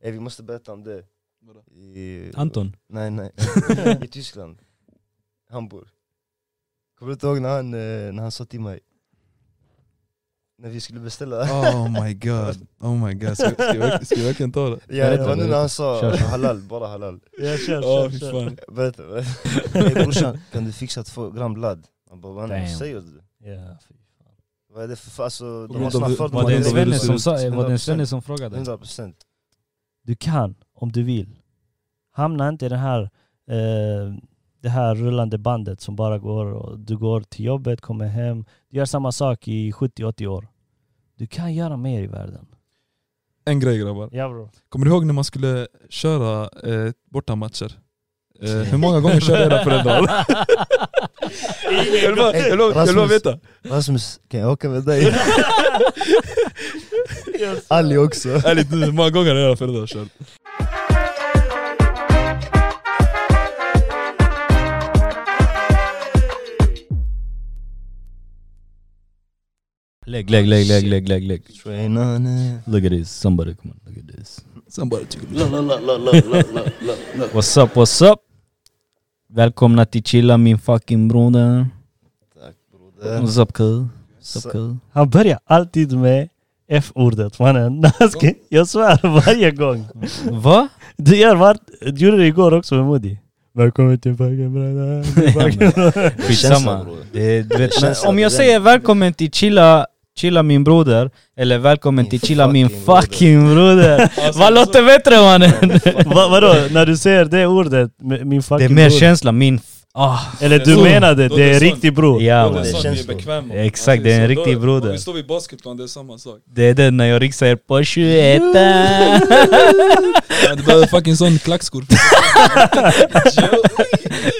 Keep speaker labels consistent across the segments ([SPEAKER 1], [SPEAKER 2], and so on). [SPEAKER 1] Ey, Eh, vi måste berätta om det.
[SPEAKER 2] Vadå?
[SPEAKER 1] I,
[SPEAKER 2] Typ.
[SPEAKER 3] Anton?
[SPEAKER 1] Nej nej, i Tyskland. Hamburg. Kommer du inte ihåg när han, eh, när han sa till mig? När vi skulle beställa?
[SPEAKER 2] Oh my god, oh my god. Ska, ska, jag, verk- ska jag verkligen ta det?
[SPEAKER 1] Ja det
[SPEAKER 3] berätta,
[SPEAKER 1] var nu när han sa
[SPEAKER 3] Kör, kör.
[SPEAKER 1] halal, bara halal.
[SPEAKER 3] Ja kör,
[SPEAKER 2] Åh fy fan.
[SPEAKER 1] Berätta, berätta. Ey brorsan, kan du fixa två gram ladd? Han bara, vad
[SPEAKER 3] Damn.
[SPEAKER 1] säger du?
[SPEAKER 3] Ja, fy.
[SPEAKER 1] Vad är det för, alltså, de
[SPEAKER 2] grund
[SPEAKER 1] har
[SPEAKER 2] av
[SPEAKER 1] såna
[SPEAKER 2] hur-
[SPEAKER 1] fördomar.
[SPEAKER 2] vad
[SPEAKER 3] Var det en
[SPEAKER 2] det-
[SPEAKER 3] svenne som, sa, var det en
[SPEAKER 1] 100%.
[SPEAKER 3] svenne som frågade?
[SPEAKER 1] 100%.
[SPEAKER 3] Du kan, om du vill. Hamna inte i den här, eh, det här rullande bandet som bara går och du går till jobbet, kommer hem. Du gör samma sak i 70-80 år. Du kan göra mer i världen.
[SPEAKER 2] En grej grabbar.
[SPEAKER 3] Ja bror.
[SPEAKER 2] Kommer du ihåg när man skulle köra eh, bortamatcher? Eh, hur många gånger körde era föräldrar? Jag vill bara- jag vill bara- jag vill bara
[SPEAKER 1] Rasmus.
[SPEAKER 2] veta.
[SPEAKER 1] Rasmus, kan jag åka med dig? Ali också.
[SPEAKER 2] Ärligt nu, hur många gånger har era föräldrar kört?
[SPEAKER 3] Lägg,
[SPEAKER 4] Lägg, lägg, lägg, lägg, lägg, lägg.
[SPEAKER 1] Train on it.
[SPEAKER 4] Look at this, somebody come on, look at this.
[SPEAKER 2] Somebody
[SPEAKER 4] What's up, what's up? Välkomna till Chilla min fucking broder.
[SPEAKER 1] Tack broder.
[SPEAKER 4] What's up kid? What's up kid?
[SPEAKER 3] Han börjar alltid med F-ordet mannen. Jag ska- Jag svär varje gång.
[SPEAKER 4] Va?
[SPEAKER 3] Du gör vart, du gjorde det igår också med Modi. Välkommen till Baggen bröderna.
[SPEAKER 1] Känsla,
[SPEAKER 4] Skitsamma.
[SPEAKER 1] bror.
[SPEAKER 4] Det, du vet, men
[SPEAKER 1] Känsla,
[SPEAKER 4] om jag
[SPEAKER 1] det-
[SPEAKER 4] säger välkommen till Chilla, Chilla min broder, eller välkommen
[SPEAKER 1] Min
[SPEAKER 4] till Chilla min
[SPEAKER 1] fucking broder.
[SPEAKER 4] fucking broder. Vad låter bättre mannen?
[SPEAKER 3] Va, vadå, när du säger det ordet, m- min
[SPEAKER 4] Det är
[SPEAKER 3] fucking
[SPEAKER 4] mer
[SPEAKER 3] bror.
[SPEAKER 4] känsla, min... f- Ah,
[SPEAKER 3] Eller du
[SPEAKER 2] Så,
[SPEAKER 3] menar det,
[SPEAKER 2] då
[SPEAKER 3] det
[SPEAKER 2] är
[SPEAKER 3] är
[SPEAKER 2] det
[SPEAKER 3] riktig bror.
[SPEAKER 1] det
[SPEAKER 2] det
[SPEAKER 4] ja
[SPEAKER 1] är
[SPEAKER 2] är
[SPEAKER 4] mannen.
[SPEAKER 1] sånt.
[SPEAKER 2] sånt
[SPEAKER 1] känns
[SPEAKER 2] vi är bekväma med.
[SPEAKER 4] Exakt,
[SPEAKER 2] Alltså,
[SPEAKER 4] det är en
[SPEAKER 2] så
[SPEAKER 4] riktig
[SPEAKER 2] då-
[SPEAKER 4] broder.
[SPEAKER 2] Om vi står vid basketplan, det är samma sak.
[SPEAKER 4] Det är den när jag riksar på 21
[SPEAKER 2] Ja, Du behöver fucking sån klackskor.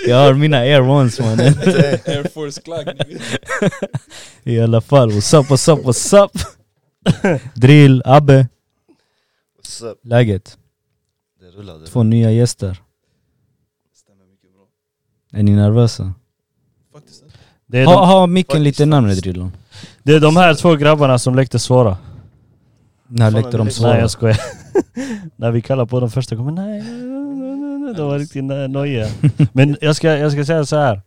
[SPEAKER 4] Jag har mina air ones mannen.
[SPEAKER 2] Air Force klack.
[SPEAKER 4] I alla fall, what's up, what's up, what's up? Drill, Abbe,
[SPEAKER 1] What's up?
[SPEAKER 4] läget?
[SPEAKER 1] Det rullar, det rullar.
[SPEAKER 4] Två nya gäster. Är ni nervösa?
[SPEAKER 3] Det är,
[SPEAKER 4] Ha,
[SPEAKER 3] de,
[SPEAKER 4] ha micken lite
[SPEAKER 1] faktiskt,
[SPEAKER 4] närmare
[SPEAKER 1] faktiskt.
[SPEAKER 4] drillen.
[SPEAKER 3] det är de här två grabbarna som lekte svåra.
[SPEAKER 4] När
[SPEAKER 1] Fan,
[SPEAKER 4] läckte
[SPEAKER 1] men
[SPEAKER 4] de
[SPEAKER 1] det-
[SPEAKER 3] Nej
[SPEAKER 4] svåra?
[SPEAKER 3] jag skojar. när vi kallar på dem första gången, nej, nej, nej, nej, de var riktigt nö- nojiga. Men jag ska, jag ska säga så här.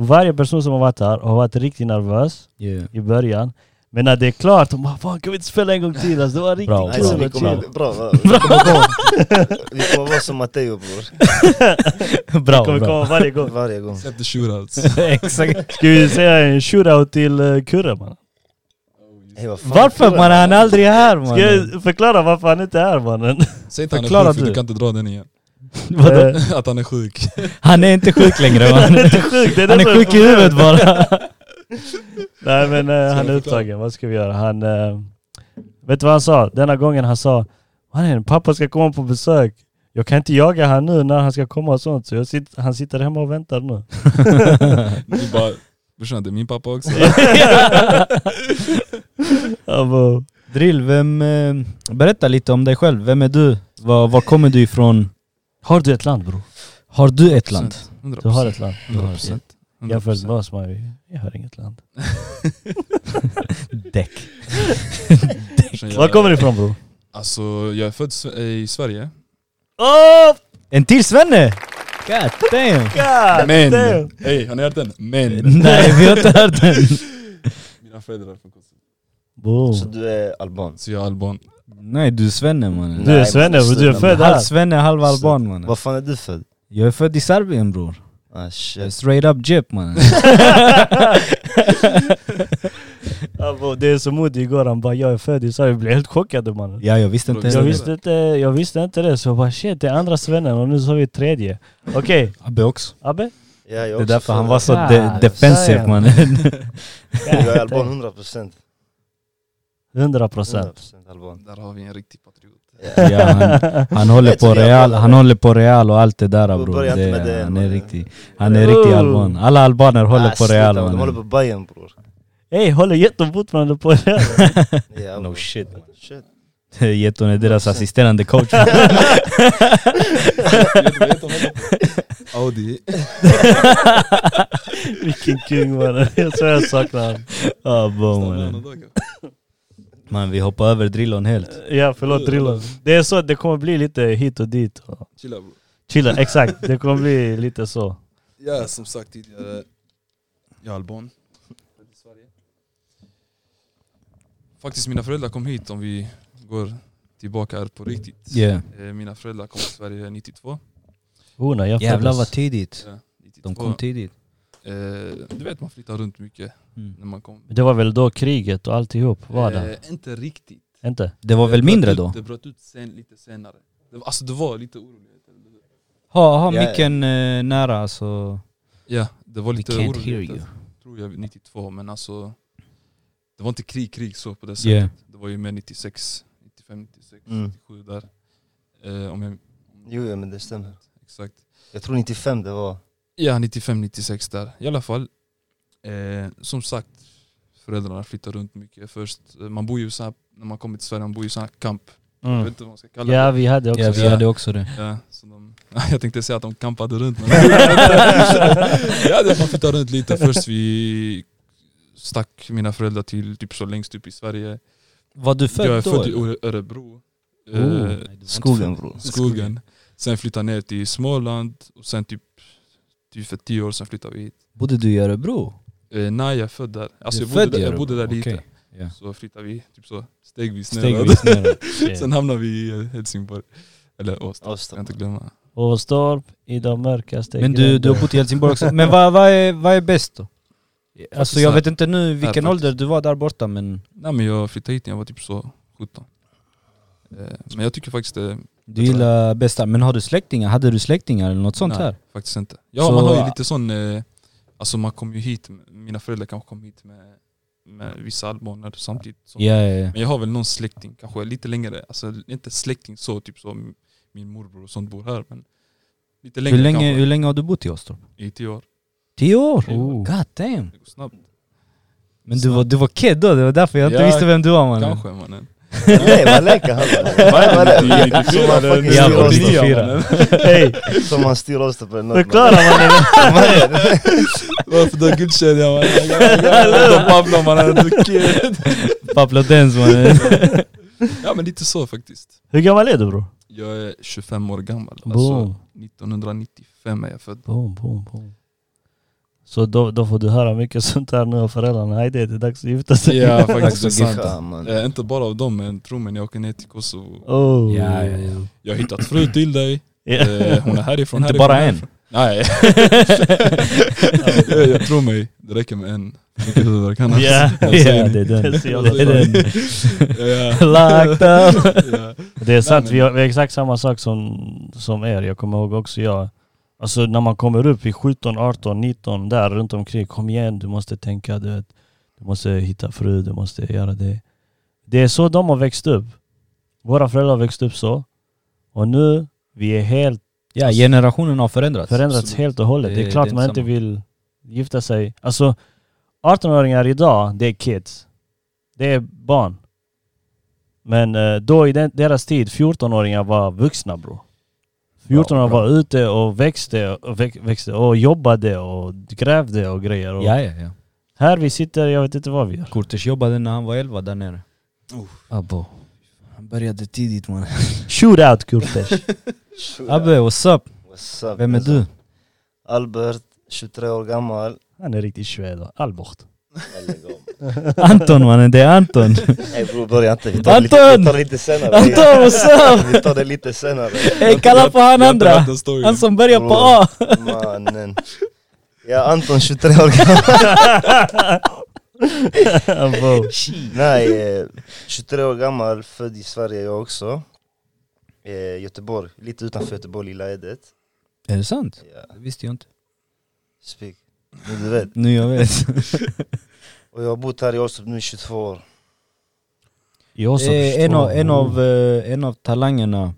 [SPEAKER 3] Varje person som har varit här har varit riktigt nervös
[SPEAKER 4] Yeah.
[SPEAKER 3] i början. Men när det är klart, de bara 'Fan kan vi inte spela en gång till?' Alltså, det var
[SPEAKER 4] Bra,
[SPEAKER 3] riktigt
[SPEAKER 1] Nej, så
[SPEAKER 3] kul
[SPEAKER 1] vi
[SPEAKER 3] och chill.
[SPEAKER 1] kommer, bra, bra. Vi kommer gå. Vi kommer vara som Matteo bror.
[SPEAKER 4] bra,
[SPEAKER 3] Kommer
[SPEAKER 4] bra.
[SPEAKER 3] komma varje gång.
[SPEAKER 1] Varje gång.
[SPEAKER 2] Släppte shootouts.
[SPEAKER 4] Exakt.
[SPEAKER 3] Ska vi säga en shoutout till eh, Kurre man?
[SPEAKER 1] Hey, vad fan,
[SPEAKER 4] Varför
[SPEAKER 1] killar?
[SPEAKER 4] man han är aldrig här
[SPEAKER 3] Ska
[SPEAKER 4] mannen?
[SPEAKER 3] jag förklara varför han inte är mannen?
[SPEAKER 2] Säg inte han är
[SPEAKER 4] Förklara
[SPEAKER 2] sjuk för
[SPEAKER 4] du.
[SPEAKER 2] du kan inte dra den igen.
[SPEAKER 3] Vadå?
[SPEAKER 2] Att han är sjuk.
[SPEAKER 4] Han är inte sjuk längre
[SPEAKER 3] Eh, Han är
[SPEAKER 4] mannen.
[SPEAKER 3] inte sjuk, det är
[SPEAKER 4] Han
[SPEAKER 3] det som
[SPEAKER 4] är sjuk i huvudet bara.
[SPEAKER 3] Nej men eh, han är
[SPEAKER 2] förklara?
[SPEAKER 3] upptagen, vad ska vi göra? Han... eh, vet du vad han sa? Denna gången han sa Mannen, pappa ska komma på besök. Jag kan inte jaga han nu när han ska komma och sånt, så jag sit, han sitter hemma och väntar nu.
[SPEAKER 2] Du bara, brorsan det är min pappa också.
[SPEAKER 3] Han bara,
[SPEAKER 4] Drill, vem, eh, berätta lite om dig själv. Vem är du? Var, var kommer du ifrån?
[SPEAKER 3] har du ett land bror?
[SPEAKER 4] Har du ett land?
[SPEAKER 2] 100%.
[SPEAKER 3] Du har ett land.
[SPEAKER 4] Du har ett
[SPEAKER 2] 100%.
[SPEAKER 4] land.
[SPEAKER 3] Jämfört med oss man, vi- jag har inget land.
[SPEAKER 4] Däck.
[SPEAKER 2] Brorsan, jag-
[SPEAKER 3] Var kommer du ifrån bror?
[SPEAKER 2] Alltså jag är född sve- i Sverige.
[SPEAKER 3] Oh
[SPEAKER 4] En till Svenne! God damn!
[SPEAKER 3] god!
[SPEAKER 2] Men!
[SPEAKER 3] damn.
[SPEAKER 2] Ey, har ni hört den? Men!
[SPEAKER 4] Nej vi har inte hört den.
[SPEAKER 2] Mina föräldrar är från Kosovo.
[SPEAKER 3] Boom.
[SPEAKER 1] Så Alltså, du är alban?
[SPEAKER 2] Så jag är alban.
[SPEAKER 4] Nej du är svenne mannen.
[SPEAKER 3] Du är
[SPEAKER 1] Nej,
[SPEAKER 3] svenne
[SPEAKER 1] men
[SPEAKER 3] bror, du är
[SPEAKER 1] sluta.
[SPEAKER 3] född
[SPEAKER 4] Halv
[SPEAKER 3] här.
[SPEAKER 4] svenne, halv alban mannen.
[SPEAKER 1] Var fan är du född?
[SPEAKER 4] Jag är född i Serbien bror.
[SPEAKER 1] Ah
[SPEAKER 4] Jag är
[SPEAKER 1] shit.
[SPEAKER 4] Straight up jip mannen.
[SPEAKER 3] Ja, bro, det är som Moody igår, han bara 'Jag är född i Sverige' Jag blev helt chockad mannen.
[SPEAKER 4] Ja jag visste inte
[SPEAKER 3] Jag
[SPEAKER 2] Stämmer.
[SPEAKER 4] heller.
[SPEAKER 3] visste, inte, jag visste inte det, så jag bara 'Shit, det är andra svennen och nu så har vi tredje' Okej,
[SPEAKER 4] Abbe också.
[SPEAKER 3] Abbe?
[SPEAKER 1] Ja, jag
[SPEAKER 4] Det är
[SPEAKER 1] också
[SPEAKER 4] därför
[SPEAKER 1] född
[SPEAKER 4] han var så
[SPEAKER 3] Ah,
[SPEAKER 4] de defensiv
[SPEAKER 3] Serbien.
[SPEAKER 4] mannen.
[SPEAKER 1] här. Jag är alban 100%.
[SPEAKER 3] 100 procent.
[SPEAKER 1] 100% alban.
[SPEAKER 2] Där har vi en riktig patriot.
[SPEAKER 4] Ja, han, han, håller på real, han håller på real och allt det där
[SPEAKER 1] Bro,
[SPEAKER 4] bror.
[SPEAKER 1] börja inte med
[SPEAKER 4] Det-
[SPEAKER 1] det,
[SPEAKER 4] Han är
[SPEAKER 1] mannen.
[SPEAKER 4] riktig, han är riktig
[SPEAKER 3] Oh.
[SPEAKER 4] alban. Alla albaner håller
[SPEAKER 1] Ah,
[SPEAKER 4] på
[SPEAKER 1] sluta,
[SPEAKER 4] real
[SPEAKER 1] De håller på
[SPEAKER 4] mannen.
[SPEAKER 1] Bayern bror.
[SPEAKER 3] Ey, håller jätten fortfarande på det?
[SPEAKER 1] Ja,
[SPEAKER 4] No
[SPEAKER 1] bror.
[SPEAKER 4] shit.
[SPEAKER 1] Shit.
[SPEAKER 4] Getton är deras assisterande coach.
[SPEAKER 2] Vet du vad heter han? Audi.
[SPEAKER 3] Vilken kung mannen. Jag tror jag saknar honom.
[SPEAKER 4] Ah, bra,
[SPEAKER 2] Stannar
[SPEAKER 4] mannen.
[SPEAKER 2] han idag, kanske?
[SPEAKER 4] Man vi hoppar över drillon helt.
[SPEAKER 3] Ja förlåt Drillon. Det är så att det kommer bli lite hit och dit. och-
[SPEAKER 5] Chilla bro.
[SPEAKER 3] Chilla, exakt. Det kommer bli lite så.
[SPEAKER 5] Ja, som sagt tidigare. Jag är alban. Född i Sverige.
[SPEAKER 2] Faktiskt mina föräldrar kom hit om vi går tillbaka här på riktigt.
[SPEAKER 4] Yeah.
[SPEAKER 2] Eh, Mina föräldrar kom till Sverige 92.
[SPEAKER 3] Oh, när jag
[SPEAKER 4] Jävlar
[SPEAKER 3] föddes.
[SPEAKER 4] vad tidigt.
[SPEAKER 2] Ja, 92.
[SPEAKER 4] De kom tidigt.
[SPEAKER 2] Eh, Du vet man flyttar runt mycket
[SPEAKER 4] Mm.
[SPEAKER 2] när man kom.
[SPEAKER 3] Det var väl då kriget och alltihop var det?
[SPEAKER 2] Eh, Inte riktigt.
[SPEAKER 3] Inte?
[SPEAKER 4] Det var väl
[SPEAKER 2] bröt
[SPEAKER 4] mindre
[SPEAKER 1] typ-
[SPEAKER 2] ut-
[SPEAKER 4] då?
[SPEAKER 2] Det bröt ut sen, lite senare. Det var, alltså det var lite oroligheter.
[SPEAKER 4] Ha, ha
[SPEAKER 1] Ja, ja.
[SPEAKER 4] micken eh, nära alltså.
[SPEAKER 2] Ja, det var lite
[SPEAKER 4] We can't hear
[SPEAKER 2] oroligheter.
[SPEAKER 4] you.
[SPEAKER 2] Tror jag 92, men alltså det var inte krig, krig så på det sättet.
[SPEAKER 4] Yeah.
[SPEAKER 2] Det var ju mer 96, 95, 96,
[SPEAKER 1] Mm.
[SPEAKER 2] 97 där. Eh, om jag,
[SPEAKER 1] Jo, ja, men det stämmer.
[SPEAKER 2] exakt.
[SPEAKER 1] Jag tror 95 det var.
[SPEAKER 2] Ja, 95-96 där. I alla fall. Eh, som sagt, föräldrarna flyttar runt mycket. Först, eh, man bor ju så här, när man kommer till Sverige, man bor ju i sån här camp. Jag vet
[SPEAKER 3] Mm.
[SPEAKER 2] inte vad man ska kalla
[SPEAKER 3] Ja
[SPEAKER 2] det.
[SPEAKER 3] vi hade också.
[SPEAKER 4] Ja, vi
[SPEAKER 2] Ja.
[SPEAKER 4] hade också det.
[SPEAKER 2] Ja, så de, jag tänkte säga att de kampade runt. Men ja, det- man flyttade runt lite. Först vi stack mina föräldrar till typ så längst upp i Sverige.
[SPEAKER 4] Var du
[SPEAKER 2] jag är född i Öre- Örebro. Eh,
[SPEAKER 1] Skogen bror.
[SPEAKER 2] skogen. Sen flyttade jag ner till Småland och sen typ, typ för tio år sedan flyttade vi hit.
[SPEAKER 4] Bodde du i Örebro?
[SPEAKER 2] Eh, nej, jag är född där. Alltså,
[SPEAKER 4] Du
[SPEAKER 2] jag,
[SPEAKER 4] är
[SPEAKER 2] bodde
[SPEAKER 4] född i
[SPEAKER 2] där jag
[SPEAKER 4] Örebro?
[SPEAKER 2] bodde där lite.
[SPEAKER 4] Okej, ja.
[SPEAKER 2] Så flyttade vi typ så stegvis ner.
[SPEAKER 4] Stegvis neråt.
[SPEAKER 2] Sen hamnade vi i eh, Helsingborg. Eller Åstad, ska jag
[SPEAKER 1] Avstånd.
[SPEAKER 2] inte glömma.
[SPEAKER 3] Och Storp Eh, i de mörkaste
[SPEAKER 4] Men du, du
[SPEAKER 3] gränder.
[SPEAKER 4] har bott i Helsingborg också. Men vad, vad, är, vad är bäst då? Alltså jag
[SPEAKER 2] här-
[SPEAKER 4] vet inte nu vilken
[SPEAKER 2] faktiskt.
[SPEAKER 4] ålder du var där borta men
[SPEAKER 2] Nej men jag flyttade hit när jag var typ så 17. Eh, Men jag tycker faktiskt eh, det...
[SPEAKER 4] du gillar bästa. Men har du släktingar? Hade du släktingar eller något sånt
[SPEAKER 2] nej,
[SPEAKER 4] här?
[SPEAKER 2] faktiskt inte. Ja
[SPEAKER 4] Så-
[SPEAKER 2] man har ju lite sån... eh, Alltså man kom ju hit, mina föräldrar kanske kom hit med, med vissa albaner samtidigt. som-
[SPEAKER 4] Ja, ja, ja.
[SPEAKER 2] Men jag har väl någon släkting, kanske lite längre, alltså inte släkting så, typ som min morbror och sånt bor här men lite längre
[SPEAKER 4] Hur länge,
[SPEAKER 2] kanske,
[SPEAKER 4] hur länge har du bott i Åstorp?
[SPEAKER 2] i tio år.
[SPEAKER 4] Tio år?
[SPEAKER 2] Oh.
[SPEAKER 4] God damn.
[SPEAKER 2] Det går snabbt.
[SPEAKER 4] Men du var, du var kid då, det var därför jag inte
[SPEAKER 2] Ja,
[SPEAKER 4] visste vem du var mannen.
[SPEAKER 2] Kanske mannen.
[SPEAKER 1] Nej, vad läcker han
[SPEAKER 2] Vad är det? Det är
[SPEAKER 1] var. Som han fucking
[SPEAKER 2] ju
[SPEAKER 1] styr
[SPEAKER 4] Ja, var
[SPEAKER 1] oss
[SPEAKER 4] det
[SPEAKER 1] till-
[SPEAKER 4] fyra?
[SPEAKER 3] Hej,
[SPEAKER 1] Som han styr oss till på något.
[SPEAKER 3] förklara mannen!
[SPEAKER 2] Varför då guldkedja mannen? De babblar mannen, du är kid.
[SPEAKER 4] Pablo Dens mannen.
[SPEAKER 2] Ja men lite så faktiskt.
[SPEAKER 3] Hur gammal är du bror?
[SPEAKER 2] Jag är 25 år gammal.
[SPEAKER 3] Boom,
[SPEAKER 2] Alltså 1995 är jag född.
[SPEAKER 3] boom, boom, boom. Så då, då får du höra mycket sånt här nu av föräldrarna. Hej det är dags att gifta sig.
[SPEAKER 2] Ja faktiskt, det är sant.
[SPEAKER 1] Fan, man.
[SPEAKER 2] Eh, inte bara av dem men tro mig när jag åker ner till Kosovo.
[SPEAKER 3] Oh.
[SPEAKER 4] Ja, ja, ja.
[SPEAKER 2] Jag har hittat fru till dig.
[SPEAKER 3] Ja.
[SPEAKER 2] Eh, hon är härifrån, härifrån,
[SPEAKER 4] Inte bara en.
[SPEAKER 2] härifrån. Nej. jag, jag tror mig, det räcker med en. Mycket huvudvärk annars.
[SPEAKER 3] Ja,
[SPEAKER 2] Jag
[SPEAKER 4] Ja,
[SPEAKER 2] säger
[SPEAKER 4] det är den.
[SPEAKER 3] Det är så jävla
[SPEAKER 4] Det är den.
[SPEAKER 2] Ja,
[SPEAKER 4] Locked up.
[SPEAKER 2] ja.
[SPEAKER 3] Det är sant,
[SPEAKER 2] men-
[SPEAKER 3] vi har, vi har exakt samma sak som, som er. Jag kommer ihåg också jag. Alltså när man kommer upp i 17, 18, 19 där runt omkring. Kom igen, du måste tänka, du vet. Du måste hitta fru, du måste göra det. Det är så de har växt upp. Våra föräldrar har växt upp så. Och nu, vi är helt,
[SPEAKER 4] Ja, generationen har förändrats.
[SPEAKER 3] förändrats
[SPEAKER 2] absolut.
[SPEAKER 3] helt och hållet. Det
[SPEAKER 4] Det-
[SPEAKER 3] är klart
[SPEAKER 4] det är
[SPEAKER 3] man inte
[SPEAKER 4] samma.
[SPEAKER 3] vill gifta sig. Alltså 18-åringar idag, det är kids. Det är barn. Men eh, då i den, deras tid, 14-åringar var vuxna bro. 14-åringar var ute och växte och, väx, växte och jobbade och grävde och grejer. Och
[SPEAKER 4] Ja, ja, ja.
[SPEAKER 3] Här vi sitter, jag vet inte vad vi gör.
[SPEAKER 4] Kurtis jobbade när han var 11 där nere. Abbo. Han började tidigt mannen.
[SPEAKER 3] Shoot out Kurtesh.
[SPEAKER 4] Abbe, what's up?
[SPEAKER 1] What's up,
[SPEAKER 4] Vem är
[SPEAKER 1] alltså?
[SPEAKER 4] du?
[SPEAKER 1] Albert, 23 år gammal.
[SPEAKER 3] Han är riktigt schwed. Albert.
[SPEAKER 1] Lägg av.
[SPEAKER 4] Anton mannen, det är Anton.
[SPEAKER 1] Nej bror börja inte, vi tar, det
[SPEAKER 4] Anton!
[SPEAKER 1] lite, vi tar det lite senare.
[SPEAKER 4] Anton, what's up?
[SPEAKER 1] Vi tar det lite senare.
[SPEAKER 4] Ey, kalla på han
[SPEAKER 2] Jag har inte
[SPEAKER 4] andra.
[SPEAKER 2] hört den storyn.
[SPEAKER 4] Han som börjar på A.
[SPEAKER 1] Mannen. Ja Anton 23 år gammal.
[SPEAKER 3] Wow.
[SPEAKER 1] Nej, eh, 23 år gammal, född i Sverige jag också. Eh, Göteborg, lite utanför Göteborg, Lilla Edet.
[SPEAKER 4] Är det sant?
[SPEAKER 1] Ja,
[SPEAKER 4] Det visste jag inte.
[SPEAKER 1] speak. Men du vet.
[SPEAKER 4] Nu jag vet.
[SPEAKER 1] Och jag har bott här i Åstorp nu i 22 år.
[SPEAKER 3] Jag också
[SPEAKER 4] Eh, en, av,
[SPEAKER 3] förstår.
[SPEAKER 4] en, av, eh, en av talangerna,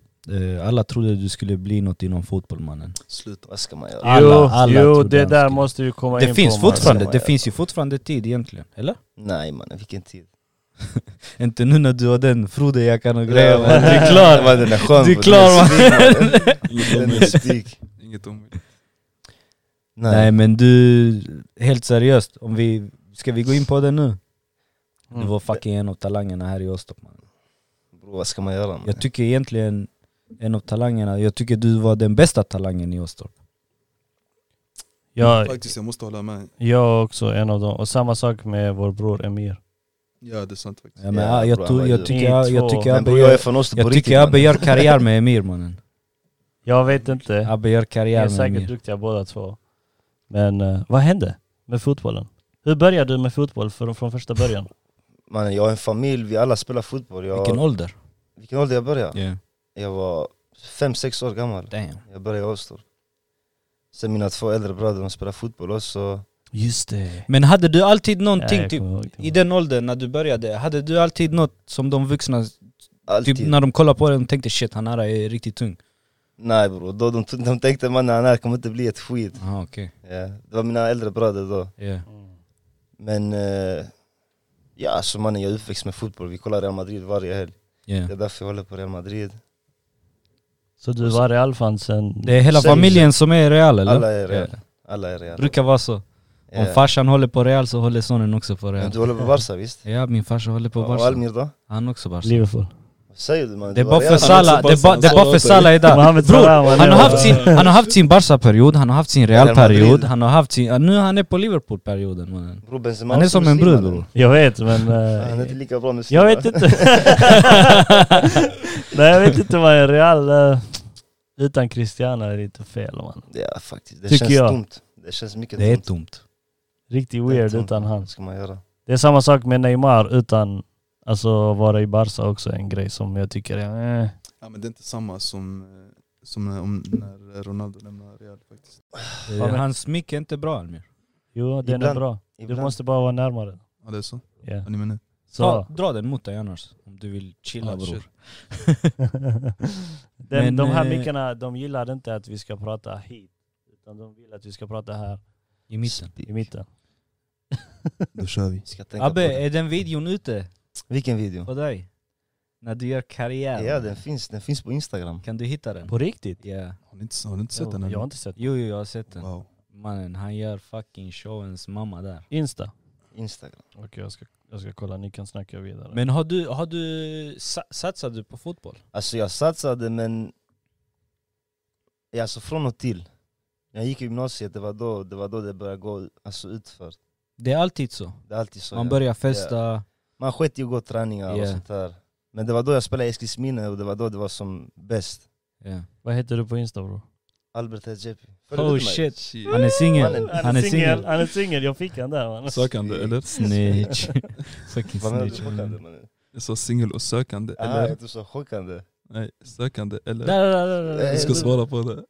[SPEAKER 4] eh, alla trodde du skulle bli något inom fotboll mannen.
[SPEAKER 1] Sluta. Vad ska man göra?
[SPEAKER 4] alla-
[SPEAKER 3] jo,
[SPEAKER 4] alla
[SPEAKER 3] jo
[SPEAKER 4] trodde
[SPEAKER 3] det
[SPEAKER 4] han
[SPEAKER 3] där
[SPEAKER 4] skulle-
[SPEAKER 3] måste ju komma in
[SPEAKER 4] Det finns
[SPEAKER 3] på man.
[SPEAKER 4] fortfarande,
[SPEAKER 1] Ja,
[SPEAKER 4] det
[SPEAKER 1] ja.
[SPEAKER 4] finns ju fortfarande tid egentligen, eller?
[SPEAKER 1] Nej mannen, vilken tid.
[SPEAKER 4] Inte nu när du har den Frode-jackan och grejer
[SPEAKER 1] Ja,
[SPEAKER 4] Du är klar!
[SPEAKER 1] Man, den är skön,
[SPEAKER 4] Du är
[SPEAKER 1] bror.
[SPEAKER 4] klar,
[SPEAKER 1] Den är svimmel.
[SPEAKER 2] Inget
[SPEAKER 1] Den är
[SPEAKER 2] omöjligt.
[SPEAKER 1] stig.
[SPEAKER 2] Inget omöjligt.
[SPEAKER 1] Nej.
[SPEAKER 4] Nej men du, helt seriöst, om vi, ska vi gå in på det nu?
[SPEAKER 1] Mm.
[SPEAKER 4] Du var fucking en av talangerna här i Åstorp man.
[SPEAKER 1] Bro, vad ska man göra? Man?
[SPEAKER 4] Jag tycker egentligen, en av talangerna, jag tycker du var den bästa talangen i Åstorp.
[SPEAKER 3] Jag,
[SPEAKER 5] Faktiskt, jag måste hålla med.
[SPEAKER 3] jag är också en av dem. Och samma sak med vår bror Emir.
[SPEAKER 5] Ja, det är sant faktiskt.
[SPEAKER 4] Ja, men,
[SPEAKER 1] Ja,
[SPEAKER 4] ja, jag,
[SPEAKER 1] bra,
[SPEAKER 4] to-
[SPEAKER 1] det-
[SPEAKER 4] jag tycker, jag, jag tycker
[SPEAKER 1] Men
[SPEAKER 4] Abbe
[SPEAKER 1] bror, jag är
[SPEAKER 4] gör,
[SPEAKER 1] från Åstorp på
[SPEAKER 4] jag
[SPEAKER 1] riktigt.
[SPEAKER 4] tycker Abbe
[SPEAKER 1] mannen.
[SPEAKER 4] gör karriär med Emir mannen.
[SPEAKER 3] Jag vet inte.
[SPEAKER 4] Abbe gör
[SPEAKER 3] Ni är
[SPEAKER 4] karriär med
[SPEAKER 3] säkert
[SPEAKER 4] Emir.
[SPEAKER 3] duktiga båda två. Men eh, vad hände med fotbollen? Hur började du med fotboll från, från första början?
[SPEAKER 1] Mannen, jag har en familj, vi alla spelar fotboll. Jag,
[SPEAKER 4] Vilken ålder?
[SPEAKER 1] vilken ålder jag började?
[SPEAKER 2] Yeah.
[SPEAKER 1] Jag var fem sex år gammal.
[SPEAKER 4] Damn.
[SPEAKER 1] Jag började i Åstorp. Sen mina två äldre bröder de spelar fotboll också.
[SPEAKER 3] Just det.
[SPEAKER 4] Men hade du alltid någonting
[SPEAKER 3] jag
[SPEAKER 4] typ,
[SPEAKER 3] kommer ihåg det.
[SPEAKER 4] i den åldern när du började, hade du alltid något som de vuxna,
[SPEAKER 1] Alltid.
[SPEAKER 4] typ när de kollar på dig, de tänkte shit han här är riktigt tung?
[SPEAKER 1] Nej bror, då de, de tänkte mannen han här kommer inte bli ett skit.
[SPEAKER 4] Aha, okej.
[SPEAKER 1] Ja, det var mina äldre bröder då.
[SPEAKER 4] Yeah.
[SPEAKER 1] Men eh, ja, alltså mannen jag är uppväxt med fotboll. Vi kollar Real Madrid varje helg.
[SPEAKER 4] Yeah.
[SPEAKER 1] Det är därför jag håller på Real Madrid.
[SPEAKER 3] Så du var Real-fan sen...
[SPEAKER 4] Det är hela
[SPEAKER 1] Säg-
[SPEAKER 4] familjen som är real eller?
[SPEAKER 1] Alla är Real. Alla är Real.
[SPEAKER 4] Brukar vara så. Om
[SPEAKER 1] Ja.
[SPEAKER 4] farsan håller på Real så håller sonen också på
[SPEAKER 1] Men
[SPEAKER 4] Real.
[SPEAKER 1] Du håller på Barca visst?
[SPEAKER 4] Ja, min farsa håller på
[SPEAKER 1] Och
[SPEAKER 4] Barca.
[SPEAKER 1] Almir då?
[SPEAKER 4] Han också Barca.
[SPEAKER 3] Liverpool.
[SPEAKER 1] Vad säger du mannen?
[SPEAKER 4] Det är
[SPEAKER 1] Du
[SPEAKER 4] bara
[SPEAKER 1] var
[SPEAKER 4] för
[SPEAKER 1] Real.
[SPEAKER 4] Salah, det är bara- det är bara för Salah idag.
[SPEAKER 3] Mohamed
[SPEAKER 4] Bror,
[SPEAKER 3] Salah, man
[SPEAKER 4] han har
[SPEAKER 3] är-
[SPEAKER 4] haft sin, han har haft sin Barca-period, han har haft sin
[SPEAKER 1] Real Madrid.
[SPEAKER 4] Real-period, han har haft sin... ja, Nu han är på Liverpool-perioden mannen.
[SPEAKER 1] Bror, Benzema
[SPEAKER 4] Han är
[SPEAKER 1] också
[SPEAKER 4] som en
[SPEAKER 1] muslim,
[SPEAKER 4] bror
[SPEAKER 1] mannen.
[SPEAKER 4] bror.
[SPEAKER 3] Jag vet men... eh,
[SPEAKER 1] Han är inte lika bra muslim
[SPEAKER 3] jag
[SPEAKER 1] va?
[SPEAKER 3] vet inte. Nej jag vet inte vad en Real... eh, utan Cristiano är lite fel man.
[SPEAKER 1] Ja faktiskt, det
[SPEAKER 3] Tycker
[SPEAKER 1] känns
[SPEAKER 3] jag.
[SPEAKER 1] tomt. Det känns mycket
[SPEAKER 4] Det är
[SPEAKER 1] tomt.
[SPEAKER 4] tomt.
[SPEAKER 3] Riktigt
[SPEAKER 1] Det är
[SPEAKER 3] weird
[SPEAKER 1] tomt.
[SPEAKER 3] utan han.
[SPEAKER 1] Vad ska man göra?
[SPEAKER 3] Det är samma sak med Neymar utan... Alltså vara i Barca också en grej som jag tycker är... Eh.
[SPEAKER 5] Ja, men det är inte samma som, eh, som när, om, när Ronaldo lämnar Real faktiskt.
[SPEAKER 4] Eh,
[SPEAKER 3] Ja, men-
[SPEAKER 4] Hans mick är inte bra Almir.
[SPEAKER 3] Jo den är
[SPEAKER 1] Ibland-
[SPEAKER 3] bra. Du
[SPEAKER 1] Ibland.
[SPEAKER 3] måste bara vara närmare.
[SPEAKER 5] Ja, det är så?
[SPEAKER 3] Ja.
[SPEAKER 5] Vad ni menar?
[SPEAKER 4] Ta,
[SPEAKER 3] Så.
[SPEAKER 4] dra den mot dig annars, om du vill chilla
[SPEAKER 5] Ah,
[SPEAKER 4] bror.
[SPEAKER 5] shit.
[SPEAKER 3] Den,
[SPEAKER 4] Men,
[SPEAKER 3] de här
[SPEAKER 4] eh,
[SPEAKER 3] mickarna, de gillar inte att vi ska prata hit. Utan de vill att vi ska prata här
[SPEAKER 4] I mitten.
[SPEAKER 3] i mitten.
[SPEAKER 5] Då kör vi.
[SPEAKER 1] Vi ska tänka
[SPEAKER 4] Abbe,
[SPEAKER 1] på det.
[SPEAKER 4] är den videon ute
[SPEAKER 1] Vilken video?
[SPEAKER 4] på dig? När du gör karriär?
[SPEAKER 1] Ja den finns, den finns på instagram.
[SPEAKER 4] Kan du hitta den?
[SPEAKER 3] På riktigt?
[SPEAKER 4] Ja.
[SPEAKER 5] Har ni inte, har ni inte sett den
[SPEAKER 3] Jag,
[SPEAKER 5] än?
[SPEAKER 3] jag har inte sett.
[SPEAKER 4] Jo, jo, jag har sett den.
[SPEAKER 5] Wow.
[SPEAKER 4] Mannen, han gör fucking showens mamma där.
[SPEAKER 3] Insta?
[SPEAKER 1] Instagram.
[SPEAKER 3] Okej jag, ska, jag ska kolla, ni kan snacka vidare.
[SPEAKER 4] Men har du, har du sa- satsar du på fotboll?
[SPEAKER 1] Alltså jag satsade men... Ja, Alltså från och till. När jag gick i gymnasiet, det var då det, var då det började gå alltså, utför.
[SPEAKER 4] Det är alltid så.
[SPEAKER 1] Det är alltid så.
[SPEAKER 4] Man
[SPEAKER 1] ja.
[SPEAKER 4] börjar festa,
[SPEAKER 1] Man sket i att gå träningar och
[SPEAKER 4] Ja.
[SPEAKER 1] sånt där. Men det var då jag spelade i Eskilsminne och det var då det var som bäst.
[SPEAKER 4] ja.
[SPEAKER 3] Vad heter du på Insta bror?
[SPEAKER 1] Albert Hedjepi. Följer
[SPEAKER 4] Oh
[SPEAKER 1] du mig?
[SPEAKER 4] shit, han är singel.
[SPEAKER 1] Mannen,
[SPEAKER 4] Han, är singel.
[SPEAKER 3] han är singel, jag fick han där man.
[SPEAKER 2] Sökande eller?
[SPEAKER 4] Snitch. fucking
[SPEAKER 1] Vad menar du?
[SPEAKER 4] snitch.
[SPEAKER 1] Chockande mannen?
[SPEAKER 2] Jag sa singel och sökande
[SPEAKER 1] Ah, jag
[SPEAKER 2] eller?
[SPEAKER 1] tyckte du sa chockande.
[SPEAKER 2] Nej, sökande eller?
[SPEAKER 3] Där, där, där, där.
[SPEAKER 2] Du ska
[SPEAKER 1] Eh,
[SPEAKER 2] svara på det.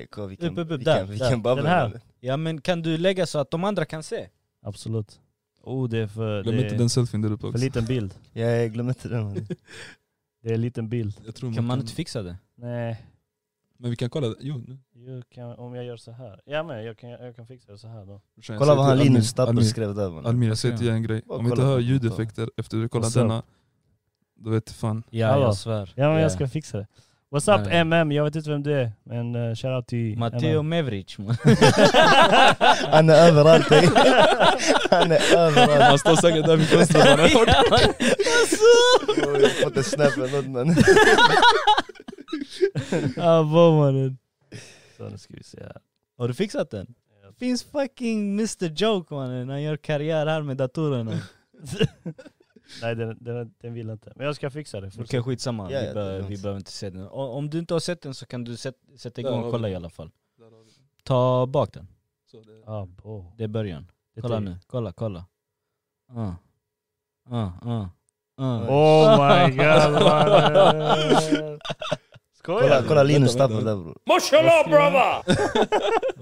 [SPEAKER 1] Eko, Eh, vilken,
[SPEAKER 4] Upp, upp, upp, där,
[SPEAKER 1] vilken,
[SPEAKER 4] där.
[SPEAKER 1] vilken babbel.
[SPEAKER 3] Den här.
[SPEAKER 1] mannen.
[SPEAKER 4] Ja men kan du lägga så att de andra kan se?
[SPEAKER 3] Absolut. Oh det är för...
[SPEAKER 2] Glöm
[SPEAKER 3] det
[SPEAKER 2] inte
[SPEAKER 3] är
[SPEAKER 2] den selfien där uppe
[SPEAKER 3] För
[SPEAKER 2] också.
[SPEAKER 3] liten bild.
[SPEAKER 1] Ja, jag glömmer inte den. mannen.
[SPEAKER 3] Det är en liten bild.
[SPEAKER 2] Jag tror
[SPEAKER 4] Kan man inte fixa det?
[SPEAKER 3] Nej.
[SPEAKER 2] Men vi kan kolla det. Jo, nu.
[SPEAKER 3] Jag kan, om jag gör så här. Ja men jag kan, jag kan fixa det så här då.
[SPEAKER 2] Brorsan,
[SPEAKER 1] Kolla
[SPEAKER 2] jag säger
[SPEAKER 1] vad han
[SPEAKER 2] till Almir-
[SPEAKER 1] Linus Stapper
[SPEAKER 2] Almir-
[SPEAKER 1] skrev där. mannen.
[SPEAKER 2] Almir, jag säger till dig en grej.
[SPEAKER 1] Bara
[SPEAKER 2] Om vi inte
[SPEAKER 1] kolla
[SPEAKER 2] hör
[SPEAKER 1] på
[SPEAKER 2] ljudeffekter efter du kollar
[SPEAKER 3] What's up?
[SPEAKER 2] denna, då vet fan.
[SPEAKER 4] Ja
[SPEAKER 3] Hallå.
[SPEAKER 4] jag svär.
[SPEAKER 3] Ja men jag ska fixa det. What's up
[SPEAKER 4] Nej.
[SPEAKER 3] MM? Jag vet inte vem du är men uh, shoutout till
[SPEAKER 4] Matteo
[SPEAKER 3] MM.
[SPEAKER 4] Meveric man.
[SPEAKER 1] Han är överallt. ey. Han är överallt.
[SPEAKER 2] Han står säkert där vid fönstret. bara.
[SPEAKER 4] Alltså!
[SPEAKER 1] Bro, Jag har fått en snap eller något mannen.
[SPEAKER 4] ah, vad mannen.
[SPEAKER 3] Så nu ska vi se här.
[SPEAKER 4] Har du fixat den? Finns fucking Mr Joke mannen, han gör karriär här med datorerna.
[SPEAKER 3] Nej den, den, den vill inte. Men jag ska fixa det.
[SPEAKER 4] Okej
[SPEAKER 3] Fortsätt.
[SPEAKER 4] skitsamma,
[SPEAKER 1] Ja, ja,
[SPEAKER 4] vi,
[SPEAKER 1] det är
[SPEAKER 4] bör,
[SPEAKER 1] lugnt.
[SPEAKER 4] vi behöver inte se den. O- Om du inte har sett den så kan du sätt, sätta
[SPEAKER 2] Där
[SPEAKER 4] igång
[SPEAKER 2] har
[SPEAKER 4] och
[SPEAKER 2] vi
[SPEAKER 4] kolla
[SPEAKER 2] den.
[SPEAKER 4] i alla fall. Ta bak den,
[SPEAKER 2] Så det-
[SPEAKER 3] Ah, bo.
[SPEAKER 4] det är början.
[SPEAKER 3] Det
[SPEAKER 4] Kolla
[SPEAKER 3] tar-
[SPEAKER 1] typ-
[SPEAKER 4] nu, kolla, kolla. Ah. Ah, ah, ah.
[SPEAKER 3] Oh my god mannen. Skojar
[SPEAKER 1] Kolla,
[SPEAKER 3] du?
[SPEAKER 1] kolla Linus
[SPEAKER 2] Vänta,
[SPEAKER 1] Stapper
[SPEAKER 2] vänta.
[SPEAKER 1] där bror.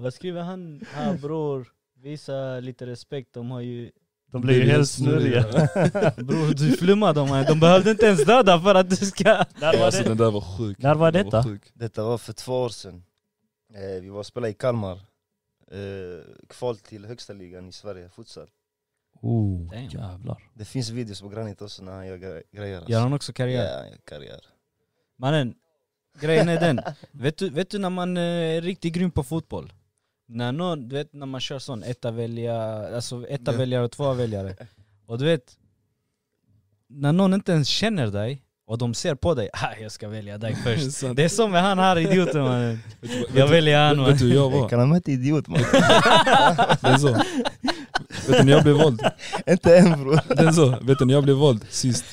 [SPEAKER 4] Vad skriver han? Ah, bror, visa lite respekt, de har ju...
[SPEAKER 3] De blir ju
[SPEAKER 2] Det är
[SPEAKER 3] helt
[SPEAKER 2] snurriga.
[SPEAKER 3] snurriga.
[SPEAKER 4] Bror du flummar dem, man. de behövde inte ens döda för att du ska...
[SPEAKER 3] Där var
[SPEAKER 2] Alltså
[SPEAKER 3] det.
[SPEAKER 2] den där var sjuk.
[SPEAKER 3] När var
[SPEAKER 2] Den där
[SPEAKER 3] detta?
[SPEAKER 2] sjuk.
[SPEAKER 1] Detta var för två år sedan. Eh, vi var och spelade i Kalmar. Eh, kval till högsta ligan i Sverige, futsal.
[SPEAKER 3] Oh,
[SPEAKER 4] Damn.
[SPEAKER 3] jävlar.
[SPEAKER 1] Det finns videos på Granit också när han gör gre- grejer.
[SPEAKER 4] Gör
[SPEAKER 1] Alltså.
[SPEAKER 4] han också karriär?
[SPEAKER 1] Ja, han gör karriär.
[SPEAKER 4] Mannen, grejen är den. Vet du, vet du när man eh, är riktigt grym på fotboll? När någon, du vet när man kör sån etta välja, alltså etta
[SPEAKER 5] Ja.
[SPEAKER 4] väljare och två väljare. Och du vet, när någon inte ens känner dig och de ser på dig, ah, jag ska välja dig först.
[SPEAKER 2] Sant.
[SPEAKER 4] Det är som med han här idioten mannen.
[SPEAKER 2] Vet du vad-
[SPEAKER 4] Jag väljer han
[SPEAKER 2] Vet
[SPEAKER 4] mannen.
[SPEAKER 2] du hur jag
[SPEAKER 1] Jag
[SPEAKER 2] var?
[SPEAKER 1] kallar mig inte idiot man.
[SPEAKER 2] Det är så. Vet du när jag blev vald?
[SPEAKER 1] inte än bror.
[SPEAKER 2] Det är så. Vet du när jag blev vald sist?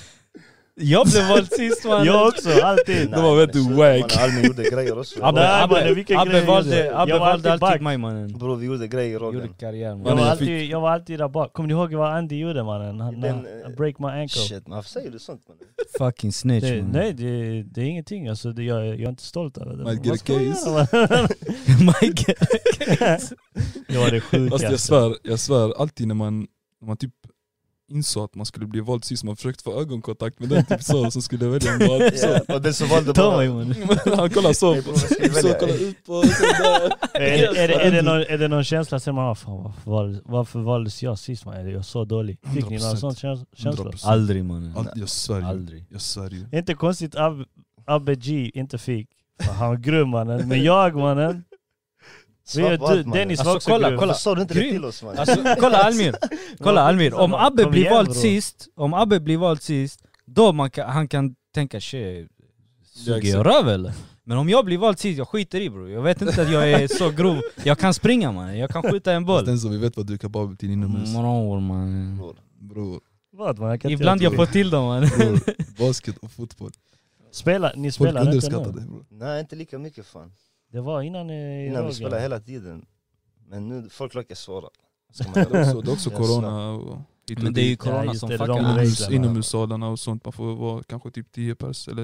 [SPEAKER 4] Jag blev vald sist mannen.
[SPEAKER 3] Jag också, alltid.
[SPEAKER 2] Det var vet du wack.
[SPEAKER 1] Almin gjorde grejer också.
[SPEAKER 3] Ja, men-
[SPEAKER 1] Bror,
[SPEAKER 3] Nej, mannen, vilken grej
[SPEAKER 4] Abbe
[SPEAKER 3] gjorde
[SPEAKER 4] valde,
[SPEAKER 3] jag?
[SPEAKER 4] Abbe
[SPEAKER 3] Jag var alltid
[SPEAKER 4] valde alltid
[SPEAKER 3] back.
[SPEAKER 4] mig mannen.
[SPEAKER 1] Bror vi gjorde grejer i
[SPEAKER 4] Gjorde
[SPEAKER 1] rollen.
[SPEAKER 4] karriär
[SPEAKER 3] Jag
[SPEAKER 4] mannen.
[SPEAKER 3] var
[SPEAKER 2] Mannen, jag
[SPEAKER 3] alltid, jag var alltid där bak. Kommer ni ihåg vad Andy gjorde mannen? Han,
[SPEAKER 1] Den,
[SPEAKER 3] han-
[SPEAKER 1] eh,
[SPEAKER 3] break my ankle.
[SPEAKER 1] Shit, varför säger du sånt mannen?
[SPEAKER 4] Fucking snitch
[SPEAKER 3] Det,
[SPEAKER 4] mannen.
[SPEAKER 3] nej det, det är ingenting alltså, det, jag, jag är inte stolt över det.
[SPEAKER 2] Might get
[SPEAKER 3] Vad ska man
[SPEAKER 2] case.
[SPEAKER 3] göra, mannen?
[SPEAKER 4] Mike.
[SPEAKER 3] Det var det
[SPEAKER 2] Fast jag
[SPEAKER 3] sjukaste.
[SPEAKER 2] svär, jag svär alltid när man, när man typ insåg att man skulle bli vald sist, man försökte få ögonkontakt med den typ så som skulle välja en vald. Så.
[SPEAKER 1] Ja, Och den som valde
[SPEAKER 3] Ta mig
[SPEAKER 1] bara...
[SPEAKER 3] mannen.
[SPEAKER 2] Men han kollar så,
[SPEAKER 1] Nej, bror, vad ska vi
[SPEAKER 2] typ så
[SPEAKER 1] välja?
[SPEAKER 2] kollar ut på sådär.
[SPEAKER 3] Är, det- är, det, är, det någon, är det någon känsla sen man har, fan varför, valdes- varför valdes jag sist man? Är det jag så dålig? Fick ni
[SPEAKER 2] 100%.
[SPEAKER 3] någon sån käns- känsla?
[SPEAKER 2] 100%.
[SPEAKER 4] Aldrig mannen.
[SPEAKER 2] Allt- Jag svär ju.
[SPEAKER 4] Aldrig.
[SPEAKER 2] Jag svär ju.
[SPEAKER 3] Inte konstigt Ab- Abbe G inte fick. Fan, Han var grym mannen. Men jag mannen, vi
[SPEAKER 1] Svart
[SPEAKER 3] är
[SPEAKER 1] på
[SPEAKER 3] du,
[SPEAKER 1] allt, mannen.
[SPEAKER 3] Dennis var
[SPEAKER 4] Alltså,
[SPEAKER 3] också
[SPEAKER 4] kolla,
[SPEAKER 3] grym.
[SPEAKER 4] kolla.
[SPEAKER 1] Varför sa du inte det
[SPEAKER 4] Grym.
[SPEAKER 1] till oss mannen?
[SPEAKER 4] Alltså kolla Almir, kolla Almir. Om Abbe
[SPEAKER 3] Kom
[SPEAKER 4] blir
[SPEAKER 3] igen,
[SPEAKER 4] vald
[SPEAKER 3] bro.
[SPEAKER 4] sist, om Abbe blir vald sist, då man kan, han kan tänka shit, suger
[SPEAKER 2] exakt.
[SPEAKER 4] jag röv eller? Men om jag blir vald sist, jag skiter i bro. Jag vet inte att jag är så grov. Jag kan springa man, jag kan skjuta en
[SPEAKER 2] Fast
[SPEAKER 4] boll.
[SPEAKER 2] den som vi vet vad du är kapabel till inomhus.
[SPEAKER 4] Bror man.
[SPEAKER 2] Bror,
[SPEAKER 3] Vad, man? Jag kan inte
[SPEAKER 4] Ibland
[SPEAKER 3] göra
[SPEAKER 4] jag
[SPEAKER 3] det.
[SPEAKER 4] får till dem man.
[SPEAKER 2] bror. Basket och fotboll.
[SPEAKER 3] Spela, ni
[SPEAKER 2] Folk
[SPEAKER 3] spelar inte
[SPEAKER 2] underskattar
[SPEAKER 3] nu?
[SPEAKER 2] det bror.
[SPEAKER 1] Nej inte lika mycket fan.
[SPEAKER 3] Det var innan eh,
[SPEAKER 1] Innan vi
[SPEAKER 3] Roger.
[SPEAKER 1] spelade hela tiden. Men nu, folk verkar svara. Ska man-
[SPEAKER 2] Det är också, det är också
[SPEAKER 1] Jag
[SPEAKER 2] corona och hit och
[SPEAKER 4] Men det är ju
[SPEAKER 2] dit.
[SPEAKER 3] Ja,
[SPEAKER 4] corona
[SPEAKER 3] just
[SPEAKER 4] som
[SPEAKER 3] det,
[SPEAKER 4] fuckar.
[SPEAKER 3] de
[SPEAKER 4] man.
[SPEAKER 2] Inomhus,
[SPEAKER 3] reglerna.
[SPEAKER 2] inomhussalarna och sånt, man får vara kanske typ 10 pers eller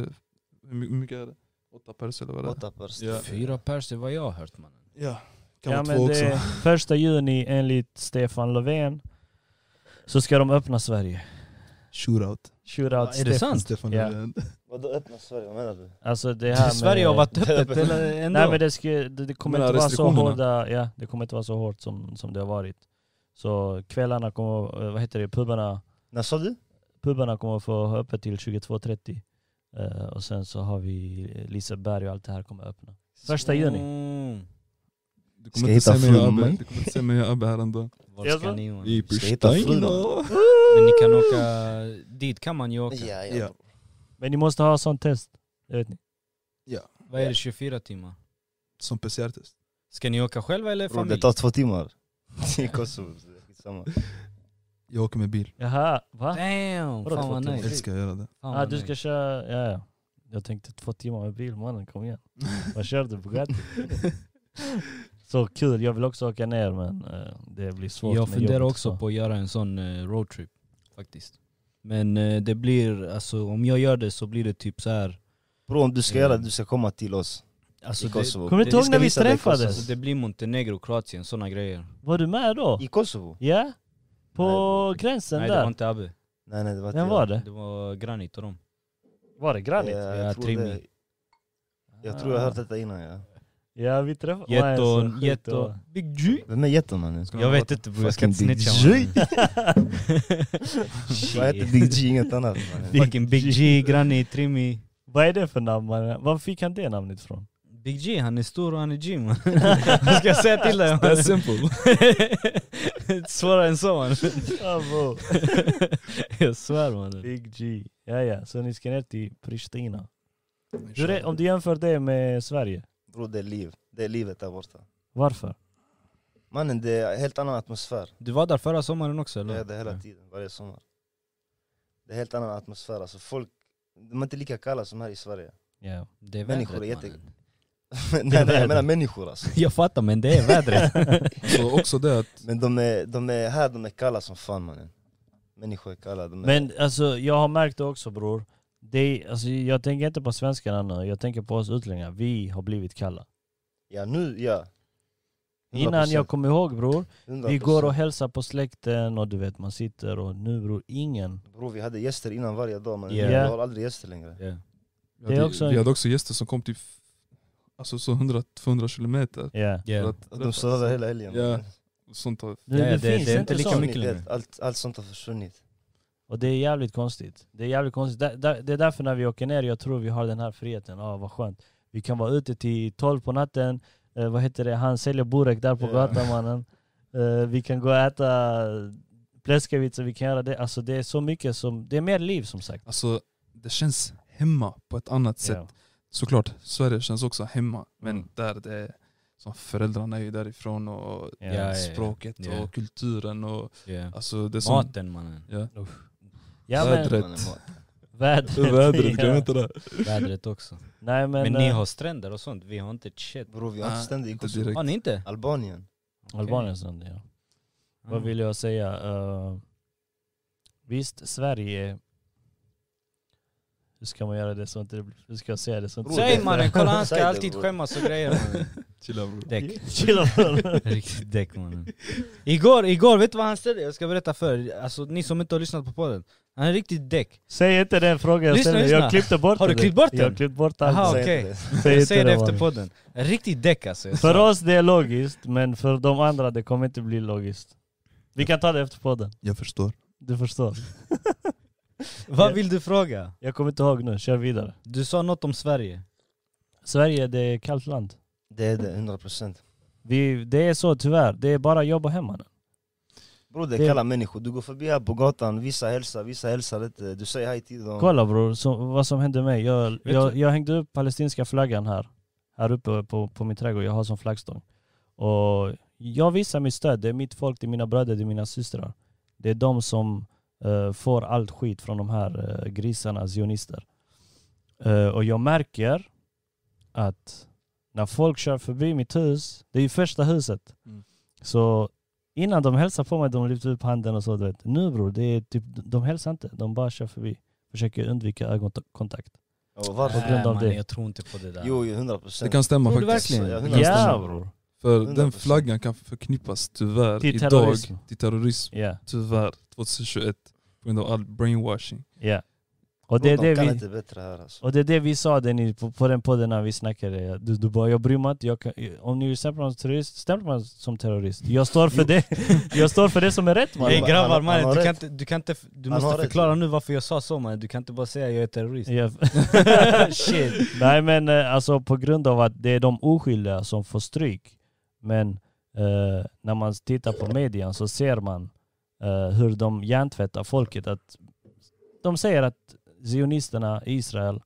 [SPEAKER 2] hur my- hur mycket är det? 8 pers eller vad det är?
[SPEAKER 1] Åtta pers.
[SPEAKER 2] Ja.
[SPEAKER 4] Fyra pers, det är vad jag har hört mannen.
[SPEAKER 2] Ja, kan
[SPEAKER 3] Ja,
[SPEAKER 2] vara
[SPEAKER 3] men
[SPEAKER 2] två också.
[SPEAKER 3] det är första juni enligt Stefan Löfven så ska de öppna Sverige.
[SPEAKER 2] Shootout.
[SPEAKER 3] Shootout
[SPEAKER 4] Är det
[SPEAKER 3] Stefan.
[SPEAKER 4] sant?
[SPEAKER 2] Stefan
[SPEAKER 3] Ja.
[SPEAKER 2] Löfven.
[SPEAKER 1] Vadå öppna Sverige, vad menar du?
[SPEAKER 3] Alltså det här med...
[SPEAKER 4] Sverige har varit öppet eller
[SPEAKER 3] Nej men
[SPEAKER 4] ändå.
[SPEAKER 3] det, ska, det, det kommer
[SPEAKER 2] Men
[SPEAKER 3] inte vara så
[SPEAKER 2] restriktionerna?
[SPEAKER 3] hårda, ja det kommer inte vara så hårt som, som det har varit. Så kvällarna kommer, eh, vad heter det, pubarna,
[SPEAKER 1] När sa du?
[SPEAKER 3] pubarna kommer få ha öppet till 22.30. Eh, och sen så har vi eh, Liseberg och allt det här kommer öppna. Första juni.
[SPEAKER 4] Mm.
[SPEAKER 2] Du
[SPEAKER 1] Ska
[SPEAKER 2] kommer inte
[SPEAKER 1] jag
[SPEAKER 2] se
[SPEAKER 1] hitta
[SPEAKER 2] mig och
[SPEAKER 1] frun,
[SPEAKER 2] Abbe.
[SPEAKER 1] man?
[SPEAKER 2] Du kommer inte se mig och Abbe häromdagen.
[SPEAKER 4] Var ska ni mannen?
[SPEAKER 1] Ska jag hitta frun då?
[SPEAKER 4] Men ni kan åka, dit kan man ju åka.
[SPEAKER 1] Ja,
[SPEAKER 2] Ja.
[SPEAKER 1] ja.
[SPEAKER 3] Men ni måste ha sånt test. Det vet ni.
[SPEAKER 4] Vad är det, 24 timmar?
[SPEAKER 2] Som PCR-test.
[SPEAKER 4] Ska ni åka själva eller
[SPEAKER 1] Bror det
[SPEAKER 4] familj?
[SPEAKER 1] tar två timmar. I Kosovo. så det är skitsamma.
[SPEAKER 2] Jag åker med bil.
[SPEAKER 3] Jaha, va?
[SPEAKER 4] Damn,
[SPEAKER 3] Vadå
[SPEAKER 4] fan
[SPEAKER 3] två
[SPEAKER 4] vad
[SPEAKER 3] timmar?
[SPEAKER 2] Jag
[SPEAKER 4] nice.
[SPEAKER 2] älskar att göra det.
[SPEAKER 4] Fan
[SPEAKER 3] Ah,
[SPEAKER 4] vad
[SPEAKER 3] du
[SPEAKER 4] nice.
[SPEAKER 3] ska köra, ja ja. Jag tänkte två timmar med bil mannen, kom igen. Vad kör du på gatan? Så kul, jag vill också åka ner men eh, det blir svårt
[SPEAKER 4] Jag
[SPEAKER 3] med
[SPEAKER 4] funderar
[SPEAKER 3] jobbet,
[SPEAKER 4] också
[SPEAKER 3] så.
[SPEAKER 4] på att göra en sån eh, roadtrip faktiskt. Men eh, det blir, alltså om jag gör det så blir det typ så här.
[SPEAKER 1] Bror om du ska göra det, du ska komma till oss
[SPEAKER 4] Alltså
[SPEAKER 1] i
[SPEAKER 4] det,
[SPEAKER 1] Kosovo.
[SPEAKER 3] Kommer du inte
[SPEAKER 1] Vi
[SPEAKER 3] ihåg
[SPEAKER 1] ska
[SPEAKER 3] när vi
[SPEAKER 1] visa dig Kosovo.
[SPEAKER 3] träffades?
[SPEAKER 4] alltså det blir Montenegro, Kroatien, såna grejer.
[SPEAKER 3] Var du med då?
[SPEAKER 1] I Kosovo?
[SPEAKER 3] Ja? På
[SPEAKER 1] Nej,
[SPEAKER 3] gränsen
[SPEAKER 4] Nej det var
[SPEAKER 3] där?
[SPEAKER 4] inte Abbe,
[SPEAKER 1] Nej nej det var
[SPEAKER 3] Vem var det?
[SPEAKER 4] det var Granit och dem.
[SPEAKER 3] Var det Granit?
[SPEAKER 1] Ja,
[SPEAKER 4] Ja,
[SPEAKER 1] jag, tror
[SPEAKER 4] Trimi.
[SPEAKER 1] det. jag tror jag har hört detta innan ja.
[SPEAKER 3] Ja vi träffade... Nej, så
[SPEAKER 4] Getton,
[SPEAKER 3] sjukt,
[SPEAKER 4] Getton,
[SPEAKER 3] det
[SPEAKER 4] Big G.
[SPEAKER 1] Vem är jätten mannen?
[SPEAKER 4] Jag vet inte bror, jag ska inte
[SPEAKER 1] Fucking Big
[SPEAKER 4] snitcha
[SPEAKER 1] G. Vad
[SPEAKER 4] mannen.
[SPEAKER 1] heter Big G? Inget annat mannen.
[SPEAKER 4] Fucking Big G, Granit, Trimmy.
[SPEAKER 3] var. Vad är det för namn mannen? Var fick han det namnet ifrån?
[SPEAKER 4] Big G, han är stor och han är G man. Vad ska jag säga till dig?
[SPEAKER 2] Det är simple.
[SPEAKER 4] Svårare än så man.
[SPEAKER 3] Bravo.
[SPEAKER 4] Jag svär man.
[SPEAKER 3] Big G. Ja ja, så ni ska ner till Pristina. Hur är, om du jämför det med Sverige,
[SPEAKER 1] Bror det är liv. Det är livet där borta.
[SPEAKER 3] varför?
[SPEAKER 1] Mannen det är en helt annan atmosfär.
[SPEAKER 4] Du var där förra sommaren
[SPEAKER 1] Det
[SPEAKER 4] också eller?
[SPEAKER 1] är det hela tiden, varje sommar. Det är en helt annan atmosfär. Alltså folk, de är inte lika kalla som här i Sverige.
[SPEAKER 3] Ja.
[SPEAKER 4] Det är
[SPEAKER 1] Människor är
[SPEAKER 4] vädret,
[SPEAKER 1] jätte-
[SPEAKER 4] mannen.
[SPEAKER 1] nej, nej,
[SPEAKER 3] vädret.
[SPEAKER 1] jag menar människor alltså.
[SPEAKER 4] Jag fattar men det är vädret.
[SPEAKER 2] Så Alltså, också det att
[SPEAKER 1] Men de är, de är här, de är kalla som fan mannen. Människor är kalla. De är,
[SPEAKER 3] Men alltså jag har märkt det också bror. Det är, alltså, jag tänker inte på svenskarna nu, jag tänker på oss utlänningar. Vi har blivit kalla.
[SPEAKER 1] ja nu, ja. 100%,
[SPEAKER 3] Innan jag kommer ihåg bror,
[SPEAKER 1] 100%.
[SPEAKER 3] vi går och hälsar på släkten och du vet man sitter och nu bror, ingen.
[SPEAKER 1] Bror vi hade gäster innan varje dag men
[SPEAKER 4] Yeah.
[SPEAKER 1] vi har aldrig gäster längre.
[SPEAKER 2] vi
[SPEAKER 4] Ja.
[SPEAKER 3] Det är
[SPEAKER 2] hade,
[SPEAKER 3] också-
[SPEAKER 2] vi hade också gäster som kom typ alltså så 100-200 kilometer.
[SPEAKER 3] Ja.
[SPEAKER 4] Ja.
[SPEAKER 1] Och de står över hela helgen.
[SPEAKER 2] alltså. Ja. Sånt har
[SPEAKER 3] Nu,
[SPEAKER 4] Ja,
[SPEAKER 3] det,
[SPEAKER 4] det-
[SPEAKER 3] finns
[SPEAKER 4] det
[SPEAKER 3] inte
[SPEAKER 4] är inte lika
[SPEAKER 3] sånt.
[SPEAKER 4] mycket längre.
[SPEAKER 1] Vet, allt, allt sånt har försvunnit.
[SPEAKER 3] Och det är jävligt konstigt. Det är jävligt konstigt. Där- där- Det är därför när vi åker ner, jag tror vi har den här friheten. Ah, vad skönt. Vi kan vara ute till 12 på natten. Eh, vad heter det? Han säljer burek där på
[SPEAKER 1] Ja.
[SPEAKER 3] gatan mannen. Eh, vi kan gå och äta Pleskovic, vi kan göra det. Alltså det är så mycket som, det är mer liv som sagt.
[SPEAKER 2] Alltså, det känns hemma på ett annat sätt.
[SPEAKER 3] Ja.
[SPEAKER 2] Såklart, Sverige känns också hemma. Men
[SPEAKER 3] Mm.
[SPEAKER 2] där det är, som föräldrarna är ju därifrån och
[SPEAKER 3] Ja,
[SPEAKER 4] ja, ja.
[SPEAKER 2] språket
[SPEAKER 4] Ja.
[SPEAKER 2] och kulturen och
[SPEAKER 4] Yeah.
[SPEAKER 2] alltså det är som...
[SPEAKER 4] Maten mannen.
[SPEAKER 2] Ja.
[SPEAKER 3] Ja men
[SPEAKER 2] Vädret.
[SPEAKER 1] Man är mat.
[SPEAKER 3] vädret.
[SPEAKER 2] Vädret, glöm
[SPEAKER 3] ja.
[SPEAKER 2] inte det.
[SPEAKER 4] Vädret också.
[SPEAKER 3] Nej men,
[SPEAKER 4] Men ni
[SPEAKER 3] eh,
[SPEAKER 4] har stränder och sånt, vi har inte ett shit.
[SPEAKER 1] Bror vi har
[SPEAKER 2] Ah,
[SPEAKER 1] inte ständigt i
[SPEAKER 2] inte
[SPEAKER 1] Kosovo.
[SPEAKER 2] direkt.
[SPEAKER 4] Har ni inte?
[SPEAKER 1] Albanien.
[SPEAKER 3] Albaniens land ja. Vad vill jag säga? Eh, visst, Sverige... Hur ska man göra det så inte det blir... Hur ska jag säga det så inte...
[SPEAKER 1] Bror,
[SPEAKER 4] Säg
[SPEAKER 1] det-
[SPEAKER 4] mannen, kolla han
[SPEAKER 1] Säg
[SPEAKER 4] ska
[SPEAKER 1] det,
[SPEAKER 4] alltid
[SPEAKER 1] bror.
[SPEAKER 4] skämmas och grejer mannen.
[SPEAKER 2] Chilla bror.
[SPEAKER 4] Däck.
[SPEAKER 3] Chilla bror.
[SPEAKER 4] Riktigt däck mannen. Igår, igår, vet du vad han ställde? Jag ska berätta för er, alltså ni som inte har lyssnat på podden. Han är riktigt däck.
[SPEAKER 3] Säg inte den frågan jag
[SPEAKER 4] Lyssna,
[SPEAKER 3] ställde,
[SPEAKER 4] lyssna.
[SPEAKER 3] jag klippte bort
[SPEAKER 4] Har du
[SPEAKER 3] det.
[SPEAKER 4] klippt bort
[SPEAKER 3] Jag har
[SPEAKER 4] den?
[SPEAKER 3] klippt bort
[SPEAKER 4] Aha,
[SPEAKER 3] allt.
[SPEAKER 1] Säg
[SPEAKER 4] okej.
[SPEAKER 1] inte det.
[SPEAKER 3] Säg
[SPEAKER 4] Jag säger det
[SPEAKER 3] det,
[SPEAKER 4] efter
[SPEAKER 3] mannen.
[SPEAKER 4] podden. En riktig däck alltså. jag
[SPEAKER 3] För
[SPEAKER 4] sa.
[SPEAKER 3] oss det är logiskt, men för de andra det kommer inte bli logiskt. Vi kan ta det efter podden,
[SPEAKER 2] Jag förstår.
[SPEAKER 3] du förstår.
[SPEAKER 4] Vad vill du fråga?
[SPEAKER 3] Jag kommer inte ihåg nu, kör vidare.
[SPEAKER 4] Du sa något om Sverige.
[SPEAKER 3] Sverige det är kallt land.
[SPEAKER 1] Det är det, 100 procent.
[SPEAKER 3] Vi, det är så tyvärr, det är bara jobb och hem mannen.
[SPEAKER 1] Bror det
[SPEAKER 3] Det-
[SPEAKER 1] är kalla människor. Du går förbi här på gatan, vissa hälsar, vissa hälsar inte. Du säger hej till dem.
[SPEAKER 3] Kolla bror, så, vad som hände mig. Jag, jag, jag hängde upp palestinska flaggan här. Här uppe på, på min trädgård, jag har som flaggstång. Och jag visar mitt stöd, det är mitt folk, det är mina bröder, det är mina systrar. Det är de som eh, får allt skit från de här eh, grisarna, zionister. Eh, och jag märker att när folk kör förbi mitt hus, det är ju första huset,
[SPEAKER 2] Mm.
[SPEAKER 3] så innan de hälsar på mig, de lyfter upp handen och så. Du vet. Nu bror, det är typ, de hälsar inte, de bara kör förbi försöker undvika ögonkontakt.
[SPEAKER 1] Och varför?
[SPEAKER 3] grund av det.
[SPEAKER 4] Nej, mannen, Jag tror inte på det där.
[SPEAKER 1] Oh, Jo, jo, 100
[SPEAKER 2] Det
[SPEAKER 1] procent.
[SPEAKER 2] kan stämma
[SPEAKER 4] Tror du
[SPEAKER 2] faktiskt.
[SPEAKER 4] verkligen?
[SPEAKER 1] Ja,
[SPEAKER 2] Det kan stämma.
[SPEAKER 3] Ja bror.
[SPEAKER 2] För
[SPEAKER 1] 100%.
[SPEAKER 2] den flaggan kan förknippas tyvärr
[SPEAKER 3] Till
[SPEAKER 2] idag
[SPEAKER 3] terrorism.
[SPEAKER 2] till terrorism.
[SPEAKER 3] Ja,
[SPEAKER 2] Tyvärr 2021 på grund av all brainwashing.
[SPEAKER 3] ja. Och det, är det
[SPEAKER 1] de kan
[SPEAKER 3] vi,
[SPEAKER 1] inte bättre här alltså.
[SPEAKER 3] och det är det vi sa den i, på, på den podden när vi snackade. Du, du bara, jag bryr mig inte. Jag kan, om ni vill stämpla mig som terrorist, stämpla mig som terrorist. Jag står för det, jag står för det som är rätt
[SPEAKER 4] Ey
[SPEAKER 3] mannen.
[SPEAKER 1] Han- han-
[SPEAKER 4] grabbar
[SPEAKER 1] han
[SPEAKER 4] mannen,
[SPEAKER 1] har
[SPEAKER 4] du, kan
[SPEAKER 1] rätt.
[SPEAKER 4] inte, du, kan inte, f- du
[SPEAKER 1] Han har
[SPEAKER 4] måste
[SPEAKER 1] rätt.
[SPEAKER 4] förklara nu varför jag sa så mannen. Du kan inte bara säga jag är terrorist.
[SPEAKER 3] Ja.
[SPEAKER 4] Shit.
[SPEAKER 3] Nej men eh, alltså på grund av att det är de oskyldiga som får stryk. Men eh, när man tittar på median så ser man eh, hur de hjärntvättar folket. Att de säger att zionisterna i Israel,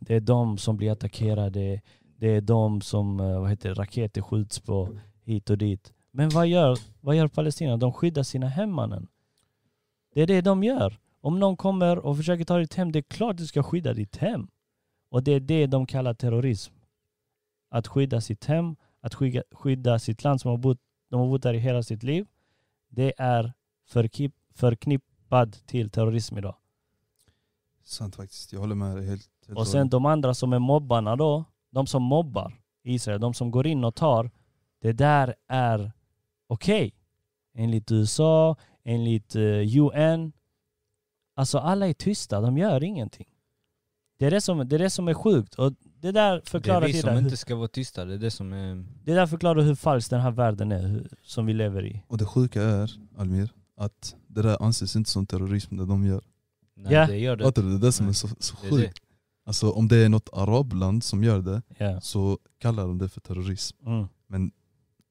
[SPEAKER 3] det är de som blir attackerade. Det är de som eh, vad heter, det, raketer skjuts på hit och dit. Men vad gör, vad gör Palestina? De skyddar sina hemmanen. Det är det de gör. Om någon kommer och försöker ta ditt hem, det är klart du ska skydda ditt hem. Och det är det de kallar terrorism. Att skydda sitt hem, att skydda, skydda sitt land som har bott, de har bott där i hela sitt liv. Det är förkip, förknippad till terrorism idag.
[SPEAKER 2] Sant faktiskt, jag håller med dig helt. helt
[SPEAKER 3] Och sen de andra som är mobbarna då, de som mobbar Israel, de som går in och tar, det där är okej. Enligt USA, enligt eh, UN. Alltså alla är tysta, de gör ingenting. Det är det som, det är, det som är sjukt. Och det där
[SPEAKER 4] Det är
[SPEAKER 3] förklarar
[SPEAKER 4] vi
[SPEAKER 3] till
[SPEAKER 4] som
[SPEAKER 3] dig hur-
[SPEAKER 4] inte ska vara tysta, det är det som är...
[SPEAKER 3] Det där förklarar hur falsk den här världen är hur, som vi lever i.
[SPEAKER 2] Och det sjuka är, Almir, att det där anses inte som terrorism det de gör.
[SPEAKER 4] Nej,
[SPEAKER 3] Ja.
[SPEAKER 4] det gör det.
[SPEAKER 2] Fattar du? Det är det som är
[SPEAKER 4] Nej.
[SPEAKER 2] så, så
[SPEAKER 4] Det är det.
[SPEAKER 2] sjukt. Alltså om det är något arabland som gör det
[SPEAKER 3] Ja.
[SPEAKER 2] så kallar de det för terrorism.
[SPEAKER 3] Mm.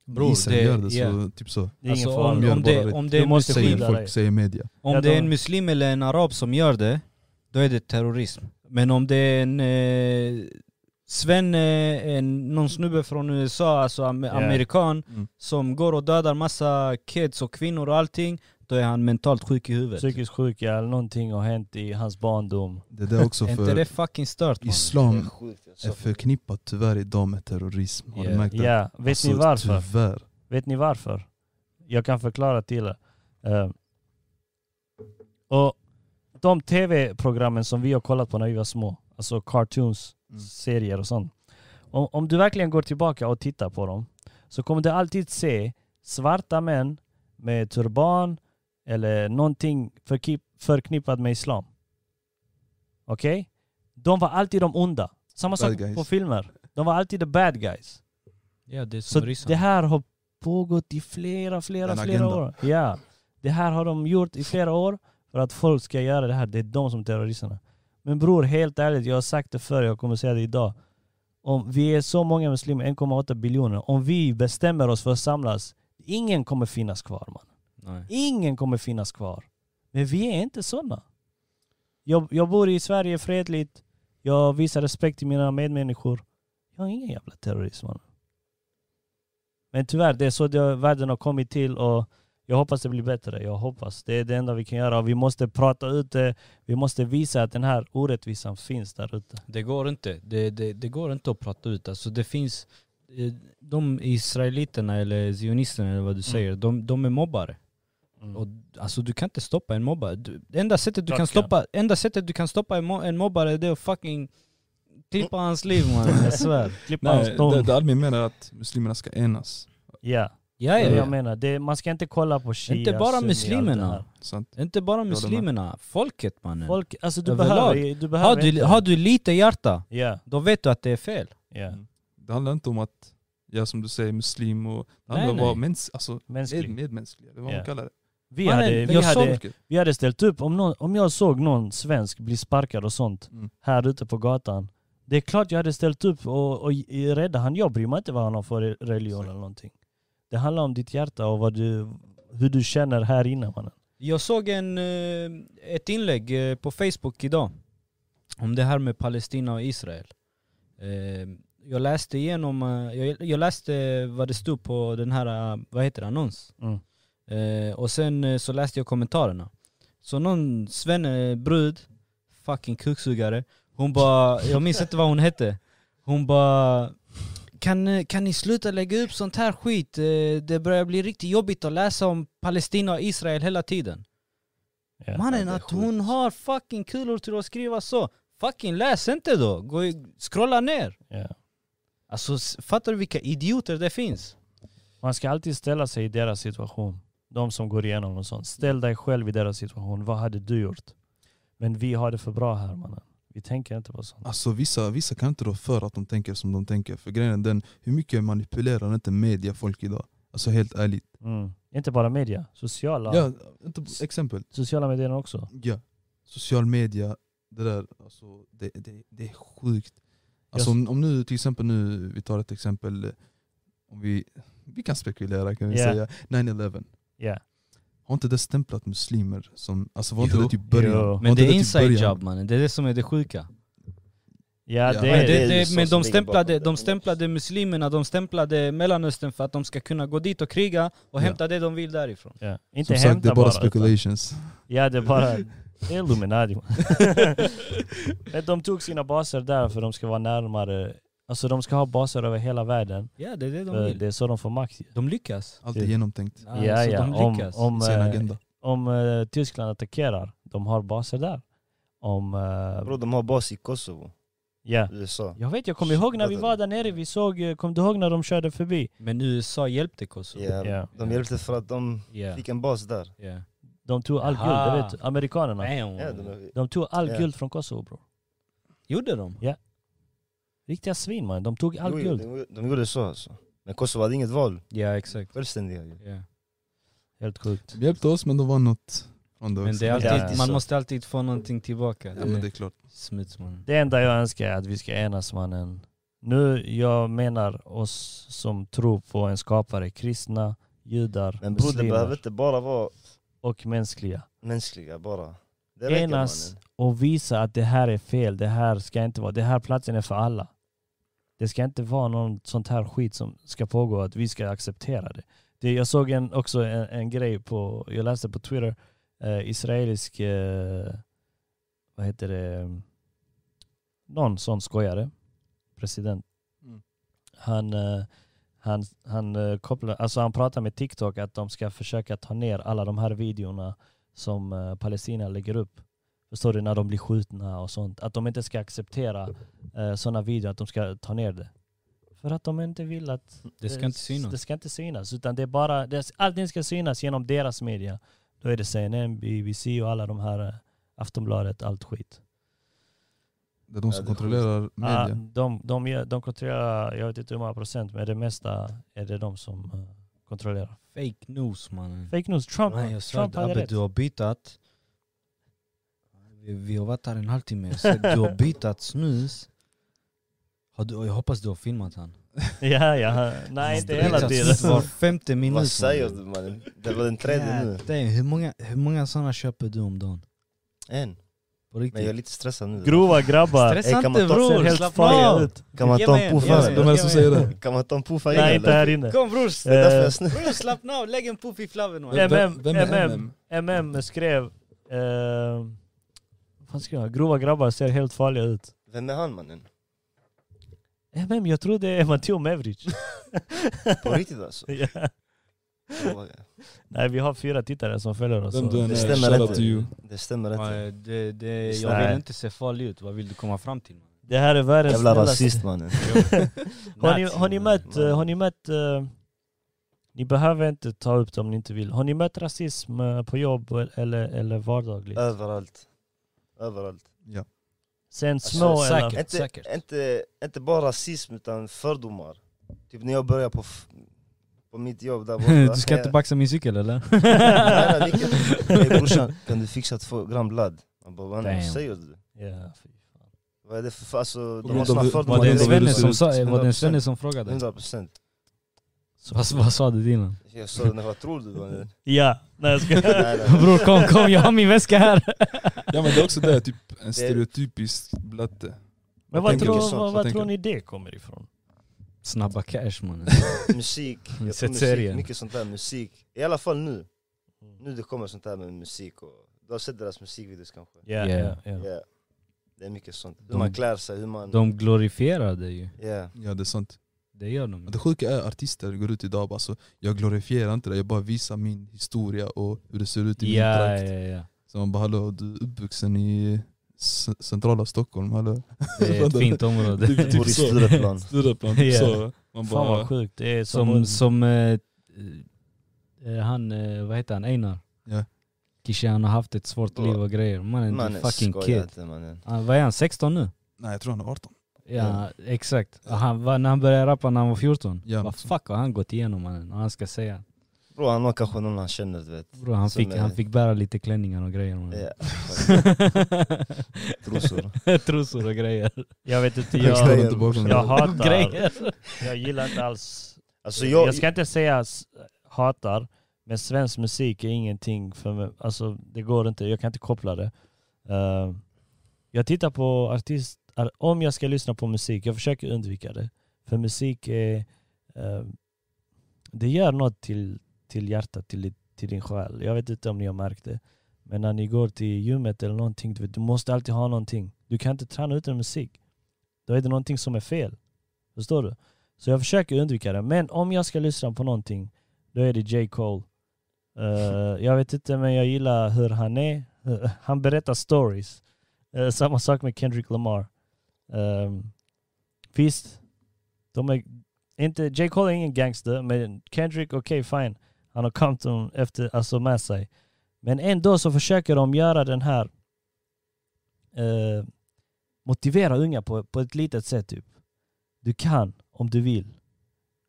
[SPEAKER 4] Bror,
[SPEAKER 2] Israel
[SPEAKER 4] det-
[SPEAKER 2] gör det
[SPEAKER 4] ja.
[SPEAKER 2] så, typ så.
[SPEAKER 3] Det är
[SPEAKER 4] Alltså,
[SPEAKER 3] ingen
[SPEAKER 4] om,
[SPEAKER 3] fara.
[SPEAKER 2] Gör
[SPEAKER 4] om, det,
[SPEAKER 2] bara rätt.
[SPEAKER 4] om, det,
[SPEAKER 3] Du
[SPEAKER 4] är
[SPEAKER 3] måste
[SPEAKER 4] muslim-
[SPEAKER 3] skydda
[SPEAKER 2] Säger
[SPEAKER 3] dig.
[SPEAKER 2] folk, säger media.
[SPEAKER 4] om
[SPEAKER 3] Ja,
[SPEAKER 4] det är
[SPEAKER 3] de-
[SPEAKER 4] en muslim eller en arab som gör det, då är det terrorism. Men om det är en eh, sven, eh, en, någon snubbe från USA, alltså am-
[SPEAKER 3] Ja.
[SPEAKER 4] amerikan,
[SPEAKER 2] Mm.
[SPEAKER 4] som går och dödar massa kids och kvinnor och allting, då är han mentalt sjuk i huvudet.
[SPEAKER 3] Psykisk sjuka eller någonting har hänt i hans barndom.
[SPEAKER 2] Det där också
[SPEAKER 4] Är inte
[SPEAKER 2] för
[SPEAKER 4] det fucking stört mannen?
[SPEAKER 1] Det är
[SPEAKER 2] islam
[SPEAKER 1] sjukt alltså.
[SPEAKER 2] är förknippat tyvärr idag med terrorism. Har
[SPEAKER 4] Ja.
[SPEAKER 2] du märkt det?
[SPEAKER 3] Ja, vet
[SPEAKER 2] Alltså,
[SPEAKER 3] ni varför?
[SPEAKER 2] Tyvärr.
[SPEAKER 3] Vet ni varför? Jag kan förklara till er. Eh, och de tv-programmen som vi har kollat på när vi var små, alltså cartoons,
[SPEAKER 2] Mm.
[SPEAKER 3] serier och sånt. Om, om du verkligen går tillbaka och tittar på dem så kommer du alltid se svarta män med turban eller någonting förkip, förknippat med islam. Okej? De var alltid de onda. Samma sak
[SPEAKER 2] Bad guys.
[SPEAKER 3] på filmer. De var alltid the bad guys.
[SPEAKER 4] Ja, det är
[SPEAKER 3] Så
[SPEAKER 4] som ryssarna.
[SPEAKER 3] det här har pågått i flera, flera,
[SPEAKER 2] En
[SPEAKER 3] flera
[SPEAKER 2] agenda.
[SPEAKER 3] år. Ja. Det här har de gjort i flera år för att folk ska göra det här. Det är de som är terroristerna. Men bror, helt ärligt, jag har sagt det förr, jag kommer säga det idag. Om vi är så många muslimer, 1,8 biljoner, om vi bestämmer oss för att samlas, ingen kommer finnas kvar man.
[SPEAKER 4] Nej.
[SPEAKER 3] Ingen kommer finnas kvar. Men vi är inte sådana. Jag, jag bor i Sverige fredligt. Jag visar respekt till mina medmänniskor. Jag har ingen jävla terrorism. Man. Men tyvärr, det är så det, världen har kommit till och jag hoppas det blir bättre. Jag hoppas. Det är det enda vi kan göra. Vi måste prata ut det. Vi måste visa att den här orättvisan finns där ute.
[SPEAKER 4] Det går inte. Det, det, det går inte att prata ut. Alltså det finns, eh, de israeliterna eller zionisterna eller
[SPEAKER 3] Mm.
[SPEAKER 4] vad du säger, de, de är mobbare. Och, alltså du kan inte stoppa en mobbare. Du, det enda, sättet du
[SPEAKER 3] Klart
[SPEAKER 4] kan
[SPEAKER 3] du kan.
[SPEAKER 4] stoppa, enda sättet du kan stoppa en, mo- en mobbare det är att fucking klippa hans liv man,
[SPEAKER 3] Mm.
[SPEAKER 4] Alltså, jag svär.
[SPEAKER 3] Klippa hans
[SPEAKER 2] Nej, det,
[SPEAKER 3] tång.
[SPEAKER 2] det Almin Alltså, menar är att muslimerna ska enas.
[SPEAKER 3] Ja,
[SPEAKER 4] Ja,
[SPEAKER 3] det är
[SPEAKER 4] ja,
[SPEAKER 3] det
[SPEAKER 4] ja.
[SPEAKER 3] jag menar. Det, man ska inte kolla på shia,
[SPEAKER 4] Inte bara
[SPEAKER 3] sunni, allt det
[SPEAKER 4] muslimerna.
[SPEAKER 3] här.
[SPEAKER 2] Sant?
[SPEAKER 4] Inte bara
[SPEAKER 2] med.
[SPEAKER 4] muslimerna, folket mannen.
[SPEAKER 3] Folk, alltså du
[SPEAKER 4] Överlag.
[SPEAKER 3] behöver, du behöver
[SPEAKER 4] har, du,
[SPEAKER 3] inte-
[SPEAKER 4] har du lite hjärta,
[SPEAKER 3] Ja,
[SPEAKER 4] då vet du att det är fel.
[SPEAKER 3] ja.
[SPEAKER 2] Mm. Det handlar inte om att, ja som du säger, muslim och... Det
[SPEAKER 4] Nej,
[SPEAKER 2] handlar om att vara
[SPEAKER 4] nej.
[SPEAKER 2] mäns, alltså, med,
[SPEAKER 3] Mänsklig.
[SPEAKER 2] medmänsklig, eller vad
[SPEAKER 3] Ja.
[SPEAKER 2] man kallar det.
[SPEAKER 3] Vi
[SPEAKER 4] Mannen,
[SPEAKER 3] hade, vi
[SPEAKER 4] jag
[SPEAKER 3] hade,
[SPEAKER 4] såg-
[SPEAKER 2] Folket.
[SPEAKER 3] vi hade ställt upp om, någon, om jag såg någon svensk bli sparkad och sånt
[SPEAKER 2] Mm.
[SPEAKER 3] här ute på gatan. Det är klart jag hade ställt upp och, och i- rädda han. Jag bryr mig inte vad han har för re- religion eller någonting. Det handlar om ditt hjärta och vad du, hur du känner här inne mannen.
[SPEAKER 4] Jag såg en, eh, ett inlägg eh, på Facebook idag om det här med Palestina och Israel. Eh, Jag läste igenom, eh, jag, jag läste vad det stod på den här, eh, vad heter det, annons.
[SPEAKER 3] Mm.
[SPEAKER 4] Eh, Och sen eh, så läste jag kommentarerna. Så någon svenne brud, fucking kuksugare, hon bara, jag minns inte vad hon hette. Hon bara kan, eh, kan ni sluta lägga upp sånt här skit? Eh, Det börjar bli riktigt jobbigt att läsa om Palestina och Israel hela tiden.
[SPEAKER 3] Ja.
[SPEAKER 4] Mannen
[SPEAKER 1] det är
[SPEAKER 4] att
[SPEAKER 1] sjukt.
[SPEAKER 4] hon har fucking kulor till att skriva så. Fucking läs inte då. Gå, i- scrolla ner.
[SPEAKER 3] Ja.
[SPEAKER 4] Alltså s- fattar du vilka idioter det finns?
[SPEAKER 3] Man ska alltid ställa sig i deras situation. De som går igenom och sånt. Ställ dig själv i deras situation. Vad hade du gjort? Men vi har det för bra här mannen. Vi tänker inte på
[SPEAKER 2] Ah.
[SPEAKER 3] sånt.
[SPEAKER 5] Alltså vissa, vissa kan inte rå för att de tänker som de tänker. För grejen är den, hur mycket manipulerar inte media folk idag? Alltså helt ärligt.
[SPEAKER 3] Mm. Inte bara media, sociala,
[SPEAKER 5] Ja, inte, exempel.
[SPEAKER 3] sociala medier också.
[SPEAKER 5] Ja. Social media, det där, alltså, det, det, det är sjukt. Alltså,
[SPEAKER 3] Jag-
[SPEAKER 5] om, om nu till exempel nu, vi tar ett exempel, eh, om vi, vi kan spekulera kan vi
[SPEAKER 3] Ja.
[SPEAKER 5] säga, 9-11.
[SPEAKER 3] Ja.
[SPEAKER 5] Har inte det stämplat muslimer som, alltså var inte
[SPEAKER 2] Jo.
[SPEAKER 5] det typ början?
[SPEAKER 3] Jo.
[SPEAKER 5] Var
[SPEAKER 4] Men
[SPEAKER 5] inte
[SPEAKER 4] det är
[SPEAKER 5] typ
[SPEAKER 4] inside
[SPEAKER 5] början?
[SPEAKER 4] job mannen, det är det som är det sjuka.
[SPEAKER 5] Ja.
[SPEAKER 3] Ja, det,
[SPEAKER 4] Men,
[SPEAKER 3] det,
[SPEAKER 4] det,
[SPEAKER 1] är
[SPEAKER 4] det,
[SPEAKER 1] USA
[SPEAKER 4] men
[SPEAKER 1] som
[SPEAKER 4] de,
[SPEAKER 1] ligger
[SPEAKER 4] stämplade,
[SPEAKER 1] bakom
[SPEAKER 4] de
[SPEAKER 1] det.
[SPEAKER 4] stämplade muslimerna, de stämplade Mellanöstern för att de ska kunna gå dit och kriga
[SPEAKER 5] Ja.
[SPEAKER 4] och hämta det de vill därifrån.
[SPEAKER 3] ja.
[SPEAKER 5] Som
[SPEAKER 3] Inte
[SPEAKER 5] sagt, det
[SPEAKER 3] hämta
[SPEAKER 5] är bara
[SPEAKER 3] bara. alltså. utan-
[SPEAKER 5] speculations.
[SPEAKER 3] Ja, det är bara det är Illuminati. men de tog sina baser där för de ska vara närmare. Alltså de ska ha baser över hela världen.
[SPEAKER 4] Ja det är det de
[SPEAKER 3] För
[SPEAKER 4] vill.
[SPEAKER 3] det är så de får makt. ju.
[SPEAKER 4] De lyckas.
[SPEAKER 5] Allt är
[SPEAKER 3] Det-
[SPEAKER 5] genomtänkt.
[SPEAKER 4] Alltså,
[SPEAKER 3] ja, ja.
[SPEAKER 4] De
[SPEAKER 3] Om,
[SPEAKER 4] lyckas.
[SPEAKER 3] om,
[SPEAKER 5] I sin
[SPEAKER 3] eh,
[SPEAKER 5] agenda.
[SPEAKER 3] om eh, Tyskland attackerar, de har baser där. Om... eh,
[SPEAKER 1] Bro, de har bas i Kosovo,
[SPEAKER 3] ja.
[SPEAKER 1] USA.
[SPEAKER 3] Jag vet, jag kommer ihåg när vi var där nere, vi såg, eh, kom du ihåg när de körde förbi?
[SPEAKER 4] Men USA hjälpte Kosovo.
[SPEAKER 1] Ja,
[SPEAKER 3] Ja.
[SPEAKER 1] De hjälpte för att de
[SPEAKER 4] Ja.
[SPEAKER 1] fick en bas där.
[SPEAKER 4] Ja.
[SPEAKER 3] De tog all guld,
[SPEAKER 4] Aha.
[SPEAKER 3] det vet du, amerikanerna.
[SPEAKER 1] Ja,
[SPEAKER 4] Bam.
[SPEAKER 1] de,
[SPEAKER 3] De tog all
[SPEAKER 1] Ja.
[SPEAKER 3] guld från Kosovo bror.
[SPEAKER 4] Gjorde de?
[SPEAKER 3] Riktiga svin man, de tog all
[SPEAKER 1] jo,
[SPEAKER 3] guld.
[SPEAKER 1] de, de gjorde så alltså. Men Kosovo hade inget val,
[SPEAKER 4] Ja exakt.
[SPEAKER 1] självständiga ju.
[SPEAKER 4] Ja.
[SPEAKER 3] Helt sjukt.
[SPEAKER 5] De hjälpte oss men de var något från det
[SPEAKER 4] Men
[SPEAKER 5] också.
[SPEAKER 4] det är alltid,
[SPEAKER 1] Ja.
[SPEAKER 4] man måste alltid få någonting tillbaka.
[SPEAKER 5] Ja men det är klart.
[SPEAKER 4] Smuts man.
[SPEAKER 3] Det enda jag önskar är att vi ska enas mannen. Nu, jag menar oss som tror på en skapare, kristna, judar,
[SPEAKER 1] Men bror, det
[SPEAKER 3] muslimer
[SPEAKER 1] behöver inte bara vara
[SPEAKER 3] och mänskliga.
[SPEAKER 1] mänskliga bara. Det räcker
[SPEAKER 3] Enas
[SPEAKER 1] mannen.
[SPEAKER 3] och visa att det här är fel, det här ska inte vara, det här platsen är för alla. Det ska inte vara någon sånt här skit som ska pågå, att vi ska acceptera det. det jag såg en, också en, en grej på, jag läste på Twitter, eh, israelisk, eh, vad heter det, någon sån skojare, president.
[SPEAKER 2] Mm.
[SPEAKER 3] Han, eh, han, han, eh, kopplar, alltså han pratar med TikTok att de ska försöka ta ner alla de här videorna som eh, Palestina lägger upp. Förstår du? När de blir skjutna och sånt. Att de inte ska acceptera eh, sådana videor, att de ska ta ner det. För att de inte vill att eh,
[SPEAKER 4] Det ska inte synas.
[SPEAKER 3] det ska inte synas. Utan det är bara, det, allting ska synas genom deras media. Då är det CNN, BBC och alla de här eh, Aftonbladet, allt skit.
[SPEAKER 5] Det är de som
[SPEAKER 1] Ja, det är
[SPEAKER 5] kontrollerar
[SPEAKER 3] Ah,
[SPEAKER 5] media.
[SPEAKER 3] de, de, gör- de kontrollerar, jag vet inte hur många procent, men det mesta är det de som eh, kontrollerar.
[SPEAKER 4] Fake news mannen.
[SPEAKER 3] Fake news, Trump,
[SPEAKER 4] Nej, jag sa
[SPEAKER 3] Trump
[SPEAKER 4] att
[SPEAKER 3] hade
[SPEAKER 4] Abbe
[SPEAKER 3] rätt.
[SPEAKER 4] du har bytat. Vi, vi har varit här en halvtimme. Jag ser att Du har bytat snus. Har du, jag hoppas du har filmat han.
[SPEAKER 3] Ja, ja. Nej, inte hela tiden.
[SPEAKER 4] Var femte minut.
[SPEAKER 1] Vad säger du mannen? Det var den tredje nu.
[SPEAKER 4] Goddamn, Hur många, hur många sådana köper du om dagen?
[SPEAKER 1] En.
[SPEAKER 4] På
[SPEAKER 1] Men jag är
[SPEAKER 4] riktigt?
[SPEAKER 1] lite stressad nu.
[SPEAKER 3] Grova grabbar.
[SPEAKER 4] Stressa
[SPEAKER 1] Ey, kan man
[SPEAKER 4] inte
[SPEAKER 1] ta-
[SPEAKER 3] Ser
[SPEAKER 4] bror,
[SPEAKER 3] helt
[SPEAKER 4] slappna
[SPEAKER 3] farliga
[SPEAKER 4] av!
[SPEAKER 3] ut.
[SPEAKER 1] Kan man
[SPEAKER 4] Ge
[SPEAKER 1] ta
[SPEAKER 4] mig
[SPEAKER 1] en
[SPEAKER 4] en,
[SPEAKER 1] puff
[SPEAKER 4] ge mig
[SPEAKER 1] här?
[SPEAKER 4] en.
[SPEAKER 2] De här som säger det.
[SPEAKER 1] Kan man ta en puff här
[SPEAKER 3] Nej, inte
[SPEAKER 1] eller?
[SPEAKER 3] här inne.
[SPEAKER 4] Kom bror!
[SPEAKER 1] Det är därför
[SPEAKER 3] Eh,
[SPEAKER 1] jag snurrar.
[SPEAKER 4] Bror slappna av, lägg en puff i flaven man.
[SPEAKER 2] Vem- vem- vem
[SPEAKER 3] MM,
[SPEAKER 2] är MM?
[SPEAKER 3] MM skrev... Eh, vad ska jag? Grova grabbar ser helt farliga ut.
[SPEAKER 1] Vem är han mannen?
[SPEAKER 3] MM, jag tror det är Matteo Mevric.
[SPEAKER 1] På riktigt alltså?
[SPEAKER 3] Ja. Nej, vi har fyra tittare som följer oss.
[SPEAKER 2] Vem du än
[SPEAKER 4] eh,
[SPEAKER 1] Det
[SPEAKER 2] är,
[SPEAKER 1] stämmer
[SPEAKER 2] shoutout
[SPEAKER 1] inte.
[SPEAKER 2] to you.
[SPEAKER 1] Det stämmer inte.
[SPEAKER 4] Ja, det, det, jag
[SPEAKER 3] Nej.
[SPEAKER 4] vill inte se farlig ut, vad vill du komma fram till? Man?
[SPEAKER 3] Det här är världens
[SPEAKER 1] Jävla
[SPEAKER 3] snällaste-
[SPEAKER 1] rasist mannen.
[SPEAKER 3] Har ni,
[SPEAKER 4] Nazi,
[SPEAKER 3] har ni
[SPEAKER 4] man.
[SPEAKER 3] mött, eh, har ni mött, eh, ni behöver inte ta upp det om ni inte vill. Har ni mött rasism eh, på jobb eller, eller vardagligt?
[SPEAKER 2] Alltså,
[SPEAKER 1] Överallt. Överallt.
[SPEAKER 5] Ja.
[SPEAKER 3] Sen
[SPEAKER 1] alltså,
[SPEAKER 3] små eller...
[SPEAKER 4] säkert.
[SPEAKER 1] Inte, inte, inte bara rasism utan fördomar. Typ när jag började på, f- på mitt jobb där borta.
[SPEAKER 4] Du ska inte
[SPEAKER 1] jag-
[SPEAKER 4] baxa min cykel eller?
[SPEAKER 1] Nej, nej, vilket- Ey brorsan, kan du fixa två gram blad? Han bara, vad
[SPEAKER 4] Damn.
[SPEAKER 1] säger du?
[SPEAKER 3] Ja, fy fan.
[SPEAKER 1] Vad är det för, för alltså, de
[SPEAKER 2] grund
[SPEAKER 1] har
[SPEAKER 2] av
[SPEAKER 1] såna
[SPEAKER 2] hur-
[SPEAKER 1] fördomar.
[SPEAKER 2] vad
[SPEAKER 4] Var det en
[SPEAKER 2] de
[SPEAKER 4] svenne
[SPEAKER 2] ville se
[SPEAKER 4] som,
[SPEAKER 2] ut.
[SPEAKER 4] sa, var det en svenne som frågade?
[SPEAKER 1] 100 procent.
[SPEAKER 4] Vad, vad sa du innan?
[SPEAKER 1] Jag sa det, vad tror du? mannen?
[SPEAKER 3] Ja, nej jag ska...
[SPEAKER 1] Nej, nej.
[SPEAKER 4] Bror kom, kom, jag har min väska här!
[SPEAKER 2] Ja men det är också det, typ en
[SPEAKER 1] Det-
[SPEAKER 2] stereotypisk blatte.
[SPEAKER 3] Men
[SPEAKER 2] Jag
[SPEAKER 3] vad
[SPEAKER 2] tänker
[SPEAKER 3] tror,
[SPEAKER 2] sånt,
[SPEAKER 3] vad,
[SPEAKER 2] jag
[SPEAKER 3] vad
[SPEAKER 2] tänker.
[SPEAKER 3] tror ni det kommer ifrån?
[SPEAKER 4] Snabba cash mannen.
[SPEAKER 1] Musik, jag tror
[SPEAKER 4] Sett
[SPEAKER 1] musik,
[SPEAKER 4] serien.
[SPEAKER 1] mycket sånt där musik. I alla fall nu. Nu det kommer sånt där med musik och du har sett deras musikvideos kanske?
[SPEAKER 3] Ja,
[SPEAKER 4] Ja.
[SPEAKER 3] ja, ja.
[SPEAKER 1] Ja. Det är mycket sånt. Hur
[SPEAKER 4] De-
[SPEAKER 1] man klär sig, hur man...
[SPEAKER 4] De glorifierar det ju.
[SPEAKER 1] Ja.
[SPEAKER 5] Ja det är sant.
[SPEAKER 4] Det gör de.
[SPEAKER 5] Det sjuka är artister går ut idag och bara så, jag glorifierar inte det, jag bara visar min historia och hur det ser ut i min
[SPEAKER 4] Ja,
[SPEAKER 5] trakt.
[SPEAKER 4] ja, ja.
[SPEAKER 5] Så man bara hallå, du är uppvuxen i c- centrala Stockholm, hallå?
[SPEAKER 4] Det är ett fint område.
[SPEAKER 2] Typ,
[SPEAKER 1] Bor i
[SPEAKER 2] typ så.
[SPEAKER 1] Stureplan.
[SPEAKER 2] Stureplan,
[SPEAKER 4] Ja.
[SPEAKER 2] så. Man
[SPEAKER 3] Fan vad
[SPEAKER 2] bara...
[SPEAKER 3] sjukt. Det är
[SPEAKER 4] Som,
[SPEAKER 3] som...
[SPEAKER 4] som eh, eh, han, eh, vad heter han, Einar?
[SPEAKER 5] Ja.
[SPEAKER 4] Kishe han har haft ett svårt
[SPEAKER 1] Bra.
[SPEAKER 4] liv och grejer. Mannen är
[SPEAKER 1] Mannen,
[SPEAKER 4] en fucking
[SPEAKER 1] skoja
[SPEAKER 4] kid.
[SPEAKER 1] inte mannen.
[SPEAKER 4] Han, vad är han, 16 nu?
[SPEAKER 5] Nej jag tror han är 18.
[SPEAKER 4] Ja, exakt. Och Han, var- när han började rappa när han var 14,
[SPEAKER 5] Ja,
[SPEAKER 4] vad
[SPEAKER 5] något sånt.
[SPEAKER 4] fuck har han gått igenom mannen? Och han ska säga.
[SPEAKER 1] Bror han har kanske någon han känner du vet.
[SPEAKER 4] Bro, han,
[SPEAKER 1] Som
[SPEAKER 4] fick,
[SPEAKER 1] är-
[SPEAKER 4] han fick bära lite klänningar och grejer mannen.
[SPEAKER 1] Ja. Trosor.
[SPEAKER 4] Trosor och grejer.
[SPEAKER 3] Jag vet inte,
[SPEAKER 5] Jag
[SPEAKER 1] Högsta
[SPEAKER 5] står
[SPEAKER 3] jag,
[SPEAKER 5] inte bakom
[SPEAKER 3] jag
[SPEAKER 5] det.
[SPEAKER 3] hatar...
[SPEAKER 4] grejer.
[SPEAKER 3] Jag gillar inte alls
[SPEAKER 1] Alltså
[SPEAKER 3] Eh, jag,
[SPEAKER 1] jag...
[SPEAKER 3] ska inte säga s- hatar, men svensk musik är ingenting för mig. Alltså det går inte, jag kan inte koppla det. Eh, jag tittar på artist, ar- om jag ska lyssna på musik, jag försöker undvika det. För musik är, eh, det gör något till, till hjärtat, till, ditt- till din själ. Jag vet inte om ni har märkt det. Men när ni går till gymmet eller någonting, du, vet, du måste alltid ha någonting. Du kan inte träna utan musik. Då är det någonting som är fel. Förstår du? Så jag försöker undvika det. Men om jag ska lyssna på någonting, då är det J. Cole. Eh, jag vet inte, men jag gillar hur han är. han berättar stories. Eh, samma sak med Kendrick Lamar. Um, visst, de är inte, J. Cole är ingen gangster, men Kendrick, okej fine. Han har Compton efter, alltså med sig. Men ändå så försöker de göra den här eh, motivera unga på, på ett litet sätt typ. Du kan om du vill.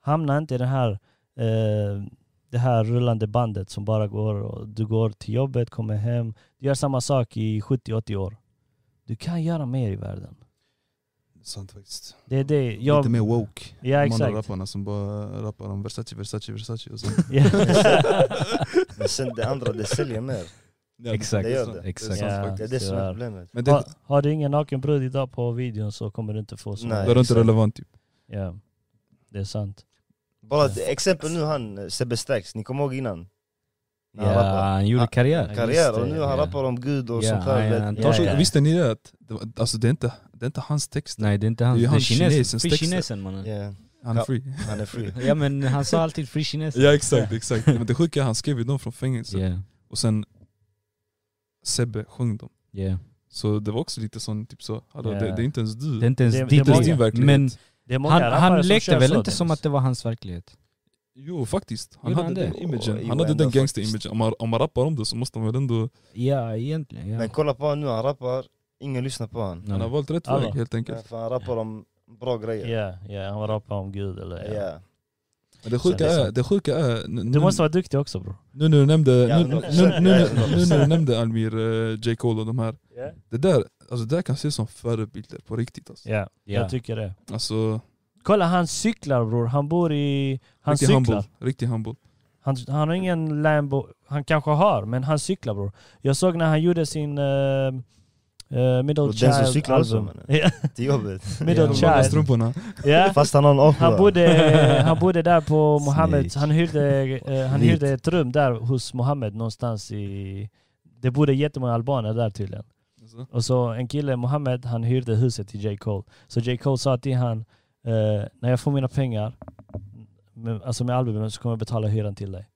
[SPEAKER 3] Hamna inte i den här, eh, det här rullande bandet som bara går och du går till jobbet, kommer hem. Du gör samma sak i 70-80 år. Du kan göra mer i världen.
[SPEAKER 5] Sant faktiskt.
[SPEAKER 3] Det är det jag...
[SPEAKER 5] Lite mer woke.
[SPEAKER 3] Ja
[SPEAKER 5] De andra
[SPEAKER 3] exakt.
[SPEAKER 5] rapparna som bara rappar om Versace, Versace, Versace och så.
[SPEAKER 3] Ja.
[SPEAKER 1] Men sen det andra, det säljer mer.
[SPEAKER 2] Ja,
[SPEAKER 4] Exakt.
[SPEAKER 1] Det gör det.
[SPEAKER 4] Exakt.
[SPEAKER 3] Ja.
[SPEAKER 1] Det är det som är
[SPEAKER 3] Tyvärr.
[SPEAKER 1] problemet.
[SPEAKER 2] Men det,
[SPEAKER 3] har, har du ingen naken brud idag på videon så kommer du inte få så.
[SPEAKER 1] Nej.
[SPEAKER 2] det är inte
[SPEAKER 1] exakt.
[SPEAKER 2] relevant typ.
[SPEAKER 3] Ja. Det är sant.
[SPEAKER 1] Bara ett exempel nu han, eh, Sebbe Stax, ni kommer ihåg innan? När
[SPEAKER 4] Ja,
[SPEAKER 1] han rappade.
[SPEAKER 4] han gjorde
[SPEAKER 1] Ja,
[SPEAKER 4] karriär.
[SPEAKER 1] Karriär och
[SPEAKER 4] Just
[SPEAKER 1] nu
[SPEAKER 4] det,
[SPEAKER 1] han
[SPEAKER 4] ja.
[SPEAKER 1] rappar om Gud och
[SPEAKER 4] Ja,
[SPEAKER 1] sånt där.
[SPEAKER 4] han-
[SPEAKER 1] vet.
[SPEAKER 4] han
[SPEAKER 3] Ja,
[SPEAKER 4] tar
[SPEAKER 3] ja.
[SPEAKER 4] sig-
[SPEAKER 3] Exakt.
[SPEAKER 2] Visste ni det? Att det var, alltså det är, inte, det är inte hans text,
[SPEAKER 4] Nej det är inte hans,
[SPEAKER 2] Det
[SPEAKER 4] det
[SPEAKER 2] är
[SPEAKER 4] är
[SPEAKER 2] han
[SPEAKER 4] kinesen.
[SPEAKER 2] kinesens
[SPEAKER 4] Free
[SPEAKER 2] texter.
[SPEAKER 4] kinesen mannen.
[SPEAKER 1] Ja,
[SPEAKER 2] han
[SPEAKER 1] Ja.
[SPEAKER 2] är free.
[SPEAKER 1] han är free.
[SPEAKER 4] Ja men han sa alltid free kinesen.
[SPEAKER 2] Ja exakt, exakt. Men det sjuka är han skrev ju dem från fängelse.
[SPEAKER 4] Yeah.
[SPEAKER 2] Och sen Sebbe sjöng dem.
[SPEAKER 4] Yeah.
[SPEAKER 2] Så det var också lite sån, typ så, hallå,
[SPEAKER 3] Ja.
[SPEAKER 2] det, det är inte ens du.
[SPEAKER 4] Det är inte ens
[SPEAKER 3] Det-
[SPEAKER 4] det,
[SPEAKER 3] det
[SPEAKER 4] ditt
[SPEAKER 2] inte ens
[SPEAKER 3] många.
[SPEAKER 2] din
[SPEAKER 4] liv.
[SPEAKER 2] verklighet.
[SPEAKER 4] Men
[SPEAKER 3] Det är många
[SPEAKER 4] han,
[SPEAKER 3] rappare
[SPEAKER 4] han
[SPEAKER 3] som
[SPEAKER 4] lekte
[SPEAKER 3] kör
[SPEAKER 4] väl
[SPEAKER 3] så,
[SPEAKER 4] inte som
[SPEAKER 3] Dennis.
[SPEAKER 4] att det var hans verklighet?
[SPEAKER 2] Jo faktiskt, han
[SPEAKER 4] Gjorde
[SPEAKER 2] hade
[SPEAKER 4] han
[SPEAKER 2] den
[SPEAKER 4] det?
[SPEAKER 1] Åh,
[SPEAKER 2] imagen.
[SPEAKER 1] jo,
[SPEAKER 2] Han hade
[SPEAKER 1] ändå
[SPEAKER 2] den
[SPEAKER 1] faktiskt.
[SPEAKER 2] gangster-imagen. Om, man- om man rappar om det så måste man väl ändå,
[SPEAKER 4] Ja egentligen. Ja.
[SPEAKER 1] Men kolla på honom nu, han rappar, ingen lyssnar på honom.
[SPEAKER 2] han har valt rätt
[SPEAKER 3] Alla.
[SPEAKER 2] väg helt
[SPEAKER 1] Ja,
[SPEAKER 2] enkelt.
[SPEAKER 1] för han rappar om bra grejer.
[SPEAKER 3] Ja, ja, han rappar om Gud eller... Ja.
[SPEAKER 1] Ja.
[SPEAKER 2] Men det
[SPEAKER 3] Så
[SPEAKER 2] sjuka
[SPEAKER 3] det är
[SPEAKER 2] är,
[SPEAKER 3] sant.
[SPEAKER 2] det sjuka är nu,
[SPEAKER 3] Du
[SPEAKER 2] nu,
[SPEAKER 3] måste vara duktig också bror.
[SPEAKER 2] nu när du nämnde,
[SPEAKER 1] Ja,
[SPEAKER 2] nu, nu,
[SPEAKER 1] hundra
[SPEAKER 2] nu,
[SPEAKER 1] procent.
[SPEAKER 2] nu,
[SPEAKER 1] Ja,
[SPEAKER 2] nu
[SPEAKER 1] hundra
[SPEAKER 2] när du nämnde Almir, eh, J Cole och de här.
[SPEAKER 3] Ja.
[SPEAKER 2] Det där, alltså det där kan ses som förebilder på riktigt alltså.
[SPEAKER 3] Ja, jag tycker det.
[SPEAKER 2] Alltså,
[SPEAKER 3] Kolla han cyklar bror, han bor i... Han
[SPEAKER 2] Riktig
[SPEAKER 3] cyklar.
[SPEAKER 2] handboll. Riktig handboll.
[SPEAKER 3] Han, han har ingen Lambo, han kanske har, men han cyklar bror. Jag såg när han gjorde sin eh, eh, Middle
[SPEAKER 1] Och den som
[SPEAKER 3] Child
[SPEAKER 1] cyklar också,
[SPEAKER 3] album.
[SPEAKER 1] mannen.
[SPEAKER 3] Ja,
[SPEAKER 1] till jobbet.
[SPEAKER 3] Middle
[SPEAKER 2] De
[SPEAKER 1] Ja.
[SPEAKER 2] långa
[SPEAKER 3] Child.
[SPEAKER 2] strumporna.
[SPEAKER 3] ja.
[SPEAKER 1] Fast han har en
[SPEAKER 3] Han
[SPEAKER 1] Ochoa.
[SPEAKER 3] bodde, han bodde där på Mohammed,
[SPEAKER 1] Snyggt.
[SPEAKER 3] han hyrde, eh, han
[SPEAKER 1] Snyggt.
[SPEAKER 3] hyrde ett rum där hos Mohammed någonstans i... Det bodde jättemånga albaner där tydligen.
[SPEAKER 2] Alltså.
[SPEAKER 3] Och så en kille, Mohammed, han hyrde huset till J. Cole. Så J. Cole sa till han, eh, när jag får mina pengar, med, alltså med albumen, så kommer jag betala hyran till dig.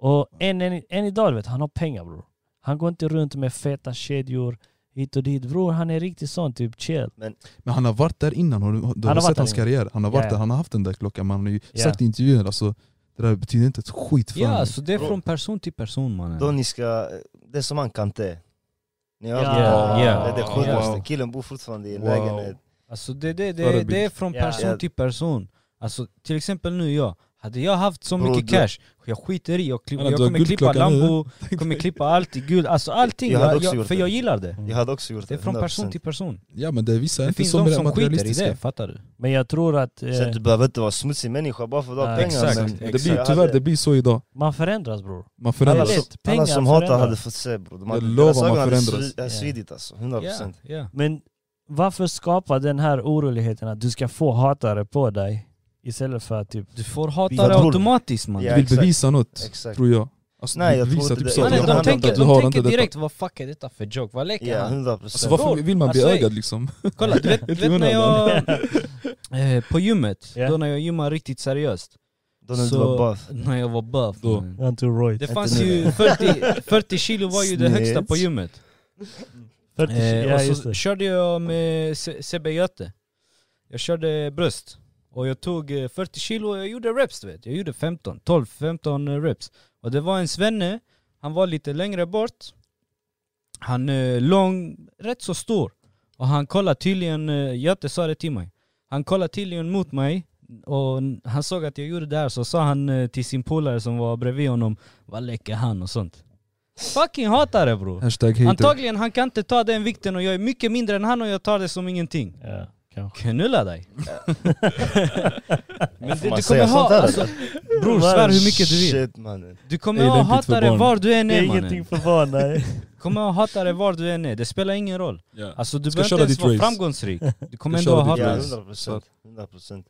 [SPEAKER 3] Och än, än, än idag, du vet, han har pengar bror. Han går inte runt med feta kedjor hit och dit. Bror, han är riktigt sån, typ chill.
[SPEAKER 5] Men han har varit där innan, har du, du har,
[SPEAKER 3] har varit
[SPEAKER 5] sett hans
[SPEAKER 3] där innan.
[SPEAKER 5] karriär. Han har varit
[SPEAKER 3] Ja, ja.
[SPEAKER 5] där, han har haft den där klockan. Man har ju
[SPEAKER 3] Ja.
[SPEAKER 5] sagt i intervjuer, alltså, det där betyder inte ett skit för
[SPEAKER 4] Ja, alltså,
[SPEAKER 5] honom.
[SPEAKER 4] så det är från person till person mannen.
[SPEAKER 1] Då ni ska, det är som han Kanté. Ni har
[SPEAKER 3] Ja.
[SPEAKER 1] haft-
[SPEAKER 4] Ja.
[SPEAKER 1] Det är det
[SPEAKER 2] Wow.
[SPEAKER 1] sjukaste, killen bor fortfarande i en
[SPEAKER 2] Wow.
[SPEAKER 1] lägenhet.
[SPEAKER 4] Alltså det, det, det,
[SPEAKER 2] Förebild.
[SPEAKER 4] det är från
[SPEAKER 3] Ja.
[SPEAKER 4] person
[SPEAKER 1] Ja.
[SPEAKER 4] till person. Alltså till exempel nu jag, hade jag haft så
[SPEAKER 1] Bro,
[SPEAKER 4] mycket
[SPEAKER 1] du-
[SPEAKER 4] cash, jag skiter i, jag, klipp,
[SPEAKER 2] Alla,
[SPEAKER 4] jag
[SPEAKER 2] du har
[SPEAKER 4] kommer klippa
[SPEAKER 2] guldklockan nu.
[SPEAKER 4] Lambo, kommer klippa allt i guld, alltså allting.
[SPEAKER 1] Jag hade
[SPEAKER 4] Jag
[SPEAKER 1] också
[SPEAKER 4] jag,
[SPEAKER 1] gjort
[SPEAKER 4] för
[SPEAKER 1] det.
[SPEAKER 4] jag gillar det.
[SPEAKER 1] Jag hade också gjort
[SPEAKER 4] Det
[SPEAKER 1] det,
[SPEAKER 4] är från
[SPEAKER 1] 100%.
[SPEAKER 4] person till person.
[SPEAKER 5] Ja men det är vissa
[SPEAKER 4] Det
[SPEAKER 5] är inte
[SPEAKER 4] finns
[SPEAKER 5] så
[SPEAKER 4] de som skiter i
[SPEAKER 5] materialistiska.
[SPEAKER 4] det, fattar du?
[SPEAKER 3] Men jag tror att
[SPEAKER 1] Sen
[SPEAKER 3] eh,
[SPEAKER 1] du behöver inte vara smutsig människa bara för att du har
[SPEAKER 3] Nej,
[SPEAKER 1] pengar.
[SPEAKER 2] Exakt.
[SPEAKER 1] men-
[SPEAKER 2] Men det
[SPEAKER 1] Jag
[SPEAKER 2] blir,
[SPEAKER 1] hade-
[SPEAKER 2] tyvärr, det blir så idag.
[SPEAKER 3] man förändras bror.
[SPEAKER 2] Man
[SPEAKER 3] Alla,
[SPEAKER 2] förändras.
[SPEAKER 3] vet, pengar
[SPEAKER 1] Alla som hatar
[SPEAKER 3] förändrar.
[SPEAKER 1] hade fått se bror. De
[SPEAKER 2] Jag
[SPEAKER 1] hade-
[SPEAKER 2] lovar,
[SPEAKER 1] deras
[SPEAKER 2] man
[SPEAKER 1] ögon hade
[SPEAKER 2] förändras.
[SPEAKER 1] svi- hade
[SPEAKER 3] Ja.
[SPEAKER 1] svidit alltså, 100%.
[SPEAKER 4] ja.
[SPEAKER 3] Men varför skapa den här oroligheten att du ska få hatare på dig? Istället för att typ...
[SPEAKER 4] Du får hata
[SPEAKER 1] För
[SPEAKER 4] det
[SPEAKER 1] att-
[SPEAKER 4] automatiskt man.
[SPEAKER 1] Ja,
[SPEAKER 5] Du vill
[SPEAKER 1] exakt.
[SPEAKER 5] bevisa något,
[SPEAKER 1] Exakt.
[SPEAKER 5] tror jag. Alltså,
[SPEAKER 1] Nej,
[SPEAKER 5] du
[SPEAKER 1] jag
[SPEAKER 5] vill
[SPEAKER 1] tror
[SPEAKER 5] visa
[SPEAKER 1] inte
[SPEAKER 5] typ
[SPEAKER 1] det.
[SPEAKER 5] så.
[SPEAKER 1] Nej, jag
[SPEAKER 4] Mannen,
[SPEAKER 1] handlar
[SPEAKER 4] de
[SPEAKER 1] om
[SPEAKER 4] tänker,
[SPEAKER 1] att
[SPEAKER 2] du har
[SPEAKER 4] de
[SPEAKER 2] inte
[SPEAKER 4] tänker
[SPEAKER 2] detta.
[SPEAKER 4] direkt vad fuck är detta för joke, vad leker
[SPEAKER 1] Ja,
[SPEAKER 4] han?
[SPEAKER 1] 100%.
[SPEAKER 2] Alltså varför vill man bli
[SPEAKER 4] Alltså,
[SPEAKER 2] ögad liksom?
[SPEAKER 4] Kolla, du vet, du
[SPEAKER 2] Helt
[SPEAKER 4] vet
[SPEAKER 2] i
[SPEAKER 4] när jag...
[SPEAKER 2] onödan.
[SPEAKER 4] Eh, på gymmet,
[SPEAKER 3] Ja.
[SPEAKER 4] då när jag gymmar riktigt seriöst.
[SPEAKER 1] Då när du
[SPEAKER 4] så-
[SPEAKER 1] var buff.
[SPEAKER 4] När jag var buff.
[SPEAKER 2] Då.
[SPEAKER 4] man.
[SPEAKER 3] Anto Roy.
[SPEAKER 4] Det
[SPEAKER 1] Inte
[SPEAKER 4] fanns
[SPEAKER 1] nu.
[SPEAKER 4] ju 40, 40 kilo var ju det
[SPEAKER 1] Snett.
[SPEAKER 4] högsta på gymmet. Eh,
[SPEAKER 3] ja,
[SPEAKER 4] och
[SPEAKER 3] just
[SPEAKER 4] så
[SPEAKER 3] det.
[SPEAKER 4] körde jag med Se- Sebbe Göte. Jag körde bröst. Och jag tog eh, 40 kilo och jag gjorde reps du vet. Jag gjorde 15, 12, 15 eh, reps. Och det var en svenne, han var lite längre bort. Han är lång, rätt så stor. Och han kollade tydligen, eh, Göte sa det till mig. Han kollade tydligen mot mig och n- han såg att jag gjorde det här så sa han eh, till sin polare som var bredvid honom Vad läcker han och sånt. Fucking hatar det bror.
[SPEAKER 5] Hashtag hater.
[SPEAKER 4] Antagligen han kan inte ta den vikten och jag är mycket mindre än han och jag tar det som ingenting.
[SPEAKER 3] Ja, kanske.
[SPEAKER 4] Knulla dig. Men du,
[SPEAKER 1] man
[SPEAKER 4] du
[SPEAKER 1] säga
[SPEAKER 4] kommer
[SPEAKER 1] sånt
[SPEAKER 4] ha,
[SPEAKER 1] här,
[SPEAKER 4] alltså, bror svär hur mycket du vill.
[SPEAKER 1] Shit mannen.
[SPEAKER 4] Du kommer
[SPEAKER 2] Det är
[SPEAKER 4] ha
[SPEAKER 2] lämpligt för
[SPEAKER 4] hatare
[SPEAKER 2] barn.
[SPEAKER 4] var du än
[SPEAKER 3] Det är
[SPEAKER 4] är
[SPEAKER 3] ingenting
[SPEAKER 4] mannen.
[SPEAKER 3] för barn, nej.
[SPEAKER 4] Kommer ha hatare var du än är, det spelar ingen roll.
[SPEAKER 2] Ja.
[SPEAKER 4] Alltså du
[SPEAKER 2] Ska
[SPEAKER 4] behöver
[SPEAKER 2] köra
[SPEAKER 4] inte ens
[SPEAKER 2] ditt
[SPEAKER 4] vara
[SPEAKER 2] race.
[SPEAKER 4] framgångsrik. Du kommer
[SPEAKER 2] Ska
[SPEAKER 4] ändå
[SPEAKER 2] köra
[SPEAKER 4] ha
[SPEAKER 1] Ja,
[SPEAKER 2] ditt
[SPEAKER 4] hatare.
[SPEAKER 2] race.
[SPEAKER 1] 100%. 100%.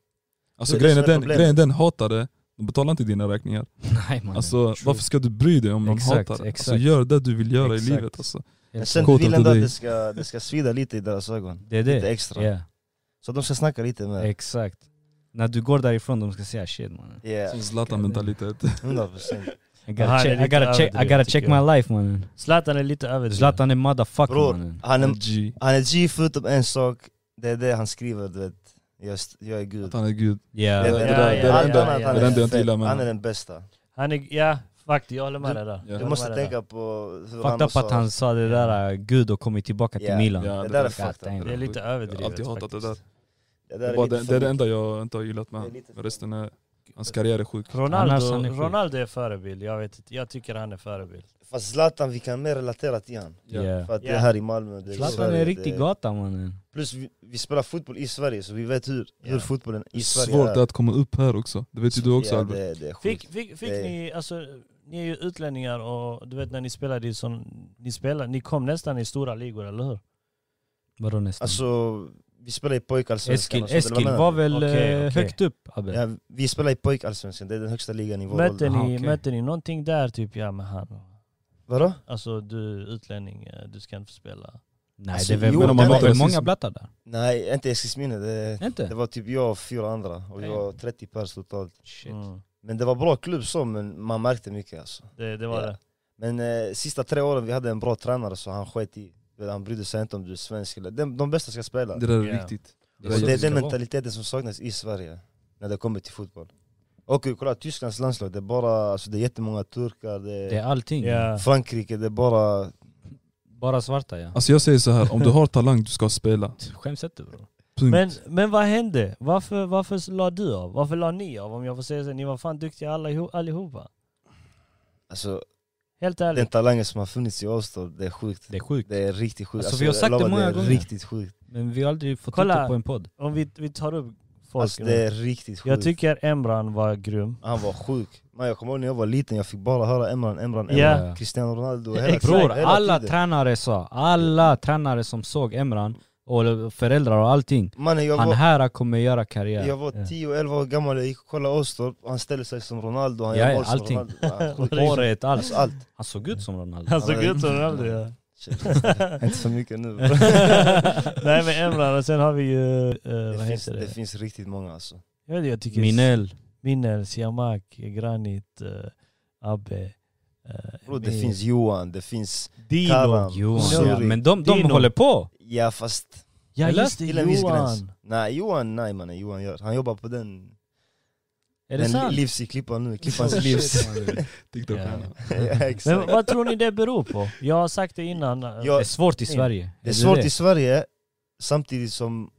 [SPEAKER 2] Alltså
[SPEAKER 1] Det är
[SPEAKER 2] grejen
[SPEAKER 1] det
[SPEAKER 2] är
[SPEAKER 1] som är
[SPEAKER 2] den,
[SPEAKER 1] problemet.
[SPEAKER 2] grejen är den hatade, de betalar inte dina räkningar.
[SPEAKER 4] Nej mannen.
[SPEAKER 2] Alltså
[SPEAKER 4] True.
[SPEAKER 2] varför ska du bry dig om någon
[SPEAKER 4] Exakt,
[SPEAKER 2] hatar dig? Alltså
[SPEAKER 4] exakt.
[SPEAKER 2] gör det du vill göra i
[SPEAKER 4] Exakt.
[SPEAKER 2] livet alltså.
[SPEAKER 1] Men
[SPEAKER 4] Helt
[SPEAKER 1] sen
[SPEAKER 4] sant.
[SPEAKER 5] Quote
[SPEAKER 1] du vill
[SPEAKER 5] of
[SPEAKER 1] ändå
[SPEAKER 5] the
[SPEAKER 1] att
[SPEAKER 5] day.
[SPEAKER 1] det ska, det ska svida lite i deras ögon.
[SPEAKER 4] Det är det.
[SPEAKER 1] Lite extra.
[SPEAKER 4] Ja,
[SPEAKER 1] Så de ska snacka lite mer.
[SPEAKER 4] exakt. När du går därifrån de ska säga shit mannen.
[SPEAKER 1] Ja,
[SPEAKER 2] Sån Zlatan-mentalitet.
[SPEAKER 1] 100%.
[SPEAKER 4] I
[SPEAKER 3] Han
[SPEAKER 4] gotta
[SPEAKER 3] är
[SPEAKER 4] check, I
[SPEAKER 3] lite
[SPEAKER 4] gotta check, I
[SPEAKER 3] överdriven,
[SPEAKER 4] gotta check
[SPEAKER 3] tycker
[SPEAKER 4] my
[SPEAKER 3] jag.
[SPEAKER 4] life mannen.
[SPEAKER 3] Zlatan är lite överdriven.
[SPEAKER 4] Zlatan är motherfucker
[SPEAKER 1] Bror,
[SPEAKER 4] mannen.
[SPEAKER 1] han är,
[SPEAKER 2] G.
[SPEAKER 1] han är G förutom en sak. Det är det han skriver du vet. Jag, st- jag är gud.
[SPEAKER 2] Att han är gud.
[SPEAKER 4] Ja.
[SPEAKER 1] Det är
[SPEAKER 2] det
[SPEAKER 1] det-
[SPEAKER 2] där- det är det
[SPEAKER 1] allt
[SPEAKER 2] enda-
[SPEAKER 1] annat, han
[SPEAKER 2] det är det enda jag inte
[SPEAKER 1] fett.
[SPEAKER 2] gillar med
[SPEAKER 1] Han är
[SPEAKER 2] honom.
[SPEAKER 1] den bästa.
[SPEAKER 3] Han är, ja, faktiskt, jag håller med dig där.
[SPEAKER 2] Ja.
[SPEAKER 1] Du måste tänka på hur
[SPEAKER 4] Fucked up att han sa det där eh, gud och kommit tillbaka till
[SPEAKER 1] Ja.
[SPEAKER 4] Milan.
[SPEAKER 2] Ja,
[SPEAKER 1] Det
[SPEAKER 2] det
[SPEAKER 1] där är
[SPEAKER 2] där-
[SPEAKER 1] fucked
[SPEAKER 4] damn.
[SPEAKER 1] up.
[SPEAKER 3] Det är lite överdrivet
[SPEAKER 2] Jag har alltid hatat det där.
[SPEAKER 3] faktiskt.
[SPEAKER 1] Det
[SPEAKER 2] Det,
[SPEAKER 1] där
[SPEAKER 2] är
[SPEAKER 1] är
[SPEAKER 2] bara
[SPEAKER 1] lite
[SPEAKER 2] det, det
[SPEAKER 1] för
[SPEAKER 2] är det
[SPEAKER 1] mycket.
[SPEAKER 2] enda jag inte har gillat med
[SPEAKER 1] Det är
[SPEAKER 2] honom.
[SPEAKER 1] lite
[SPEAKER 2] Men
[SPEAKER 1] för
[SPEAKER 2] Resten är, hans karriär är sjuk.
[SPEAKER 4] Annars han
[SPEAKER 3] Ronaldo,
[SPEAKER 4] är sjuk.
[SPEAKER 3] Ronaldo är förebild, jag vet inte. Jag tycker han är förebild.
[SPEAKER 1] Fast Zlatan, vi kan mer relatera till han.
[SPEAKER 2] Ja.
[SPEAKER 4] Yeah.
[SPEAKER 1] För att det
[SPEAKER 3] Ja.
[SPEAKER 1] är här i Malmö. Det är i
[SPEAKER 4] Zlatan
[SPEAKER 1] Sverige,
[SPEAKER 4] är
[SPEAKER 1] det
[SPEAKER 4] en riktig gata mannen.
[SPEAKER 1] Plus vi, vi spelar fotboll i Sverige så vi vet hur,
[SPEAKER 3] Ja.
[SPEAKER 1] hur fotbollen i Sverige
[SPEAKER 5] Svårt
[SPEAKER 1] är.
[SPEAKER 5] att komma upp här också. Det vet ju du också
[SPEAKER 1] ja,
[SPEAKER 5] Albert.
[SPEAKER 1] det, det är sjukt.
[SPEAKER 3] Fick, fick, fick
[SPEAKER 1] Det är-
[SPEAKER 3] ni, alltså, ni är ju utlänningar och du vet när ni spelade i sån, ni spelade, ni kom nästan i stora ligor, eller hur?
[SPEAKER 4] Vadå nästan?
[SPEAKER 1] Alltså, vi spelar i pojkallsvenskan. alltså,
[SPEAKER 4] Eskil,
[SPEAKER 1] och sånt, eller vad
[SPEAKER 4] Eskil
[SPEAKER 1] menar du?
[SPEAKER 4] var väl
[SPEAKER 3] Okej,
[SPEAKER 4] eh,
[SPEAKER 3] okej.
[SPEAKER 4] högt upp Abbe?
[SPEAKER 1] Ja, vi spelar i pojkallsvenskan, det är den högsta ligan i vår
[SPEAKER 3] Mötte
[SPEAKER 1] ålder.
[SPEAKER 3] ni,
[SPEAKER 4] Aha, okej.
[SPEAKER 3] mötte ni någonting där typ, ja men han,
[SPEAKER 1] Vadå?
[SPEAKER 3] alltså du är utlänning, eh, du ska inte få spela.
[SPEAKER 4] Nej
[SPEAKER 1] Alltså,
[SPEAKER 4] det var
[SPEAKER 1] jo, men
[SPEAKER 4] väl, men
[SPEAKER 1] om man
[SPEAKER 4] var
[SPEAKER 1] inte
[SPEAKER 4] väl
[SPEAKER 2] rasist-
[SPEAKER 4] många blattar där?
[SPEAKER 1] Nej, inte Eskilsminne. Det, det
[SPEAKER 4] Inte?
[SPEAKER 1] var typ jag och fyra andra och vi
[SPEAKER 4] Ja.
[SPEAKER 1] var 30 pers totalt.
[SPEAKER 4] Shit.
[SPEAKER 3] Mm.
[SPEAKER 1] Men det var bra klubb så, men man märkte mycket alltså.
[SPEAKER 3] Det, det var
[SPEAKER 1] Ja.
[SPEAKER 3] det.
[SPEAKER 1] Men eh, sista tre åren vi hade en bra tränare så han sket i. Han brydde sig inte om du är svensk eller... De, de bästa ska spela.
[SPEAKER 5] Det där är
[SPEAKER 3] Ja.
[SPEAKER 5] riktigt.
[SPEAKER 1] Och
[SPEAKER 4] Det är så
[SPEAKER 1] Alltså, det är
[SPEAKER 4] ska
[SPEAKER 1] den
[SPEAKER 4] vara.
[SPEAKER 1] mentaliteten som saknas i Sverige när det kommer till fotboll. Och kolla Tysklands landslag, det är bara, alltså det är jättemånga turkar, det är
[SPEAKER 4] Det är allting.
[SPEAKER 3] Ja.
[SPEAKER 1] Frankrike, det är bara...
[SPEAKER 4] Bara svarta ja.
[SPEAKER 5] Alltså jag säger så här, om du har talang du ska spela.
[SPEAKER 4] Skäms inte bror.
[SPEAKER 5] Punkt.
[SPEAKER 3] Men, men vad hände? Varför, varför la du av? Varför la ni av? Om jag får säga så, ni var fan duktiga alla, iho- allihopa.
[SPEAKER 1] Alltså
[SPEAKER 3] Helt
[SPEAKER 1] den
[SPEAKER 3] ärligt.
[SPEAKER 1] talangen som har funnits i Åstorp, det är sjukt.
[SPEAKER 4] Det är sjukt.
[SPEAKER 1] Det är riktigt sjukt.
[SPEAKER 4] Alltså, vi har
[SPEAKER 1] jag
[SPEAKER 4] sagt det
[SPEAKER 1] lovar,
[SPEAKER 4] många
[SPEAKER 1] det är
[SPEAKER 4] gånger.
[SPEAKER 1] riktigt sjukt.
[SPEAKER 4] Men vi har aldrig fått
[SPEAKER 3] Kolla.
[SPEAKER 4] titta på en podd.
[SPEAKER 3] Om vi, vi tar upp folk.
[SPEAKER 1] Alltså det är riktigt sjukt.
[SPEAKER 3] jag tycker Emran var grym.
[SPEAKER 1] Han var sjuk. Man, jag kommer ihåg när jag var liten, jag fick bara höra Emran, Emran, Emran.
[SPEAKER 3] Ja.
[SPEAKER 1] Cristiano Ronaldo
[SPEAKER 3] Ja,
[SPEAKER 1] hela,
[SPEAKER 3] exakt.
[SPEAKER 1] tiden,
[SPEAKER 4] Bror,
[SPEAKER 1] hela
[SPEAKER 4] alla
[SPEAKER 1] tiden.
[SPEAKER 4] tränare sa, alla tränare som såg Emran, och föräldrar och allting,
[SPEAKER 1] Mannen jag
[SPEAKER 4] han
[SPEAKER 1] var,
[SPEAKER 4] här kommer göra karriär.
[SPEAKER 1] jag var
[SPEAKER 3] Ja.
[SPEAKER 1] 10-11 år gammal, jag gick och kollade Åstorp, han ställde sig som Ronaldo, han
[SPEAKER 4] Ja,
[SPEAKER 1] gör
[SPEAKER 4] ja,
[SPEAKER 1] mål som
[SPEAKER 4] allting.
[SPEAKER 1] Ronaldo. Ja, sjukt.
[SPEAKER 4] Håret, allt.
[SPEAKER 1] Alltså, allt.
[SPEAKER 4] Han såg ut som Ronaldo.
[SPEAKER 3] Han såg ut som Ronaldo ja.
[SPEAKER 1] Shit, Inte så mycket nu. bro.
[SPEAKER 3] Nej men Emran, och sen har vi ju, eh,
[SPEAKER 1] Det
[SPEAKER 3] vad
[SPEAKER 1] finns,
[SPEAKER 3] heter
[SPEAKER 1] det
[SPEAKER 3] det?
[SPEAKER 1] finns riktigt många alltså.
[SPEAKER 3] Jag, vet, jag tycker
[SPEAKER 4] Minell.
[SPEAKER 3] Minel, Siamak, Granit, eh, Abbe. eh,
[SPEAKER 1] Bro, det
[SPEAKER 3] Emir.
[SPEAKER 1] finns Johan, det finns
[SPEAKER 3] Dino.
[SPEAKER 1] Karam,
[SPEAKER 4] Jo,
[SPEAKER 1] Suri.
[SPEAKER 4] ja, men de, de
[SPEAKER 3] Dino.
[SPEAKER 4] håller på.
[SPEAKER 1] Ja fast,
[SPEAKER 3] Ja
[SPEAKER 4] Eller?
[SPEAKER 3] just det,
[SPEAKER 1] till en viss gräns.
[SPEAKER 3] Johan.
[SPEAKER 1] Nej Johan, nej mannen Johan gör, han jobbar på den,
[SPEAKER 4] Är det
[SPEAKER 1] den li-
[SPEAKER 4] sant?
[SPEAKER 1] livs i klippan nu,
[SPEAKER 2] Oh,
[SPEAKER 1] klippans livs.
[SPEAKER 2] TikTok-stjärna.
[SPEAKER 1] Ja,
[SPEAKER 3] Men
[SPEAKER 1] exakt.
[SPEAKER 3] vad tror ni det beror på? Jag har sagt det innan. eh,
[SPEAKER 4] Det
[SPEAKER 1] Jag,
[SPEAKER 4] är svårt i Sverige.
[SPEAKER 1] Det är svårt
[SPEAKER 4] det?
[SPEAKER 1] i Sverige, samtidigt som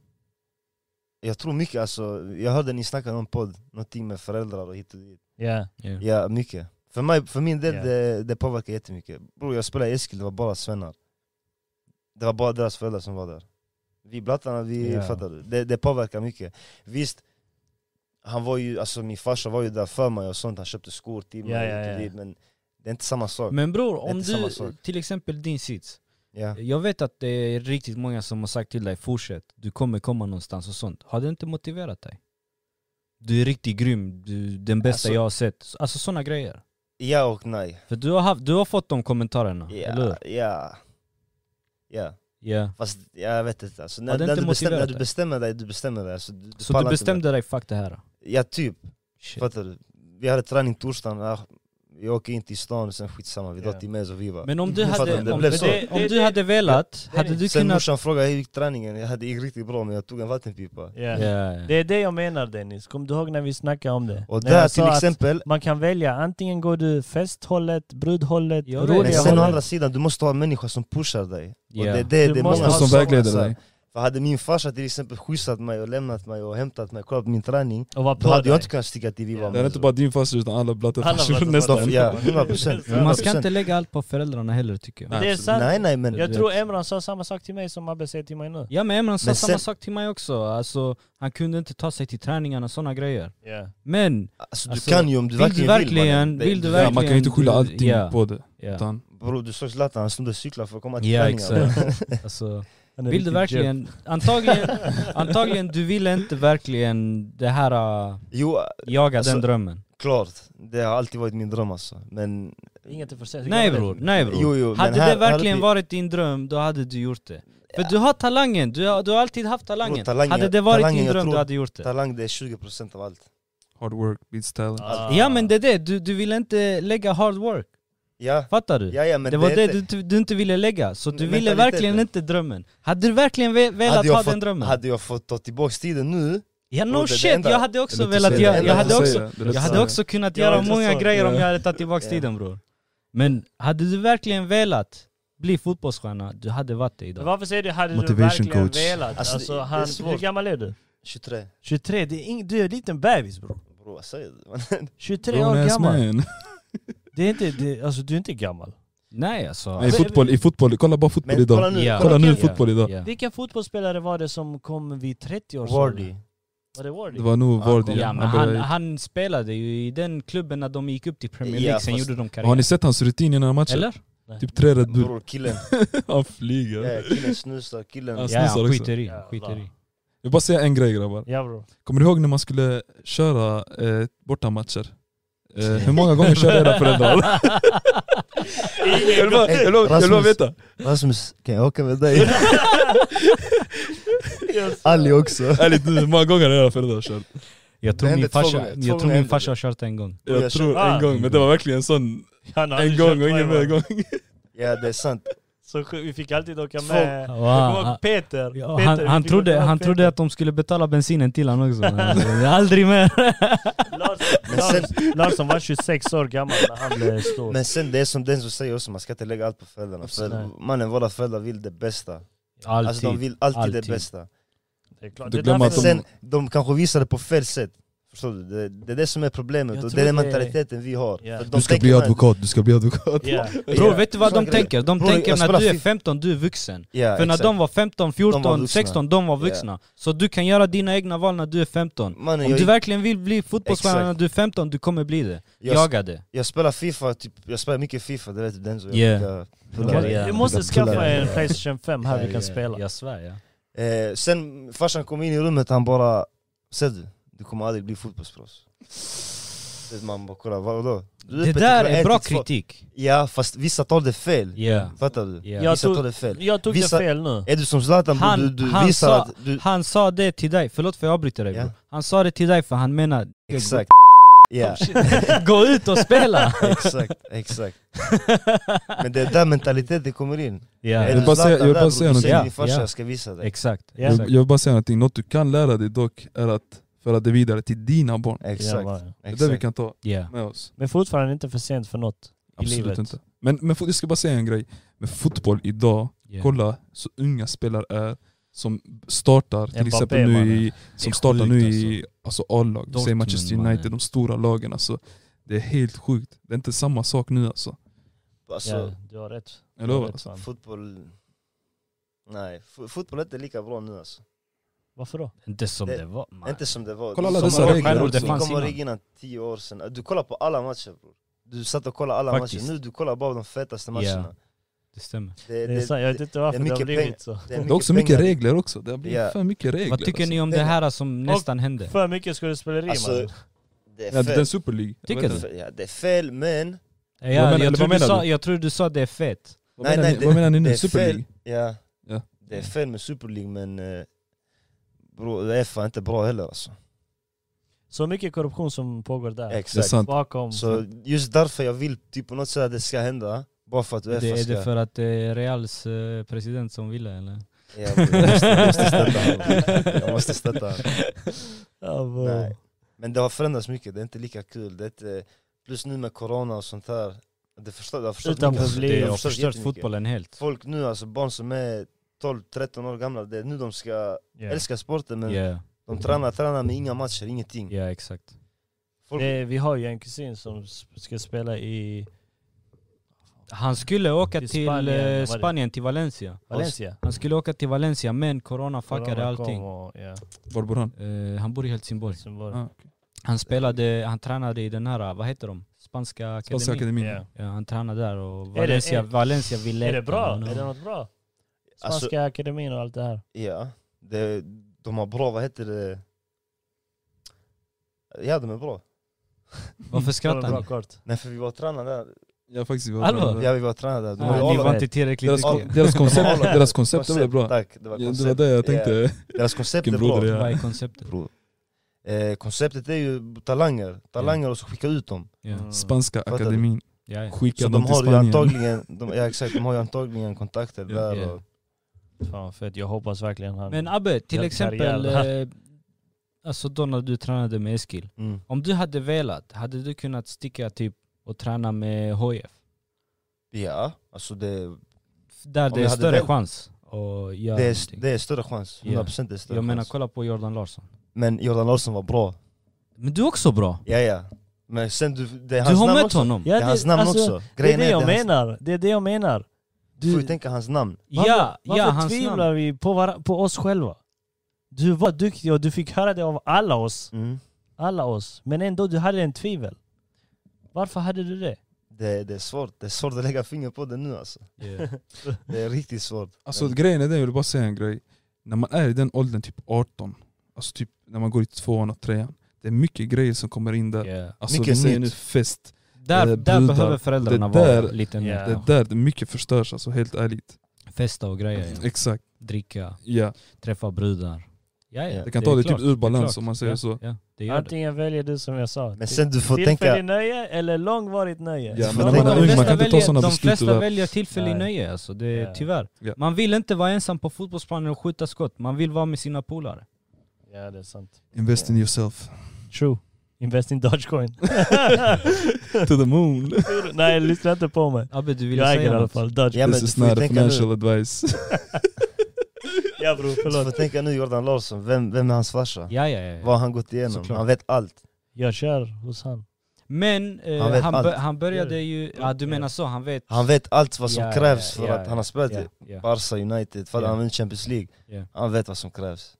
[SPEAKER 1] jag tror mycket alltså, jag hörde ni snacka någon podd, någonting med föräldrar och hit och dit.
[SPEAKER 3] ja.
[SPEAKER 4] Ja.
[SPEAKER 1] Ja, mycket. För, mig, för min del
[SPEAKER 3] Ja.
[SPEAKER 1] det, det påverkar jättemycket. Bror jag spelade i Eskil, det var bara svennar. Det var bara deras föräldrar som var där. Vi blattarna, vi
[SPEAKER 3] Ja.
[SPEAKER 1] fattar du. Det, det påverkar mycket. Visst, han var ju, alltså min farsa var ju där för mig och sånt, han köpte skor till mig
[SPEAKER 3] Ja, ja,
[SPEAKER 1] hit och
[SPEAKER 3] ja.
[SPEAKER 1] dit, men det är inte samma sak.
[SPEAKER 4] Men bror,
[SPEAKER 1] Det är
[SPEAKER 4] om
[SPEAKER 1] inte samma
[SPEAKER 4] du,
[SPEAKER 1] sak.
[SPEAKER 4] till exempel din sits.
[SPEAKER 1] ja.
[SPEAKER 4] Jag vet att det är riktigt många som har sagt till dig fortsätt, du kommer komma någonstans och sånt. Har det inte motiverat dig? Du är riktigt grym, du är den bästa
[SPEAKER 1] Alltså-
[SPEAKER 4] jag har sett. Alltså sådana grejer.
[SPEAKER 1] ja och nej.
[SPEAKER 4] För du har, haft, du har fått de kommentarerna, eller hur?
[SPEAKER 1] Ja, ja. Ja.
[SPEAKER 4] Ja.
[SPEAKER 1] Fast jag vet inte, alltså,
[SPEAKER 4] Ja,
[SPEAKER 1] när,
[SPEAKER 4] det är
[SPEAKER 1] när,
[SPEAKER 4] inte
[SPEAKER 1] du bestämmer, när
[SPEAKER 4] motiverat
[SPEAKER 1] du
[SPEAKER 4] dig.
[SPEAKER 1] bestämmer dig, du bestämmer dig. Alltså, du, du
[SPEAKER 4] Så
[SPEAKER 1] pallar
[SPEAKER 4] du
[SPEAKER 1] inte
[SPEAKER 4] bestämde dig, fuck det här.
[SPEAKER 1] mer. Ja typ,
[SPEAKER 4] Shit.
[SPEAKER 1] fattar du? Vi hade träning torsdagen, ah, jag åker in till stan, sen skitsamma, vi drar
[SPEAKER 3] Ja.
[SPEAKER 1] till Mez och vi bara.
[SPEAKER 4] Men om du
[SPEAKER 1] Jag fattar,
[SPEAKER 4] hade,
[SPEAKER 1] det
[SPEAKER 4] om,
[SPEAKER 1] blev
[SPEAKER 4] men
[SPEAKER 1] så.
[SPEAKER 4] det, om
[SPEAKER 3] Det-
[SPEAKER 4] du
[SPEAKER 3] det-
[SPEAKER 4] hade velat,
[SPEAKER 3] det-
[SPEAKER 4] hade du
[SPEAKER 1] Sen
[SPEAKER 4] kunnat...
[SPEAKER 1] morsan frågade hur gick träningen, jag hade det gick riktigt bra men jag tog en vattenpipa.
[SPEAKER 3] Ja.
[SPEAKER 4] Ja, ja.
[SPEAKER 3] Det är det jag menar Dennis, kom du ihåg när vi snackade om det?
[SPEAKER 1] Och
[SPEAKER 3] När jag
[SPEAKER 1] där
[SPEAKER 3] sa
[SPEAKER 1] till
[SPEAKER 3] att
[SPEAKER 1] exempel,
[SPEAKER 3] Man kan välja, antingen går du festhållet, brudhållet,
[SPEAKER 4] Ja,
[SPEAKER 3] roliga
[SPEAKER 1] men sen å andra
[SPEAKER 3] hållet.
[SPEAKER 1] sidan, du måste ha en människa som pushar dig. Och
[SPEAKER 4] Ja.
[SPEAKER 1] det, det,
[SPEAKER 3] Du
[SPEAKER 1] det är
[SPEAKER 3] måste
[SPEAKER 1] många
[SPEAKER 3] ha
[SPEAKER 2] Som
[SPEAKER 1] sådana,
[SPEAKER 2] vägleder
[SPEAKER 1] så här.
[SPEAKER 2] dig.
[SPEAKER 1] För hade min farsa till exempel skjutsat mig och lämnat mig och hämtat mig, kollat på min träning,
[SPEAKER 3] Och vara
[SPEAKER 1] då
[SPEAKER 3] på
[SPEAKER 1] hade
[SPEAKER 3] dig.
[SPEAKER 1] jag inte kunnat sticka till Viva
[SPEAKER 3] Ja.
[SPEAKER 2] Det är inte bara din farsa utan alla
[SPEAKER 3] Alla
[SPEAKER 2] blattefarsor
[SPEAKER 3] blattefarsor.
[SPEAKER 2] nästan.
[SPEAKER 1] Ja, 100%.
[SPEAKER 4] Men man ska
[SPEAKER 1] 100%.
[SPEAKER 4] inte lägga allt på föräldrarna heller tycker jag.
[SPEAKER 2] Nej.
[SPEAKER 3] Det är
[SPEAKER 2] absolut.
[SPEAKER 3] sant.
[SPEAKER 1] Mm. Nej nej men
[SPEAKER 3] Jag tror Emran sa samma sak till mig som Abbe säger till mig nu.
[SPEAKER 4] Ja men Emran sa
[SPEAKER 1] Men
[SPEAKER 4] samma
[SPEAKER 1] sen-
[SPEAKER 4] sak till mig också, alltså, han kunde inte ta sig till träningarna och sådana grejer. Men
[SPEAKER 1] Alltså,
[SPEAKER 4] Alltså,
[SPEAKER 1] du kan ju om du
[SPEAKER 4] vill du
[SPEAKER 1] verkligen vill.
[SPEAKER 4] verkligen-
[SPEAKER 1] mannen. Det-
[SPEAKER 4] vill du
[SPEAKER 2] Ja, man kan ju inte skylla
[SPEAKER 4] Verkligen.
[SPEAKER 2] allting
[SPEAKER 4] Ja.
[SPEAKER 2] på det.
[SPEAKER 4] Ja,
[SPEAKER 2] Utan,
[SPEAKER 1] Bro, du såg Zlatan, han stod och cyklade för att komma till
[SPEAKER 4] ja
[SPEAKER 1] träningar.
[SPEAKER 4] exakt. alltså, vill du verkligen, antagligen, antagligen du ville inte verkligen det här, äh,
[SPEAKER 1] Jo,
[SPEAKER 4] jaga
[SPEAKER 1] Alltså,
[SPEAKER 4] den drömmen.
[SPEAKER 1] klart. Det har alltid varit min dröm alltså. Men,
[SPEAKER 3] Inget är för sent.
[SPEAKER 4] Nej bror, nej bror.
[SPEAKER 1] jo, jo,
[SPEAKER 4] hade
[SPEAKER 1] men här,
[SPEAKER 4] det verkligen
[SPEAKER 1] här,
[SPEAKER 4] varit din dröm, då hade du gjort det. För du har talangen, du har, du har alltid haft talangen.
[SPEAKER 1] Bror, talangen-
[SPEAKER 4] hade det varit
[SPEAKER 1] talangen,
[SPEAKER 4] din
[SPEAKER 1] jag
[SPEAKER 4] dröm,
[SPEAKER 1] tror-
[SPEAKER 4] du hade gjort det.
[SPEAKER 1] Talang det är 20% av allt.
[SPEAKER 2] hard work beats talent.
[SPEAKER 1] Alltså,
[SPEAKER 3] Ah.
[SPEAKER 4] Ja men det är det, du, du ville inte lägga hard work.
[SPEAKER 1] Ja,
[SPEAKER 4] Fattar du?
[SPEAKER 1] ja, ja men
[SPEAKER 4] det var det,
[SPEAKER 1] inte-
[SPEAKER 4] du, inte- du inte ville lägga, så du ville
[SPEAKER 1] Mentaliteten.
[SPEAKER 4] verkligen inte drömmen. Hade du verkligen ve- velat
[SPEAKER 1] hade jag
[SPEAKER 4] ha
[SPEAKER 1] fått-
[SPEAKER 4] den drömmen?
[SPEAKER 1] Hade jag fått ta tillbaks tiden nu,
[SPEAKER 4] Ja no
[SPEAKER 1] Bror, det är det
[SPEAKER 4] shit,
[SPEAKER 1] enda-
[SPEAKER 4] jag hade
[SPEAKER 2] Det
[SPEAKER 4] också
[SPEAKER 2] är lätt att
[SPEAKER 4] velat
[SPEAKER 2] säga.
[SPEAKER 4] göra,
[SPEAKER 1] Det är
[SPEAKER 4] jag
[SPEAKER 1] lätt
[SPEAKER 4] hade
[SPEAKER 1] att
[SPEAKER 4] också,
[SPEAKER 2] säga. Det är lätt
[SPEAKER 4] jag
[SPEAKER 2] att
[SPEAKER 4] hade
[SPEAKER 2] säga.
[SPEAKER 4] också kunnat
[SPEAKER 1] Jag
[SPEAKER 4] göra
[SPEAKER 1] vet, jag
[SPEAKER 4] många
[SPEAKER 1] sa-
[SPEAKER 4] grejer om
[SPEAKER 2] ja.
[SPEAKER 4] jag hade tagit tillbaks
[SPEAKER 1] Ja.
[SPEAKER 4] tiden bror. Men hade du verkligen velat bli fotbollsstjärna, du hade varit det idag.
[SPEAKER 3] Varför säger du hade du
[SPEAKER 5] Motivation
[SPEAKER 3] verkligen
[SPEAKER 5] coach.
[SPEAKER 3] velat?
[SPEAKER 1] Alltså,
[SPEAKER 3] Alltså,
[SPEAKER 1] det- det är
[SPEAKER 3] han,
[SPEAKER 1] svårt.
[SPEAKER 3] hur gammal är du?
[SPEAKER 1] 23.
[SPEAKER 3] 23, det är ing, du är en liten bebis bror.
[SPEAKER 1] Bro, vad säger du? man?
[SPEAKER 3] 23
[SPEAKER 2] Grown
[SPEAKER 3] år
[SPEAKER 2] ass
[SPEAKER 3] gammal.
[SPEAKER 2] man.
[SPEAKER 3] Det är inte, det, alltså du är inte gammal.
[SPEAKER 4] Nej alltså.
[SPEAKER 2] Nej, i fotboll, i fotboll, kolla bara fotboll
[SPEAKER 1] Men kolla
[SPEAKER 2] idag.
[SPEAKER 1] nu,
[SPEAKER 4] Ja.
[SPEAKER 2] Kolla nu i
[SPEAKER 4] Ja,
[SPEAKER 2] fotboll idag.
[SPEAKER 4] ja.
[SPEAKER 3] Vilken fotbollsspelare var det som kom vid 30 års
[SPEAKER 1] Wardy.
[SPEAKER 3] Var det Wardy?
[SPEAKER 2] Det var nog
[SPEAKER 1] Ja,
[SPEAKER 2] Vardy.
[SPEAKER 1] kolla.
[SPEAKER 4] Ja, men
[SPEAKER 2] Han
[SPEAKER 4] han,
[SPEAKER 2] började-
[SPEAKER 4] han spelade ju i den klubben när de gick upp till Premier
[SPEAKER 1] Ja,
[SPEAKER 4] League, sen
[SPEAKER 1] fast-
[SPEAKER 4] gjorde de
[SPEAKER 2] Har ni
[SPEAKER 4] karriär.
[SPEAKER 2] sett hans rutin innan matchen?
[SPEAKER 4] Eller?
[SPEAKER 2] Typ tre Red Bull.
[SPEAKER 1] Bror, killen,
[SPEAKER 2] Han
[SPEAKER 1] ja,
[SPEAKER 2] flyger.
[SPEAKER 1] killen snusar, killen...
[SPEAKER 2] Han
[SPEAKER 4] Ja,
[SPEAKER 2] snusar
[SPEAKER 4] han
[SPEAKER 2] också.
[SPEAKER 4] skiter i,
[SPEAKER 3] Jävlar.
[SPEAKER 4] skiter i.
[SPEAKER 2] Jag vill bara säga en grej grabbar.
[SPEAKER 3] Ja bror.
[SPEAKER 2] Kommer du ihåg när man skulle köra eh, bortamatcher? Eh, hur många gånger körde era föräldrar? jag vill bara, jag vill, bara- jag vill bara veta.
[SPEAKER 1] Rasmus, kan jag åka med dig? Ali också.
[SPEAKER 2] Ärligt nu, hur många gånger har era föräldrar kört?
[SPEAKER 4] Jag tror
[SPEAKER 1] Det
[SPEAKER 4] min
[SPEAKER 1] hände två
[SPEAKER 4] farsa,
[SPEAKER 1] gånger, två
[SPEAKER 4] jag tror
[SPEAKER 1] gånger
[SPEAKER 4] min
[SPEAKER 1] hände
[SPEAKER 4] farsa har kört en gång.
[SPEAKER 1] Jag
[SPEAKER 2] Jag tror
[SPEAKER 3] kör-
[SPEAKER 2] en gång, men det var verkligen en sån
[SPEAKER 3] Han har
[SPEAKER 2] en
[SPEAKER 3] aldrig
[SPEAKER 2] gång
[SPEAKER 3] kört
[SPEAKER 2] och ingen
[SPEAKER 3] varje
[SPEAKER 2] mer
[SPEAKER 3] gång.
[SPEAKER 2] gång.
[SPEAKER 1] Ja det är sant.
[SPEAKER 3] Så sjukt, vi fick alltid åka
[SPEAKER 1] Två.
[SPEAKER 3] med.
[SPEAKER 4] Ja,
[SPEAKER 3] Jag kommer
[SPEAKER 4] han-
[SPEAKER 3] ihåg Peter.
[SPEAKER 4] Ja,
[SPEAKER 3] Peter,
[SPEAKER 4] han,
[SPEAKER 3] vi
[SPEAKER 4] han,
[SPEAKER 3] fick
[SPEAKER 4] trodde,
[SPEAKER 3] åka med
[SPEAKER 4] han
[SPEAKER 3] Peter.
[SPEAKER 4] trodde att de skulle betala bensinen till honom också. men alltså, Aldrig mer.
[SPEAKER 1] Alltså,
[SPEAKER 3] Lars,
[SPEAKER 1] Men
[SPEAKER 3] Lars,
[SPEAKER 1] sen,
[SPEAKER 3] Larsson var 26 år gammal när han blev stor.
[SPEAKER 1] men sen det är som den som säger också, man ska inte lägga allt på föräldrarna.
[SPEAKER 3] Nej.
[SPEAKER 1] För mannen, våra föräldrar vill det bästa.
[SPEAKER 4] Alltid.
[SPEAKER 1] Alltså de vill Alltså, alltid,
[SPEAKER 4] alltid.
[SPEAKER 1] det bästa.
[SPEAKER 3] det är klart.
[SPEAKER 2] Du
[SPEAKER 3] Det är
[SPEAKER 2] glömmer
[SPEAKER 1] Men
[SPEAKER 2] att
[SPEAKER 3] därför-
[SPEAKER 1] sen, de kanske visar det på fel sätt. Förstår du? Det, det är det som är problemet
[SPEAKER 3] Jag
[SPEAKER 1] och
[SPEAKER 3] tror
[SPEAKER 1] det är den
[SPEAKER 3] det-
[SPEAKER 1] mentaliteten vi har.
[SPEAKER 3] Ja.
[SPEAKER 1] För att de
[SPEAKER 5] Du ska
[SPEAKER 1] tänker
[SPEAKER 5] bli
[SPEAKER 1] med-
[SPEAKER 5] advokat, du ska bli advokat.
[SPEAKER 3] Ja.
[SPEAKER 4] Bror vet du vad de
[SPEAKER 1] Sådana grejer.
[SPEAKER 4] tänker? De
[SPEAKER 1] Bror,
[SPEAKER 4] tänker
[SPEAKER 1] jag
[SPEAKER 4] när
[SPEAKER 1] spelar
[SPEAKER 4] du är
[SPEAKER 1] fi-
[SPEAKER 4] 15, du är vuxen.
[SPEAKER 1] Ja,
[SPEAKER 4] För när
[SPEAKER 1] exakt.
[SPEAKER 4] de var 15, 14,
[SPEAKER 1] De var vuxna.
[SPEAKER 4] 16, de var
[SPEAKER 1] Ja.
[SPEAKER 4] vuxna. Så du kan göra dina egna val när du är 15.
[SPEAKER 1] Mannen,
[SPEAKER 4] Om
[SPEAKER 1] jag,
[SPEAKER 4] du verkligen vill bli fotbollsstjärna
[SPEAKER 1] Exakt.
[SPEAKER 4] när du är 15, du kommer bli det.
[SPEAKER 1] jag,
[SPEAKER 4] Jaga det.
[SPEAKER 1] jag spelar Fifa, typ, jag spelar mycket Fifa, det vet Denzo.
[SPEAKER 4] Yeah.
[SPEAKER 1] Jag,
[SPEAKER 4] Ja,
[SPEAKER 1] jag,
[SPEAKER 4] ja.
[SPEAKER 3] Du måste skaffa en
[SPEAKER 1] Ja.
[SPEAKER 3] Playstation 5 här vi kan spela.
[SPEAKER 4] Jag svär ja.
[SPEAKER 1] Eh, sen farsan kom in i rummet, han bara Ser du, du kommer aldrig bli fotbollsproffs. Det Man bara kolla, vadå? Du
[SPEAKER 4] Det
[SPEAKER 1] på
[SPEAKER 4] där
[SPEAKER 1] klockan
[SPEAKER 4] är
[SPEAKER 1] ett
[SPEAKER 4] bra
[SPEAKER 1] till två.
[SPEAKER 4] kritik.
[SPEAKER 1] Ja fast vissa tar det fel,
[SPEAKER 4] Ja.
[SPEAKER 1] fattar du?
[SPEAKER 4] Ja.
[SPEAKER 3] Jag
[SPEAKER 1] Vissa
[SPEAKER 3] tog-
[SPEAKER 1] tar det fel.
[SPEAKER 3] Jag tog det
[SPEAKER 1] Vissa-
[SPEAKER 3] fel nu.
[SPEAKER 1] Är du som Zlatan bror,
[SPEAKER 4] Han-
[SPEAKER 1] du, du
[SPEAKER 4] han
[SPEAKER 1] visar
[SPEAKER 4] sa-
[SPEAKER 1] att du...
[SPEAKER 4] Han sa det till dig, förlåt för jag avbryter dig
[SPEAKER 1] Ja.
[SPEAKER 4] bror. Han sa det till dig för han menar
[SPEAKER 1] Exakt.
[SPEAKER 2] Oh,
[SPEAKER 1] Ja,
[SPEAKER 4] gå ut och spela!
[SPEAKER 1] exakt, exakt. Men det är där mentaliteten kommer in. Är
[SPEAKER 4] ja.
[SPEAKER 2] vill
[SPEAKER 1] du
[SPEAKER 2] bara säga- jag vill bara
[SPEAKER 1] bror,
[SPEAKER 2] säga
[SPEAKER 1] du säger din
[SPEAKER 4] någonting.
[SPEAKER 1] farsa,
[SPEAKER 4] Ja.
[SPEAKER 1] jag ska visa dig.
[SPEAKER 4] Exakt.
[SPEAKER 3] Ja.
[SPEAKER 4] exakt.
[SPEAKER 2] Jag, jag vill bara säga någonting, något du kan lära dig dock är att föra det vidare till dina barn.
[SPEAKER 1] Exakt,
[SPEAKER 3] Grabbar.
[SPEAKER 2] Det är det vi
[SPEAKER 1] exakt.
[SPEAKER 2] kan ta
[SPEAKER 4] Ja.
[SPEAKER 2] med oss.
[SPEAKER 3] Men fortfarande inte för sent för något i
[SPEAKER 2] Absolut
[SPEAKER 3] livet.
[SPEAKER 2] inte. Men, men fo- jag ska bara säga en grej. Med fotboll idag,
[SPEAKER 4] Ja.
[SPEAKER 2] kolla så unga spelare är som startar till
[SPEAKER 3] Mbappé,
[SPEAKER 2] exempel nu
[SPEAKER 3] mannen.
[SPEAKER 2] i, som
[SPEAKER 4] Det är
[SPEAKER 2] startar nu
[SPEAKER 4] sjukt,
[SPEAKER 2] i alltså A-lag, säg
[SPEAKER 4] Dortmund,
[SPEAKER 2] Manchester
[SPEAKER 4] mannen.
[SPEAKER 2] United, de stora lagen alltså. Det är helt sjukt. Det är inte samma sak nu alltså.
[SPEAKER 1] Alltså,
[SPEAKER 3] Ja, du har rätt.
[SPEAKER 2] Jag
[SPEAKER 3] Du har
[SPEAKER 2] lovar,
[SPEAKER 3] rätt,
[SPEAKER 2] alltså.
[SPEAKER 3] fan.
[SPEAKER 1] fotboll... Nej, fo- fotboll är inte lika bra nu alltså.
[SPEAKER 3] Varför då?
[SPEAKER 4] Inte som det,
[SPEAKER 1] Det-
[SPEAKER 4] var. man.
[SPEAKER 1] Inte som det var.
[SPEAKER 2] Kolla alla
[SPEAKER 1] Som
[SPEAKER 2] dessa
[SPEAKER 1] det var-
[SPEAKER 2] regler
[SPEAKER 1] men
[SPEAKER 2] också.
[SPEAKER 1] Det fanns innan. innan tio år sedan. Du kollar på alla matcher bror. Du satt och kollade alla
[SPEAKER 4] Faktiskt.
[SPEAKER 1] matcher. Nu du kollar bara de fetaste matcherna.
[SPEAKER 4] Ja. Det stämmer.
[SPEAKER 1] Det,
[SPEAKER 3] Det är sant, jag vet inte varför
[SPEAKER 1] det är
[SPEAKER 3] det har
[SPEAKER 1] mycket
[SPEAKER 3] blivit så.
[SPEAKER 1] det är
[SPEAKER 2] Det är också mycket
[SPEAKER 1] pengar.
[SPEAKER 2] regler också. Det har blivit
[SPEAKER 1] Ja.
[SPEAKER 2] för mycket regler.
[SPEAKER 4] Vad tycker
[SPEAKER 2] alltså.
[SPEAKER 4] ni om det här som nästan hände?
[SPEAKER 3] För mycket skådespeleri
[SPEAKER 1] Alltså,
[SPEAKER 3] mannen.
[SPEAKER 1] Det
[SPEAKER 2] Ja,
[SPEAKER 1] är
[SPEAKER 2] det är en
[SPEAKER 1] fel.
[SPEAKER 2] Super League. Jag
[SPEAKER 4] Tycker
[SPEAKER 2] vet
[SPEAKER 4] du?
[SPEAKER 2] inte.
[SPEAKER 1] Fel- Ja, det är fel men...
[SPEAKER 4] Ja,
[SPEAKER 2] menar-
[SPEAKER 4] jag,
[SPEAKER 2] eller
[SPEAKER 4] tror
[SPEAKER 2] vad
[SPEAKER 4] du
[SPEAKER 2] menar
[SPEAKER 4] sa,
[SPEAKER 2] du?
[SPEAKER 4] jag tror du sa det är fett.
[SPEAKER 2] Vad
[SPEAKER 1] Nej,
[SPEAKER 2] menar
[SPEAKER 1] nej,
[SPEAKER 2] ni-
[SPEAKER 1] det-
[SPEAKER 2] Vad menar ni
[SPEAKER 1] det
[SPEAKER 2] nu?
[SPEAKER 1] är
[SPEAKER 2] Super
[SPEAKER 1] fel.
[SPEAKER 2] League?
[SPEAKER 1] Ja.
[SPEAKER 2] Ja.
[SPEAKER 1] Det är fel med Super League men... Eh, bror, det är fan inte bra heller alltså.
[SPEAKER 3] Så mycket korruption som pågår där.
[SPEAKER 2] Det är
[SPEAKER 1] Exakt.
[SPEAKER 2] sant.
[SPEAKER 3] Bakom.
[SPEAKER 1] Så just därför jag vill typ på något sätt att det ska hända. Bara för att
[SPEAKER 4] Det,
[SPEAKER 1] Uefa
[SPEAKER 4] är
[SPEAKER 1] ska...
[SPEAKER 4] det för att det är Reals eh, president som ville eller?
[SPEAKER 1] Ja, bror, jag måste, jag måste stötta honom. Jag måste stötta honom.
[SPEAKER 3] Ja, vad-
[SPEAKER 1] Nej. Men det har förändrats mycket, det är inte lika kul. Det är inte, plus nu med corona och sånt här. Det, förstör, det har förstört
[SPEAKER 3] Utan
[SPEAKER 1] mycket.
[SPEAKER 3] publik.
[SPEAKER 1] Det
[SPEAKER 4] Det
[SPEAKER 1] har
[SPEAKER 4] har
[SPEAKER 1] förstört
[SPEAKER 4] förstört
[SPEAKER 1] jättemycket.
[SPEAKER 4] fotbollen helt.
[SPEAKER 1] Folk nu, alltså barn som är 12-13 år gamla, det är nu de ska
[SPEAKER 3] Ja.
[SPEAKER 1] älska sporten men
[SPEAKER 4] Ja,
[SPEAKER 1] de tränar, tränar med inga matcher, ingenting.
[SPEAKER 4] ja exakt.
[SPEAKER 1] Folk,
[SPEAKER 3] Det, vi har ju en kusin som s- ska spela i
[SPEAKER 4] Han skulle åka
[SPEAKER 3] Till
[SPEAKER 4] till
[SPEAKER 3] Spanien, var det?
[SPEAKER 4] Spanien, Spanien till Valencia.
[SPEAKER 3] Valencia.
[SPEAKER 4] Han skulle åka till Valencia men corona fuckade
[SPEAKER 3] Corona kom
[SPEAKER 4] allting.
[SPEAKER 3] Och, ja,
[SPEAKER 2] Var bor han?
[SPEAKER 4] Eh, han bor i Helsingborg.
[SPEAKER 3] Helsingborg.
[SPEAKER 2] Ah, okej.
[SPEAKER 4] Han spelade, han tränade i den här, vad heter de? Spanska akademin.
[SPEAKER 2] Spanska akademin.
[SPEAKER 3] Ja.
[SPEAKER 4] Ja, han tränade där och
[SPEAKER 3] det-
[SPEAKER 4] Valencia,
[SPEAKER 3] är-
[SPEAKER 4] Valencia ville...
[SPEAKER 3] Är det bra? Är det något bra? Spanska
[SPEAKER 1] Alltså-
[SPEAKER 3] akademin och allt det här.
[SPEAKER 1] ja, det, de har bra, vad heter det? Ja de är bra.
[SPEAKER 4] Varför
[SPEAKER 3] Kolla
[SPEAKER 4] skrattar
[SPEAKER 3] bra
[SPEAKER 4] ni?
[SPEAKER 3] kort.
[SPEAKER 1] Nej för vi var och tränade där.
[SPEAKER 2] Jag har faktiskt
[SPEAKER 4] Allvar?
[SPEAKER 2] varit
[SPEAKER 1] Ja vi var och tränade där. De har ju
[SPEAKER 4] Ah, ni
[SPEAKER 1] alla-
[SPEAKER 4] var inte tillräckligt
[SPEAKER 2] Deras,
[SPEAKER 4] duktiga.
[SPEAKER 2] kon- deras koncept,
[SPEAKER 1] Alla-
[SPEAKER 2] deras koncept är väl bra?
[SPEAKER 1] Tack, det var
[SPEAKER 2] Ja,
[SPEAKER 1] koncept.
[SPEAKER 2] det var det jag
[SPEAKER 1] Ja,
[SPEAKER 2] tänkte.
[SPEAKER 1] Deras koncept är
[SPEAKER 2] Vilken
[SPEAKER 1] bra.
[SPEAKER 2] broder det
[SPEAKER 4] Vad
[SPEAKER 2] är.
[SPEAKER 4] är konceptet?
[SPEAKER 1] bror. Eh, konceptet är ju talanger, talanger och så skicka ut dem.
[SPEAKER 4] Ja.
[SPEAKER 3] Mm.
[SPEAKER 2] Spanska
[SPEAKER 1] Mm. Fattar du?
[SPEAKER 2] akademin.
[SPEAKER 4] Ja, ja.
[SPEAKER 2] Skicka
[SPEAKER 1] Så
[SPEAKER 2] dem
[SPEAKER 1] de
[SPEAKER 2] till
[SPEAKER 1] har ju
[SPEAKER 2] Spanien.
[SPEAKER 1] antagligen, de, ja, exakt, de har ju antagligen kontakter
[SPEAKER 2] Ja.
[SPEAKER 1] där.
[SPEAKER 4] Ja.
[SPEAKER 1] Och,
[SPEAKER 3] Fan fett, jag hoppas verkligen han...
[SPEAKER 4] Men Abbe, till
[SPEAKER 3] Ja,
[SPEAKER 4] exempel,
[SPEAKER 3] karriär.
[SPEAKER 4] eh, alltså då när du tränade med Eskil.
[SPEAKER 1] mm.
[SPEAKER 4] Om du hade velat, hade du kunnat sticka typ och träna med HIF?
[SPEAKER 1] Ja, alltså det,
[SPEAKER 4] Där
[SPEAKER 1] Om
[SPEAKER 4] det
[SPEAKER 1] jag
[SPEAKER 4] är
[SPEAKER 1] hade
[SPEAKER 4] större
[SPEAKER 1] velat.
[SPEAKER 4] chans att göra
[SPEAKER 1] det,
[SPEAKER 4] någonting.
[SPEAKER 1] är, det är större chans.
[SPEAKER 4] Ja.
[SPEAKER 1] 100% det är större
[SPEAKER 4] Jag menar
[SPEAKER 1] chans.
[SPEAKER 4] kolla på Jordan Larsson.
[SPEAKER 1] Men Jordan Larsson var bra.
[SPEAKER 4] Men du är också bra.
[SPEAKER 1] Ja, ja. Men sen du, det är
[SPEAKER 4] Du
[SPEAKER 1] hans
[SPEAKER 4] har
[SPEAKER 1] namn
[SPEAKER 4] mött
[SPEAKER 1] också.
[SPEAKER 4] honom.
[SPEAKER 3] ja,
[SPEAKER 1] Det är hans namn
[SPEAKER 3] alltså,
[SPEAKER 1] också.
[SPEAKER 3] Det är
[SPEAKER 1] Grejen
[SPEAKER 3] det jag
[SPEAKER 1] hans-
[SPEAKER 3] menar. Det är det jag menar.
[SPEAKER 1] Du får ju tänka hans namn.
[SPEAKER 4] Ja,
[SPEAKER 3] Varför
[SPEAKER 4] ja hans
[SPEAKER 3] tvivlar
[SPEAKER 4] namn.
[SPEAKER 3] vi på, vara- på oss själva? Du var duktig och du fick höra det av alla oss.
[SPEAKER 1] Mm.
[SPEAKER 3] Alla oss. Men ändå, du hade en tvivel. Varför hade du det?
[SPEAKER 1] Det, det är svårt, det är svårt att lägga finger på det nu alltså. Det är riktigt svårt.
[SPEAKER 2] Alltså grejen är den, jag vill bara säga en grej. När man är i den åldern, typ 18, alltså typ när man går i tvåan och trean, det är mycket grejer som kommer in där.
[SPEAKER 4] Ja.
[SPEAKER 2] Alltså
[SPEAKER 1] Mycket
[SPEAKER 2] vi säger
[SPEAKER 1] nytt.
[SPEAKER 2] nu fest, Eh,
[SPEAKER 4] Där, där
[SPEAKER 2] brudar.
[SPEAKER 4] behöver föräldrarna
[SPEAKER 2] Det
[SPEAKER 4] vara
[SPEAKER 2] där-
[SPEAKER 4] lite
[SPEAKER 3] Ja.
[SPEAKER 4] mer.
[SPEAKER 2] det är där det mycket förstörs alltså helt ärligt.
[SPEAKER 4] Festa och grejer. Ja.
[SPEAKER 2] Exakt,
[SPEAKER 4] Dricka,
[SPEAKER 2] ja.
[SPEAKER 4] träffa brudar. Ja, ja.
[SPEAKER 2] Det kan ta
[SPEAKER 4] är
[SPEAKER 2] dig typ
[SPEAKER 4] klart.
[SPEAKER 2] ur
[SPEAKER 4] klart.
[SPEAKER 2] balans om man säger
[SPEAKER 4] ja.
[SPEAKER 2] så.
[SPEAKER 4] Ja, det gör det.
[SPEAKER 3] Antingen väljer du som jag sa.
[SPEAKER 1] Men sen du får
[SPEAKER 3] tillfälligt
[SPEAKER 1] tänka...
[SPEAKER 3] nöje eller långvarigt nöje.
[SPEAKER 1] men när
[SPEAKER 2] Ja,
[SPEAKER 4] Tänk
[SPEAKER 1] man är
[SPEAKER 4] de
[SPEAKER 1] ung, man
[SPEAKER 4] flesta
[SPEAKER 2] kan inte ta
[SPEAKER 4] väljer-
[SPEAKER 2] såna
[SPEAKER 4] De
[SPEAKER 2] beslut
[SPEAKER 4] flesta
[SPEAKER 2] tyvärr.
[SPEAKER 4] väljer tillfällig
[SPEAKER 3] Nej.
[SPEAKER 4] nöje alltså, det är
[SPEAKER 3] Ja.
[SPEAKER 4] tyvärr.
[SPEAKER 2] Ja.
[SPEAKER 4] Man vill inte vara ensam på fotbollsplanen och skjuta skott, man vill vara med sina polare.
[SPEAKER 3] ja, det är sant.
[SPEAKER 5] Invest in yourself.
[SPEAKER 3] True. Invest in Dogecoin.
[SPEAKER 2] To the moon!
[SPEAKER 3] Nej, lyssna inte på mig.
[SPEAKER 4] Abbe du vill
[SPEAKER 3] Jag äger i
[SPEAKER 4] säga
[SPEAKER 3] alla
[SPEAKER 4] något?
[SPEAKER 3] fall Dogecoin.
[SPEAKER 1] Ja, men
[SPEAKER 2] This
[SPEAKER 1] du
[SPEAKER 2] is
[SPEAKER 1] får ju
[SPEAKER 2] not a
[SPEAKER 1] tänka nu.
[SPEAKER 2] financial advice.
[SPEAKER 3] Ja bror,
[SPEAKER 1] Så får
[SPEAKER 3] förlåt.
[SPEAKER 1] tänka nu Jordan Larsson, vem, vem är hans farsa?
[SPEAKER 4] Ja, ja, ja.
[SPEAKER 1] Vad har han gått igenom?
[SPEAKER 4] Såklart.
[SPEAKER 1] Han vet allt.
[SPEAKER 3] Jag kör hos han.
[SPEAKER 4] Men eh,
[SPEAKER 1] Han
[SPEAKER 4] han,
[SPEAKER 1] vet
[SPEAKER 4] han,
[SPEAKER 1] allt.
[SPEAKER 4] bö- han började ju, ja du menar så, han vet.
[SPEAKER 1] Han vet typ. allt vad som
[SPEAKER 4] Ja,
[SPEAKER 1] krävs
[SPEAKER 4] ja,
[SPEAKER 1] för
[SPEAKER 4] ja,
[SPEAKER 1] att han har spelat
[SPEAKER 4] ja,
[SPEAKER 1] i
[SPEAKER 4] ja.
[SPEAKER 1] Barca, United, för att
[SPEAKER 4] Ja.
[SPEAKER 1] han vunnit Champions League.
[SPEAKER 4] Ja.
[SPEAKER 1] Han vet vad som krävs.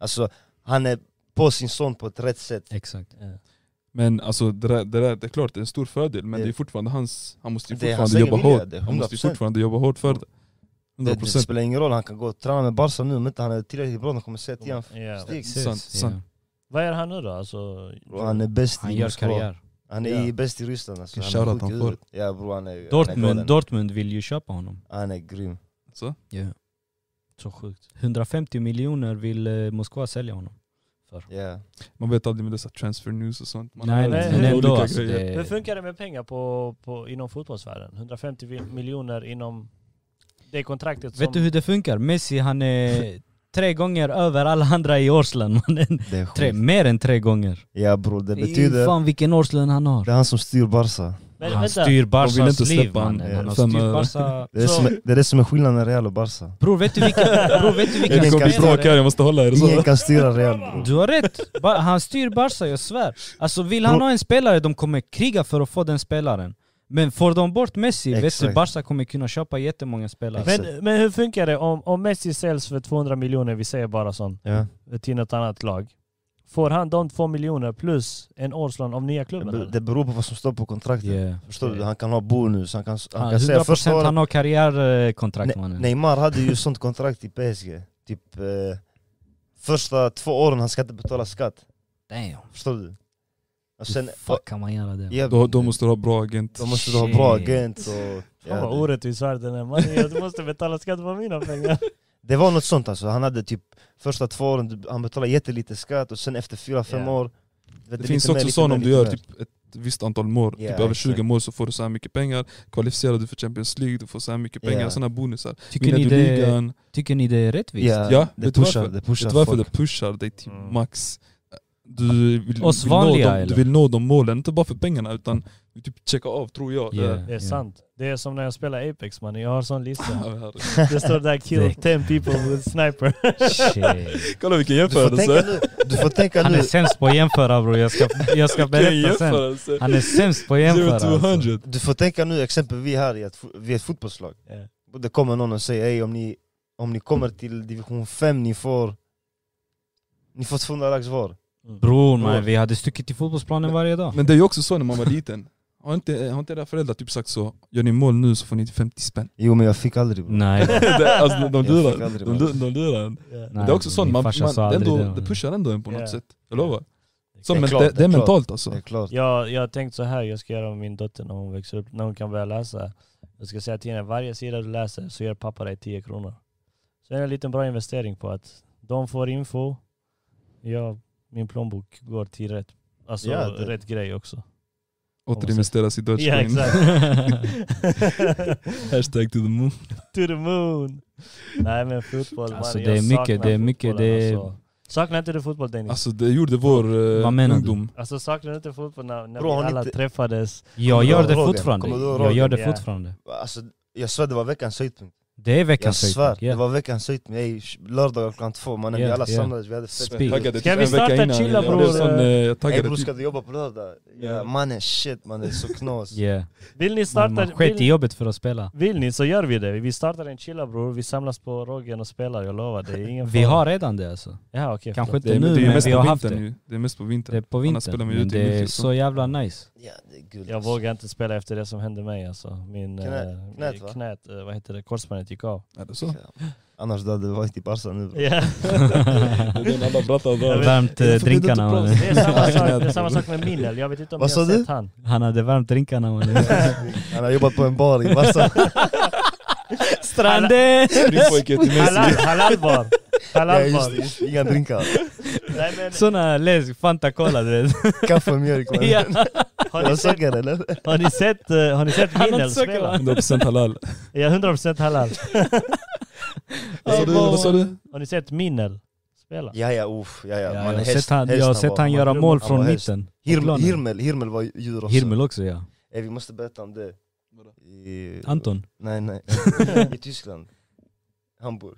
[SPEAKER 1] Alltså, han är på sin son på ett rätt sätt.
[SPEAKER 4] Exakt.
[SPEAKER 2] Men alltså det, där, det, där, det är klart det är en stor fördel men
[SPEAKER 1] Det-
[SPEAKER 2] det är fortfarande hans, han måste ju
[SPEAKER 1] Det är hans
[SPEAKER 2] fortfarande jobba
[SPEAKER 1] egen vilja,
[SPEAKER 2] hårt.
[SPEAKER 1] det är
[SPEAKER 2] Han måste ju
[SPEAKER 1] 100%.
[SPEAKER 2] fortfarande jobba hårt för det.
[SPEAKER 1] Det, typ-
[SPEAKER 2] 100
[SPEAKER 1] det
[SPEAKER 2] procent.
[SPEAKER 1] spelar ingen roll, han kan gå och träna med Barca nu om inte han är tillräckligt bra, de kommer säga till honom.
[SPEAKER 3] Ja.
[SPEAKER 1] Stig.
[SPEAKER 4] Precis,
[SPEAKER 2] Sant, sant.
[SPEAKER 4] ja.
[SPEAKER 3] Vad gör han nu då? Alltså,
[SPEAKER 1] Bro, han är bäst
[SPEAKER 4] Han
[SPEAKER 1] i
[SPEAKER 4] gör
[SPEAKER 1] Moskva.
[SPEAKER 4] karriär.
[SPEAKER 1] Han är
[SPEAKER 3] Ja.
[SPEAKER 1] bäst i Ryssland alltså.
[SPEAKER 5] Vilken
[SPEAKER 1] Han är
[SPEAKER 5] shoutout
[SPEAKER 1] sjuk i
[SPEAKER 5] han får.
[SPEAKER 1] huvudet. Ja bror han är han är
[SPEAKER 4] Dortmund,
[SPEAKER 1] galen.
[SPEAKER 4] Dortmund vill ju köpa honom.
[SPEAKER 1] Han är grym.
[SPEAKER 2] Så?
[SPEAKER 4] Ja.
[SPEAKER 3] så sjukt.
[SPEAKER 4] 150 miljoner vill eh, Moskva sälja honom.
[SPEAKER 1] Ja.
[SPEAKER 2] Man vet aldrig med dessa transfer news och sånt. Man
[SPEAKER 4] nej,
[SPEAKER 2] hör
[SPEAKER 4] nej,
[SPEAKER 2] olika
[SPEAKER 4] men ändå alltså.
[SPEAKER 2] grejer.
[SPEAKER 3] Hur
[SPEAKER 4] Det,
[SPEAKER 3] funkar det med pengar på, på, inom fotbollsvärlden? 150 vi- miljoner inom det kontraktet som...
[SPEAKER 4] vet du hur det funkar? Messi han är tre gånger över alla andra i årslön. mannen.
[SPEAKER 1] Det är
[SPEAKER 4] tre, mer än tre gånger.
[SPEAKER 1] Ja bror, det betyder...
[SPEAKER 4] Fan vilken årslön han har.
[SPEAKER 1] Det är han som styr Barca.
[SPEAKER 3] Men
[SPEAKER 4] han
[SPEAKER 3] vänta,
[SPEAKER 4] styr
[SPEAKER 2] De vill inte
[SPEAKER 4] Barsas liv
[SPEAKER 2] släppa
[SPEAKER 4] mannen.
[SPEAKER 1] han, eh,
[SPEAKER 4] Han har
[SPEAKER 2] fem
[SPEAKER 4] styrt
[SPEAKER 2] öre.
[SPEAKER 4] Barca.
[SPEAKER 1] Det är, det
[SPEAKER 3] Så-
[SPEAKER 1] som är, det är det som är skillnaden mellan Real och Barca.
[SPEAKER 4] Bror vet du vilka, bror, vet du vilka
[SPEAKER 2] Det går bli bråk
[SPEAKER 4] spelare-
[SPEAKER 2] här, jag måste hålla er.
[SPEAKER 1] Ingen
[SPEAKER 2] Så.
[SPEAKER 1] kan styra Real bror.
[SPEAKER 4] Du har rätt, ba han styr Barca, jag svär. Alltså vill han ha en spelare, de kommer kriga för att få den spelaren. Men får de bort Messi, vet du
[SPEAKER 1] Exakt.
[SPEAKER 4] Barca kommer kunna köpa jättemånga spelare.
[SPEAKER 1] Exakt.
[SPEAKER 3] men, men hur funkar det om, om Messi säljs för 200 miljoner, vi säger bara sånt,
[SPEAKER 1] Ja.
[SPEAKER 3] till något annat lag. Får han de två miljoner plus en årslön av nya klubben? eller?
[SPEAKER 1] Det beror på vad som står på kontraktet.
[SPEAKER 4] Yeah.
[SPEAKER 1] Förstår du? Han kan ha bonus, han kan, han
[SPEAKER 4] Han,
[SPEAKER 1] kan säga
[SPEAKER 4] 100%
[SPEAKER 1] första året...
[SPEAKER 4] han har karriärkontrakt
[SPEAKER 1] Ne-
[SPEAKER 4] mannen.
[SPEAKER 1] Neymar hade ju sånt kontrakt i PSG. Typ eh, första två åren han ska inte betala skatt.
[SPEAKER 4] Damn,
[SPEAKER 1] Förstår du? Och
[SPEAKER 4] hur
[SPEAKER 1] sen,
[SPEAKER 4] fuck kan man göra det?
[SPEAKER 1] ja,
[SPEAKER 2] Då, då måste du ha bra agent.
[SPEAKER 1] då måste du ha bra
[SPEAKER 4] Shit.
[SPEAKER 1] agent och...
[SPEAKER 3] Fan
[SPEAKER 1] Ja,
[SPEAKER 3] vad
[SPEAKER 1] det-
[SPEAKER 3] orättvis världen är man. Jag måste betala skatt på mina pengar.
[SPEAKER 1] Det var något sånt alltså, han hade typ första två åren, han betalade jättelite skatt och sen efter fyra, fem
[SPEAKER 3] Ja.
[SPEAKER 1] år vet du,
[SPEAKER 2] Det
[SPEAKER 1] lite
[SPEAKER 2] finns
[SPEAKER 1] mer,
[SPEAKER 2] också
[SPEAKER 1] lite
[SPEAKER 2] sån
[SPEAKER 1] mer,
[SPEAKER 2] om du
[SPEAKER 1] lite
[SPEAKER 2] gör
[SPEAKER 1] mer.
[SPEAKER 2] typ ett visst antal mål,
[SPEAKER 1] Ja,
[SPEAKER 2] typ över
[SPEAKER 1] exakt.
[SPEAKER 2] 20 mål så får du så här mycket pengar. Kvalificerar du för Champions League, du får så här mycket pengar,
[SPEAKER 1] Ja.
[SPEAKER 2] såna bonusar.
[SPEAKER 4] Tycker
[SPEAKER 2] Vinner
[SPEAKER 4] ni,
[SPEAKER 2] du
[SPEAKER 4] det,
[SPEAKER 2] ligan,
[SPEAKER 4] tycker ni det är rättvist?
[SPEAKER 1] Ja,
[SPEAKER 2] Ja,
[SPEAKER 1] det
[SPEAKER 2] vet du
[SPEAKER 1] pushar,
[SPEAKER 2] varför?
[SPEAKER 1] det
[SPEAKER 2] vet
[SPEAKER 1] pushar
[SPEAKER 2] du varför det
[SPEAKER 1] folk.
[SPEAKER 2] pushar dig till
[SPEAKER 1] Mm.
[SPEAKER 2] max? Du vill,
[SPEAKER 4] Oss
[SPEAKER 2] vill nå
[SPEAKER 4] vanliga,
[SPEAKER 2] de, du
[SPEAKER 4] eller?
[SPEAKER 2] vill nå de målen, inte bara för pengarna utan du typ checka av tror jag.
[SPEAKER 4] Yeah.
[SPEAKER 2] Yeah.
[SPEAKER 3] Det är
[SPEAKER 4] Ja.
[SPEAKER 3] sant. Det är som när jag spelar Apex man. jag har sån lista.
[SPEAKER 2] Yeah.
[SPEAKER 3] Det står där kill 10 people with sniper.
[SPEAKER 4] Shit.
[SPEAKER 2] Kolla vilken
[SPEAKER 1] Du får tänka
[SPEAKER 2] jämförelse!
[SPEAKER 1] nu, du får tänka
[SPEAKER 4] Han är
[SPEAKER 1] nu,
[SPEAKER 4] sämst på att jämföra bror, jag ska, jag ska
[SPEAKER 2] Vilken
[SPEAKER 4] berätta sen.
[SPEAKER 2] jämförelse!
[SPEAKER 4] Han är sämst på att jämföra.
[SPEAKER 2] Zero to
[SPEAKER 4] alltså.
[SPEAKER 2] 100!
[SPEAKER 1] du får tänka nu exempel vi här, i ett, fo- vi är ett fotbollslag.
[SPEAKER 3] Ja.
[SPEAKER 1] Och Det kommer någon och säger "Ey, om ni, om ni kommer till division 5, ni får, ni får 200 lax var.
[SPEAKER 4] Bror man,
[SPEAKER 1] Bror.
[SPEAKER 4] vi hade stuckit i fotbollsplanen varje dag.
[SPEAKER 2] Men det är ju också så när man var liten. Har inte, har inte era föräldrar typ sagt så, gör ni mål nu så får ni 50 spänn?
[SPEAKER 1] Jo men jag fick aldrig bror.
[SPEAKER 4] Nej.
[SPEAKER 2] Det- alltså, de- de
[SPEAKER 1] Jag fick
[SPEAKER 2] lurar
[SPEAKER 1] aldrig
[SPEAKER 2] de,
[SPEAKER 1] med.
[SPEAKER 2] lu- de lurar en.
[SPEAKER 3] Ja.
[SPEAKER 2] Det är också sånt, man, man, det, ändå, det
[SPEAKER 4] det
[SPEAKER 2] pushar ändå en på något
[SPEAKER 3] Ja.
[SPEAKER 2] sätt. Jag lovar. Så,
[SPEAKER 1] Det är
[SPEAKER 2] men
[SPEAKER 1] klart,
[SPEAKER 2] det, det
[SPEAKER 1] det
[SPEAKER 2] är
[SPEAKER 1] är klart.
[SPEAKER 2] mentalt
[SPEAKER 1] Det
[SPEAKER 2] alltså.
[SPEAKER 1] är klart.
[SPEAKER 3] Jag, jag har tänkt så här, jag ska göra med min dotter när hon växer upp, när hon kan börja läsa. Jag ska säga till henne, varje sida du läser så ger pappa dig 10 kronor. Så det är en liten bra investering på att de får info, jag, min plånbok går till rätt, alltså,
[SPEAKER 1] Ja, det-
[SPEAKER 3] rätt grej också.
[SPEAKER 2] Återinvesteras i
[SPEAKER 3] Ja
[SPEAKER 2] Dogecoin.
[SPEAKER 3] exakt.
[SPEAKER 2] Hashtag to the moon.
[SPEAKER 3] to the moon! Nej men fotboll
[SPEAKER 4] Alltså,
[SPEAKER 3] man,
[SPEAKER 4] det är
[SPEAKER 3] jag
[SPEAKER 4] mycket-
[SPEAKER 3] saknar
[SPEAKER 4] det är mycket,
[SPEAKER 3] fotbollen,
[SPEAKER 4] det är-
[SPEAKER 3] Alltså. Saknar inte du fotboll Dennis? Alltså,
[SPEAKER 2] Alltså det gjorde vår eh,
[SPEAKER 4] Vad menar du?
[SPEAKER 2] ungdom.
[SPEAKER 3] saknar du inte fotboll när, när
[SPEAKER 1] Bro, har
[SPEAKER 3] vi
[SPEAKER 1] ni
[SPEAKER 3] alla
[SPEAKER 1] inte-
[SPEAKER 3] träffades?
[SPEAKER 4] Jag
[SPEAKER 1] Kommer
[SPEAKER 4] gör
[SPEAKER 1] du
[SPEAKER 4] det
[SPEAKER 1] ihåg den?
[SPEAKER 4] fortfarande.
[SPEAKER 1] Kommer du ihåg
[SPEAKER 4] Jag gör
[SPEAKER 3] den?
[SPEAKER 4] det
[SPEAKER 3] Ja.
[SPEAKER 4] fortfarande.
[SPEAKER 1] Alltså, jag svär det var veckans höjdpunkt.
[SPEAKER 4] Det är
[SPEAKER 1] Jag
[SPEAKER 4] veckans
[SPEAKER 1] svär,
[SPEAKER 4] höjdpunkt.
[SPEAKER 1] det
[SPEAKER 4] Ja.
[SPEAKER 1] var veckans höjdpunkt. Ey, sh- Lördagar klockan två, mannen vi
[SPEAKER 4] Ja,
[SPEAKER 1] alla
[SPEAKER 4] ja.
[SPEAKER 1] samlades, vi hade fett
[SPEAKER 4] Speak.
[SPEAKER 1] kul.
[SPEAKER 2] Taggade
[SPEAKER 3] Ska
[SPEAKER 2] typ
[SPEAKER 3] vi
[SPEAKER 2] en vecka
[SPEAKER 3] starta
[SPEAKER 2] innan.
[SPEAKER 3] chilla,
[SPEAKER 2] Jag blev
[SPEAKER 3] bror?
[SPEAKER 2] sån, eh, jag
[SPEAKER 1] Ey
[SPEAKER 2] taggade
[SPEAKER 1] bror
[SPEAKER 2] typ.
[SPEAKER 1] ska du jobba på lördag? Ja,
[SPEAKER 2] Ja.
[SPEAKER 1] mannen shit mannen, så knas.
[SPEAKER 4] Yeah.
[SPEAKER 3] Vill ni
[SPEAKER 4] Man,
[SPEAKER 3] starta...
[SPEAKER 4] man sket Mm, i
[SPEAKER 3] Vill,
[SPEAKER 4] jobbet för att spela.
[SPEAKER 3] vill ni så gör vi det. Vi startar en chilla bror, vi samlas på Roggen och spelar, jag lovar. Det är ingen
[SPEAKER 4] Vi
[SPEAKER 3] fara.
[SPEAKER 4] har redan det alltså.
[SPEAKER 3] Ja okej.
[SPEAKER 4] Kanske
[SPEAKER 3] förlåt.
[SPEAKER 2] Det är,
[SPEAKER 4] nu,
[SPEAKER 2] det är ju
[SPEAKER 4] men
[SPEAKER 2] mest
[SPEAKER 4] vi
[SPEAKER 2] på
[SPEAKER 4] har haft
[SPEAKER 2] vintern
[SPEAKER 4] det.
[SPEAKER 2] ju. Det är mest på
[SPEAKER 4] Det är
[SPEAKER 2] vintern.
[SPEAKER 4] på
[SPEAKER 2] spelar
[SPEAKER 4] vintern.
[SPEAKER 2] man
[SPEAKER 4] Men
[SPEAKER 2] ute i
[SPEAKER 4] det är
[SPEAKER 2] multis, så.
[SPEAKER 4] så jävla nice.
[SPEAKER 1] Ja det är guld.
[SPEAKER 3] Jag vågar inte spela efter det som hände mig alltså. Min
[SPEAKER 1] Knä-
[SPEAKER 3] eh,
[SPEAKER 1] knät, va?
[SPEAKER 3] knät eh, vad heter det, korsbandet gick av.
[SPEAKER 2] Är det så?
[SPEAKER 1] Ja. Annars då hade du varit i Barca nu bror.
[SPEAKER 3] Ja.
[SPEAKER 2] Det är den alla pratar om.
[SPEAKER 3] Jag vet-
[SPEAKER 4] Värmt eh,
[SPEAKER 2] Jag får
[SPEAKER 4] drinkarna
[SPEAKER 2] bjuda
[SPEAKER 4] mannen.
[SPEAKER 3] Det är samma sak, det är samma sak med Minel, jag vet inte om
[SPEAKER 1] Vad
[SPEAKER 3] ni har
[SPEAKER 1] sa du?
[SPEAKER 3] sett han.
[SPEAKER 4] Han hade värmt drinkarna mannen.
[SPEAKER 1] Han har jobbat på en bar i Barca.
[SPEAKER 4] Stranden!
[SPEAKER 2] Springpojke till
[SPEAKER 3] Halal,
[SPEAKER 2] Messi.
[SPEAKER 3] halalbar!
[SPEAKER 1] ja, just, det,
[SPEAKER 3] Halalbar!
[SPEAKER 1] just, det. inga drinkar.
[SPEAKER 3] Nej, men,
[SPEAKER 4] Såna läsk, Fanta Cola du vet.
[SPEAKER 1] Kaffe och mjölk mannen.
[SPEAKER 4] Ja.
[SPEAKER 3] har,
[SPEAKER 1] Är
[SPEAKER 3] ni
[SPEAKER 1] det
[SPEAKER 3] sett,
[SPEAKER 1] socker eller?
[SPEAKER 3] har ni sett, eh, har ni sett
[SPEAKER 4] Han
[SPEAKER 3] Minel
[SPEAKER 4] söker,
[SPEAKER 3] spela?
[SPEAKER 4] va?
[SPEAKER 2] 100% halal.
[SPEAKER 3] Ja, 100% halal.
[SPEAKER 2] Vad sa du? Vad sa du?
[SPEAKER 3] Har ni sett Minel spela?
[SPEAKER 1] Ja ja uff, ja ja.
[SPEAKER 4] Ja,
[SPEAKER 1] Man,
[SPEAKER 4] jag har
[SPEAKER 1] häst-
[SPEAKER 4] sett han,
[SPEAKER 1] häst
[SPEAKER 4] jag har sett
[SPEAKER 1] var.
[SPEAKER 4] han göra
[SPEAKER 1] Man-
[SPEAKER 4] mål
[SPEAKER 1] han
[SPEAKER 4] från
[SPEAKER 1] var häst.
[SPEAKER 4] mitten.
[SPEAKER 1] Hirmel,
[SPEAKER 4] planen.
[SPEAKER 1] Hirmel, Hirmel var djur också.
[SPEAKER 4] Hirmel också ja.
[SPEAKER 1] Ey, vi måste berätta om det. I,
[SPEAKER 4] Anton.
[SPEAKER 1] Alltså, Nej nej, i Tyskland. Hamburg.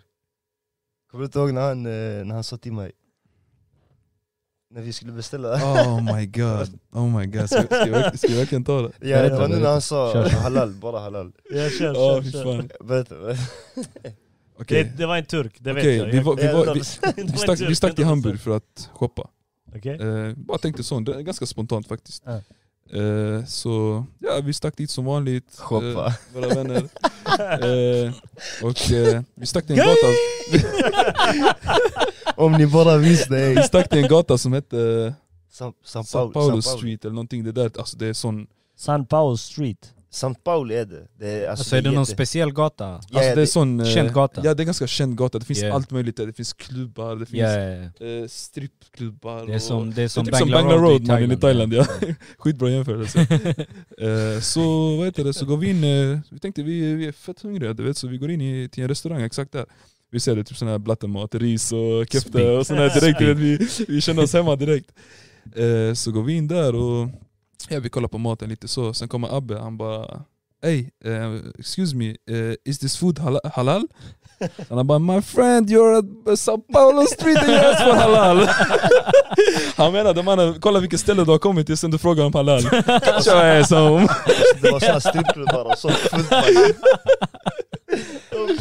[SPEAKER 1] Kommer du inte ihåg när han, eh, när han sa till mig? När vi skulle beställa?
[SPEAKER 5] Oh my god, oh my god. Ska, ska, jag, verkligen- ska jag verkligen ta det?
[SPEAKER 1] Ja, det
[SPEAKER 3] berätta,
[SPEAKER 1] var nu när han sa
[SPEAKER 3] Kör, kör.
[SPEAKER 1] halal, bara halal.
[SPEAKER 3] Ja, kör,
[SPEAKER 2] Ja,
[SPEAKER 3] kör,
[SPEAKER 2] fy
[SPEAKER 3] kör.
[SPEAKER 2] fan.
[SPEAKER 1] Berätta, berätta.
[SPEAKER 5] Okej,
[SPEAKER 3] Det, det var en turk, det
[SPEAKER 2] Okej,
[SPEAKER 3] vet jag.
[SPEAKER 2] vi var- vi
[SPEAKER 1] Ja,
[SPEAKER 2] var-
[SPEAKER 1] det
[SPEAKER 2] vi-
[SPEAKER 1] var-
[SPEAKER 2] Vi stack, vi stack till Hamburg för att shoppa.
[SPEAKER 3] Okej.
[SPEAKER 2] Eh, bara tänkte så, det är ganska spontant faktiskt.
[SPEAKER 3] Ja.
[SPEAKER 2] Eh, så ja, vi stack dit som vanligt.
[SPEAKER 1] Shoppa.
[SPEAKER 2] Eh, våra vänner. Eh, och eh, vi stack till en gata.
[SPEAKER 1] Om ni bara visste
[SPEAKER 2] Vi
[SPEAKER 1] ey.
[SPEAKER 2] stack till en gata som hette
[SPEAKER 1] Sam- San
[SPEAKER 2] Sao
[SPEAKER 1] Paul-
[SPEAKER 2] Paulo
[SPEAKER 1] San Paul.
[SPEAKER 2] Street eller någonting. Det där, alltså det är sån,
[SPEAKER 3] San Paolo Street.
[SPEAKER 1] San Paul är det. det är, alltså,
[SPEAKER 4] Alltså är det någon
[SPEAKER 1] jätte-
[SPEAKER 4] speciell gata?
[SPEAKER 1] Ja,
[SPEAKER 2] alltså det är
[SPEAKER 1] det-
[SPEAKER 2] sån eh,
[SPEAKER 4] Känd gata.
[SPEAKER 2] Ja det är ganska känd gata, det finns
[SPEAKER 4] Yeah.
[SPEAKER 2] allt möjligt där. Det finns klubbar, det finns
[SPEAKER 4] Ja, ja, ja.
[SPEAKER 2] eh, strippklubbar.
[SPEAKER 4] Det är som, det är som
[SPEAKER 2] typ som
[SPEAKER 4] Bangla
[SPEAKER 2] Bangla Road, man,
[SPEAKER 4] Road
[SPEAKER 2] i
[SPEAKER 4] i
[SPEAKER 2] Thailand, ja. Skitbra jämförelse. Eh, så vad heter det, så går vi in, eh, vi tänkte vi, vi är fett hungriga du vet, så vi går in i, till en restaurang exakt där. Vi ser det, typ sån här blattemat, ris och köfte och sån här direkt, du vet, vi, vi känner oss hemma direkt. Eh, så går vi in där och ja, vi kollar på maten lite så, sen kommer Abbe, han bara Hey, eh, excuse me, eh, is this food halal? halal? And I'm bara my friend you're at Sao Paulo street and you ask for halal. Han menade mannen, kolla vilket ställe du har kommit till sen du frågar om halal. Kör ass home.
[SPEAKER 1] Det var såna strippklubbar och sånt fullt mannen.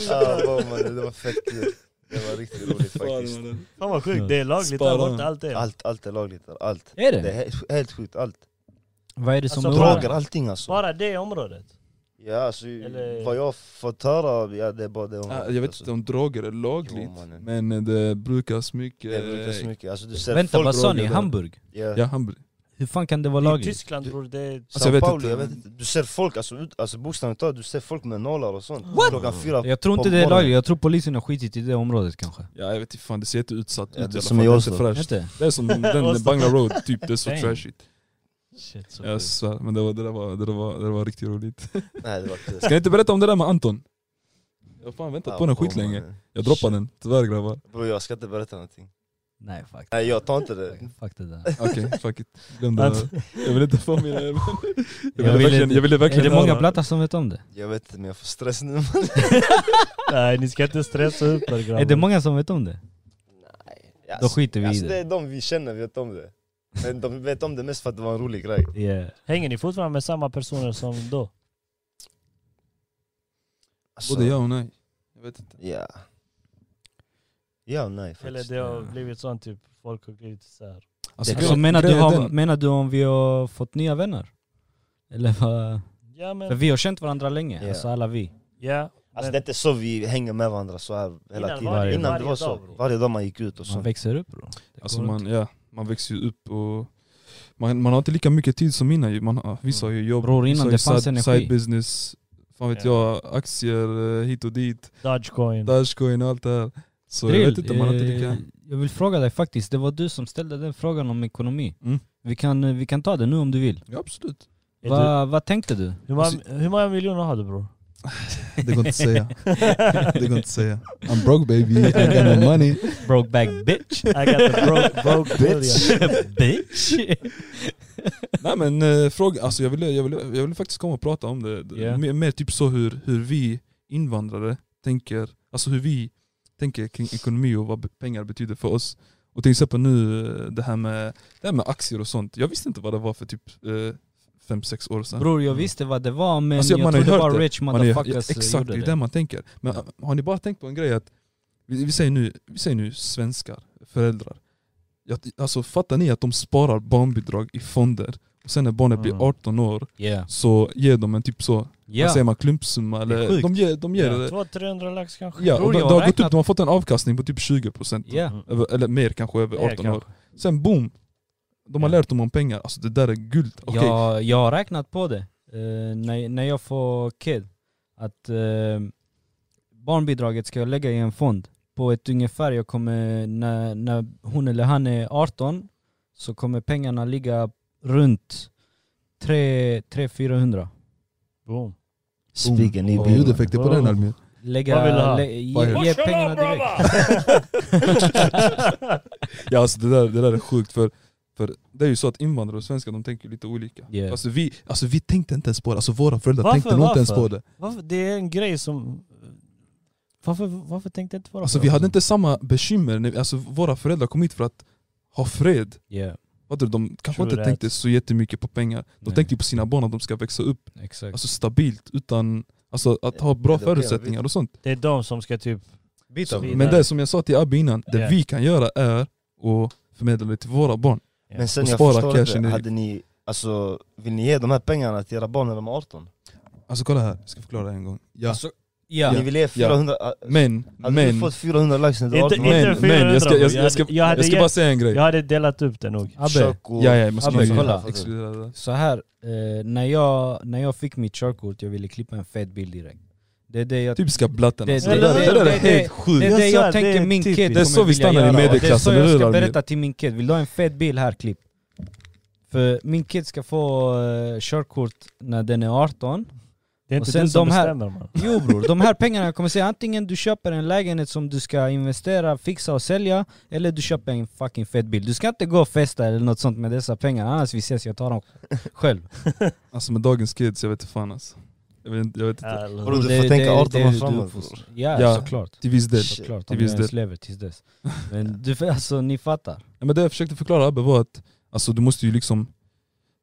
[SPEAKER 1] Ja, bra, mannen, det var fett kul. Det var riktigt roligt faktiskt.
[SPEAKER 3] Fan vad sjukt, det är lagligt
[SPEAKER 2] Spara
[SPEAKER 3] där
[SPEAKER 2] den.
[SPEAKER 3] borta allt det.
[SPEAKER 1] Allt, allt är lagligt där, allt.
[SPEAKER 4] Är
[SPEAKER 1] Det är
[SPEAKER 4] det?
[SPEAKER 1] he- helt sjukt, allt.
[SPEAKER 4] Vad är det som
[SPEAKER 3] Alltså,
[SPEAKER 4] är
[SPEAKER 1] Droger,
[SPEAKER 4] olagligt?
[SPEAKER 1] allting alltså.
[SPEAKER 3] Bara det området.
[SPEAKER 1] Ja, alltså
[SPEAKER 3] Eller-
[SPEAKER 1] vad jag har fått höra, ja, det är bara det hon alltså.
[SPEAKER 2] Ah, Jag vet inte om droger är lagligt,
[SPEAKER 1] Jo, mannen.
[SPEAKER 2] men eh, det brukas mycket.
[SPEAKER 1] Det brukas mycket, alltså du ser
[SPEAKER 4] Vänta,
[SPEAKER 1] folk...
[SPEAKER 4] vad sa
[SPEAKER 2] droger
[SPEAKER 4] ni?
[SPEAKER 2] där.
[SPEAKER 4] Hamburg?
[SPEAKER 1] Ja.
[SPEAKER 2] Ja, han, br-
[SPEAKER 4] Hur fan kan det vara
[SPEAKER 3] I
[SPEAKER 4] lagligt?
[SPEAKER 3] Tyskland bror, det är...
[SPEAKER 2] Alltså, jag
[SPEAKER 1] Sao
[SPEAKER 2] vet
[SPEAKER 1] Paulo,
[SPEAKER 2] inte.
[SPEAKER 1] jag vet inte. Du ser folk, alltså, ut, alltså bokstavligt talat, du ser folk med nålar och sånt. Klockan fyra.
[SPEAKER 4] Jag tror inte
[SPEAKER 1] på
[SPEAKER 4] det är
[SPEAKER 1] morgonen.
[SPEAKER 4] lagligt, jag tror polisen har skitit i det området kanske.
[SPEAKER 2] ja, jag vet inte fan, det ser jätteutsatt ut
[SPEAKER 1] Ja,
[SPEAKER 2] i
[SPEAKER 1] det
[SPEAKER 2] alla
[SPEAKER 1] är
[SPEAKER 2] fall.
[SPEAKER 1] som i
[SPEAKER 2] Det är
[SPEAKER 1] Oslo.
[SPEAKER 2] inte fräscht.
[SPEAKER 4] Inte?
[SPEAKER 2] Det är som den
[SPEAKER 3] Oslo.
[SPEAKER 2] Bangla Road, typ, det är så
[SPEAKER 4] Damn.
[SPEAKER 2] trashigt.
[SPEAKER 3] Shit, så
[SPEAKER 2] Jag
[SPEAKER 3] sjukt.
[SPEAKER 2] svär, men det, var, det, där var, det, där var, det där var riktigt roligt.
[SPEAKER 1] Nej, det var kul.
[SPEAKER 2] Ska ni inte berätta om det där med Anton? Jag har fan väntat på den
[SPEAKER 1] Ja,
[SPEAKER 2] skitlänge.
[SPEAKER 1] mannen.
[SPEAKER 2] Jag droppade den, tyvärr grabbar.
[SPEAKER 1] Bror jag ska inte berätta någonting.
[SPEAKER 4] Nej fuck.
[SPEAKER 1] Nej jag tar inte det.
[SPEAKER 4] Fuck det där.
[SPEAKER 2] Okej, fuck it. Glöm det. där. Jag vill inte få mina... Jag ville
[SPEAKER 4] ville
[SPEAKER 2] verkligen,
[SPEAKER 4] inte-
[SPEAKER 2] jag ville
[SPEAKER 4] Är
[SPEAKER 2] verkligen
[SPEAKER 4] det många
[SPEAKER 2] höra.
[SPEAKER 4] plattar som vet om det?
[SPEAKER 1] Jag vet inte men jag får stress nu.
[SPEAKER 3] Nej ni ska inte stressa upp er grabbar.
[SPEAKER 4] Är det många som vet om det? Då skiter vi i
[SPEAKER 1] alltså, det
[SPEAKER 4] det.
[SPEAKER 1] är de vi känner vet om det. Men de vet om det mest för att det var en rolig grej.
[SPEAKER 4] Yeah.
[SPEAKER 3] Hänger ni fortfarande med samma personer som då?
[SPEAKER 1] Alltså,
[SPEAKER 2] Både ja och nej. Jag vet inte.
[SPEAKER 1] Ja. Ja och nej
[SPEAKER 3] Eller
[SPEAKER 1] faktiskt.
[SPEAKER 3] det har blivit sånt typ, folk har blivit isär?
[SPEAKER 2] Alltså,
[SPEAKER 4] Så
[SPEAKER 2] grejen-
[SPEAKER 4] menar du,
[SPEAKER 2] grejen är
[SPEAKER 4] om,
[SPEAKER 2] den-
[SPEAKER 4] menar du om vi har fått nya vänner? Eller vad?
[SPEAKER 3] Ja
[SPEAKER 4] För
[SPEAKER 3] men,
[SPEAKER 4] vi har känt varandra länge,
[SPEAKER 1] Ja.
[SPEAKER 4] alltså alla vi.
[SPEAKER 3] ja.
[SPEAKER 1] Alltså
[SPEAKER 3] men-
[SPEAKER 1] det är inte så vi hänger med varandra så här hela
[SPEAKER 3] Innan
[SPEAKER 1] tiden.
[SPEAKER 3] var
[SPEAKER 4] det ju
[SPEAKER 1] Innan det
[SPEAKER 3] varje
[SPEAKER 1] var så.
[SPEAKER 3] dag, bro.
[SPEAKER 1] varje dag man gick ut och
[SPEAKER 4] Man
[SPEAKER 1] sånt.
[SPEAKER 4] växer upp bro. Det
[SPEAKER 2] Alltså
[SPEAKER 4] går
[SPEAKER 2] man,
[SPEAKER 4] inte.
[SPEAKER 2] ja, man växer ju upp och man, man har inte lika mycket tid som innan. ju. Man, har- vissa har ju jobb,
[SPEAKER 4] Bror,
[SPEAKER 2] Mm. vissa
[SPEAKER 4] innan
[SPEAKER 2] har ju
[SPEAKER 4] det fanns
[SPEAKER 2] side,
[SPEAKER 4] energi.
[SPEAKER 2] side business, fan vet jag, aktier eh, hit och dit,
[SPEAKER 3] Dogecoin.
[SPEAKER 2] Dashcoin och allt det här. Så
[SPEAKER 4] Drill,
[SPEAKER 2] jag vet inte, man har inte lika...
[SPEAKER 4] eh, jag vill fråga dig faktiskt, det var du som ställde den frågan om ekonomi.
[SPEAKER 2] Mm.
[SPEAKER 4] Vi, kan, eh, vi kan ta det nu om du vill.
[SPEAKER 2] Ja absolut.
[SPEAKER 3] Är du,
[SPEAKER 4] Va, vad tänkte du?
[SPEAKER 3] hur,
[SPEAKER 2] Alltså-
[SPEAKER 3] många, hur många miljoner har du bror?
[SPEAKER 5] det går inte att säga. Det går inte att säga. I'm broke baby, I got no money.
[SPEAKER 4] Brokeback bitch?
[SPEAKER 3] I got the broke, broke bitch.
[SPEAKER 4] bitch?
[SPEAKER 2] Nej men eh, fråga, alltså jag ville jag ville, jag ville faktiskt komma och prata om det. D-
[SPEAKER 4] Ja.
[SPEAKER 2] Mer, mer typ så hur, hur vi invandrare tänker, alltså hur vi tänker kring ekonomi och vad be- pengar betyder för oss. Och till exempel nu eh, det här med, det här med aktier och sånt. Jag visste inte vad det var för typ 5-6 år sedan.
[SPEAKER 4] Bror jag visste vad det var men
[SPEAKER 2] Alltså, man
[SPEAKER 4] jag
[SPEAKER 2] har ju
[SPEAKER 4] trodde
[SPEAKER 2] hört
[SPEAKER 4] bara
[SPEAKER 2] det.
[SPEAKER 4] rich
[SPEAKER 2] Man är, ju-
[SPEAKER 4] motherfuckers eh,
[SPEAKER 2] exakt, det är
[SPEAKER 4] gjorde
[SPEAKER 2] det
[SPEAKER 4] det.
[SPEAKER 2] man tänker. Men eh,
[SPEAKER 4] Ja.
[SPEAKER 2] har ni bara tänkt på en grej att, vi, vi, säger, nu, vi säger nu svenskar, föräldrar. Jag, alltså fattar ni att de sparar barnbidrag i fonder? Och sen när barnet
[SPEAKER 4] Mm.
[SPEAKER 2] blir 18 år
[SPEAKER 4] Yeah.
[SPEAKER 2] så ger de en typ så, vad säger
[SPEAKER 4] Yeah.
[SPEAKER 2] man, klumpsumma
[SPEAKER 4] Det är
[SPEAKER 2] eller
[SPEAKER 4] sjukt.
[SPEAKER 2] de ger, de ger ja.
[SPEAKER 3] 200-300 lax kanske?
[SPEAKER 2] Ja,
[SPEAKER 4] Bror,
[SPEAKER 2] och de,
[SPEAKER 4] jag
[SPEAKER 2] de,
[SPEAKER 4] har
[SPEAKER 2] har gått
[SPEAKER 4] räknat-
[SPEAKER 2] ut, de har fått en avkastning på typ 20%
[SPEAKER 4] Yeah.
[SPEAKER 2] över, eller mer kanske över 18
[SPEAKER 3] Mer
[SPEAKER 2] år.
[SPEAKER 3] kanske.
[SPEAKER 2] Sen boom, de har
[SPEAKER 4] Ja.
[SPEAKER 2] lärt dem om pengar, alltså det där är guld. Okej,
[SPEAKER 4] Jag, jag har räknat på det eh, när, när jag får kid. Att eh, barnbidraget ska jag lägga i en fond på ett ungefär, jag kommer, när, när hon eller han är 18 så kommer pengarna ligga runt 300-400.
[SPEAKER 3] Boom.
[SPEAKER 1] Spiken i
[SPEAKER 5] Har vi
[SPEAKER 1] bilen.
[SPEAKER 5] ljudeffekter på den Almir?
[SPEAKER 4] Lägga,
[SPEAKER 3] Vad vill du ha?
[SPEAKER 4] lä, ge, ge pengarna direkt.
[SPEAKER 2] Ja alltså det där, det där är sjukt för, för det är ju så att invandrare och svenskar de tänker lite olika.
[SPEAKER 4] Yeah.
[SPEAKER 2] Alltså vi,
[SPEAKER 5] Alltså vi tänkte inte ens på det, alltså våra föräldrar
[SPEAKER 3] Varför,
[SPEAKER 5] tänkte nog inte ens
[SPEAKER 3] varför?
[SPEAKER 5] på det.
[SPEAKER 3] Varför? Det är en grej som... Varför, varför tänkte jag inte våra
[SPEAKER 2] Alltså vi
[SPEAKER 3] föräldrar?
[SPEAKER 2] hade inte samma bekymmer, när, alltså våra föräldrar kom hit för att ha fred.
[SPEAKER 4] Yeah,
[SPEAKER 2] Fattar du? De kanske
[SPEAKER 3] True
[SPEAKER 2] inte
[SPEAKER 3] that.
[SPEAKER 2] tänkte så jättemycket på pengar. De
[SPEAKER 4] Nej.
[SPEAKER 2] tänkte ju på sina barn, att de ska växa upp
[SPEAKER 4] exakt.
[SPEAKER 2] alltså stabilt, utan alltså, att ha bra
[SPEAKER 1] det är okej,
[SPEAKER 2] förutsättningar och sånt.
[SPEAKER 3] Det är de som ska typ...
[SPEAKER 1] Byt
[SPEAKER 3] Så
[SPEAKER 1] dem.
[SPEAKER 3] vi-
[SPEAKER 2] Men det som jag sa till Abbe innan, det
[SPEAKER 3] Ja.
[SPEAKER 2] vi kan göra är att förmedla det till våra barn.
[SPEAKER 1] Men sen
[SPEAKER 2] Och
[SPEAKER 1] jag
[SPEAKER 2] spara
[SPEAKER 1] förstår
[SPEAKER 2] cashen
[SPEAKER 1] inte,
[SPEAKER 2] i-
[SPEAKER 1] hade ni, alltså, vill ni ge de här pengarna till era barn när de är 18?
[SPEAKER 5] Alltså kolla här, jag ska förklara en gång. Ja.
[SPEAKER 4] Alltså, ja.
[SPEAKER 1] Ni vill ge 400, ja.
[SPEAKER 2] Men,
[SPEAKER 1] hade alltså, du
[SPEAKER 2] men,
[SPEAKER 1] fått 400 lax när du var
[SPEAKER 3] Inte,
[SPEAKER 1] 18?
[SPEAKER 3] inte
[SPEAKER 2] men,
[SPEAKER 3] 400
[SPEAKER 2] men jag ska, jag,
[SPEAKER 3] bro.
[SPEAKER 2] jag ska,
[SPEAKER 3] jag, hade,
[SPEAKER 2] jag ska
[SPEAKER 3] gett-
[SPEAKER 2] bara säga en grej.
[SPEAKER 3] jag hade delat upp det nog.
[SPEAKER 4] Abbe,
[SPEAKER 1] Kök och...
[SPEAKER 2] Ja, ja, jag måste
[SPEAKER 4] Abbe,
[SPEAKER 2] bara säga.
[SPEAKER 4] kolla.
[SPEAKER 2] Exkludera det.
[SPEAKER 4] så här, eh, när, jag, när jag fick mitt körkort jag ville klippa en fet bild direkt. Det är det jag,
[SPEAKER 2] Typiska blattarna.
[SPEAKER 4] Det-
[SPEAKER 2] Det,
[SPEAKER 4] det-
[SPEAKER 2] där-
[SPEAKER 4] det-
[SPEAKER 2] det där
[SPEAKER 4] det-
[SPEAKER 2] är helt
[SPEAKER 4] det, är
[SPEAKER 2] sjukt.
[SPEAKER 4] det
[SPEAKER 3] jag sa,
[SPEAKER 4] jag
[SPEAKER 3] det
[SPEAKER 4] tänker
[SPEAKER 3] är
[SPEAKER 4] min
[SPEAKER 3] typiskt.
[SPEAKER 4] kid
[SPEAKER 2] Typ, Det är så
[SPEAKER 4] kommer
[SPEAKER 2] vi
[SPEAKER 4] vilja
[SPEAKER 2] stannar i
[SPEAKER 4] göra, och
[SPEAKER 2] medelklassen,
[SPEAKER 4] Det är
[SPEAKER 2] eller
[SPEAKER 4] så jag
[SPEAKER 2] hur,
[SPEAKER 4] ska
[SPEAKER 2] Albin?
[SPEAKER 4] berätta till min kid, vill du ha en fet bild här, klipp. För min kid ska få eh, körkort när den är 18
[SPEAKER 3] Det är
[SPEAKER 4] Och
[SPEAKER 3] inte
[SPEAKER 4] sen
[SPEAKER 3] du som
[SPEAKER 4] de här-
[SPEAKER 3] bestämmer man.
[SPEAKER 4] Jo bror, de här pengarna kommer säga antingen du köper en lägenhet som du ska investera, fixa och sälja Eller du köper en fucking fet bil Du ska inte gå och festa eller något sånt med dessa pengar Annars vi ses, jag tar dem själv
[SPEAKER 2] Alltså med dagens kids, jag vet inte fan alltså. Jag vet, inte- jag vet inte.
[SPEAKER 3] Alltså.
[SPEAKER 1] Vadå, du får tänka 18 år framåt bror.
[SPEAKER 4] Ja,
[SPEAKER 2] Ja.
[SPEAKER 4] såklart
[SPEAKER 2] Till viss del.
[SPEAKER 1] Shit.
[SPEAKER 4] Såklart,
[SPEAKER 2] Till
[SPEAKER 4] om jag
[SPEAKER 2] viss
[SPEAKER 4] ens lever tills dess Men du, alltså ni fattar
[SPEAKER 2] Ja, men det jag försökte förklara Abbe var att alltså, du måste ju liksom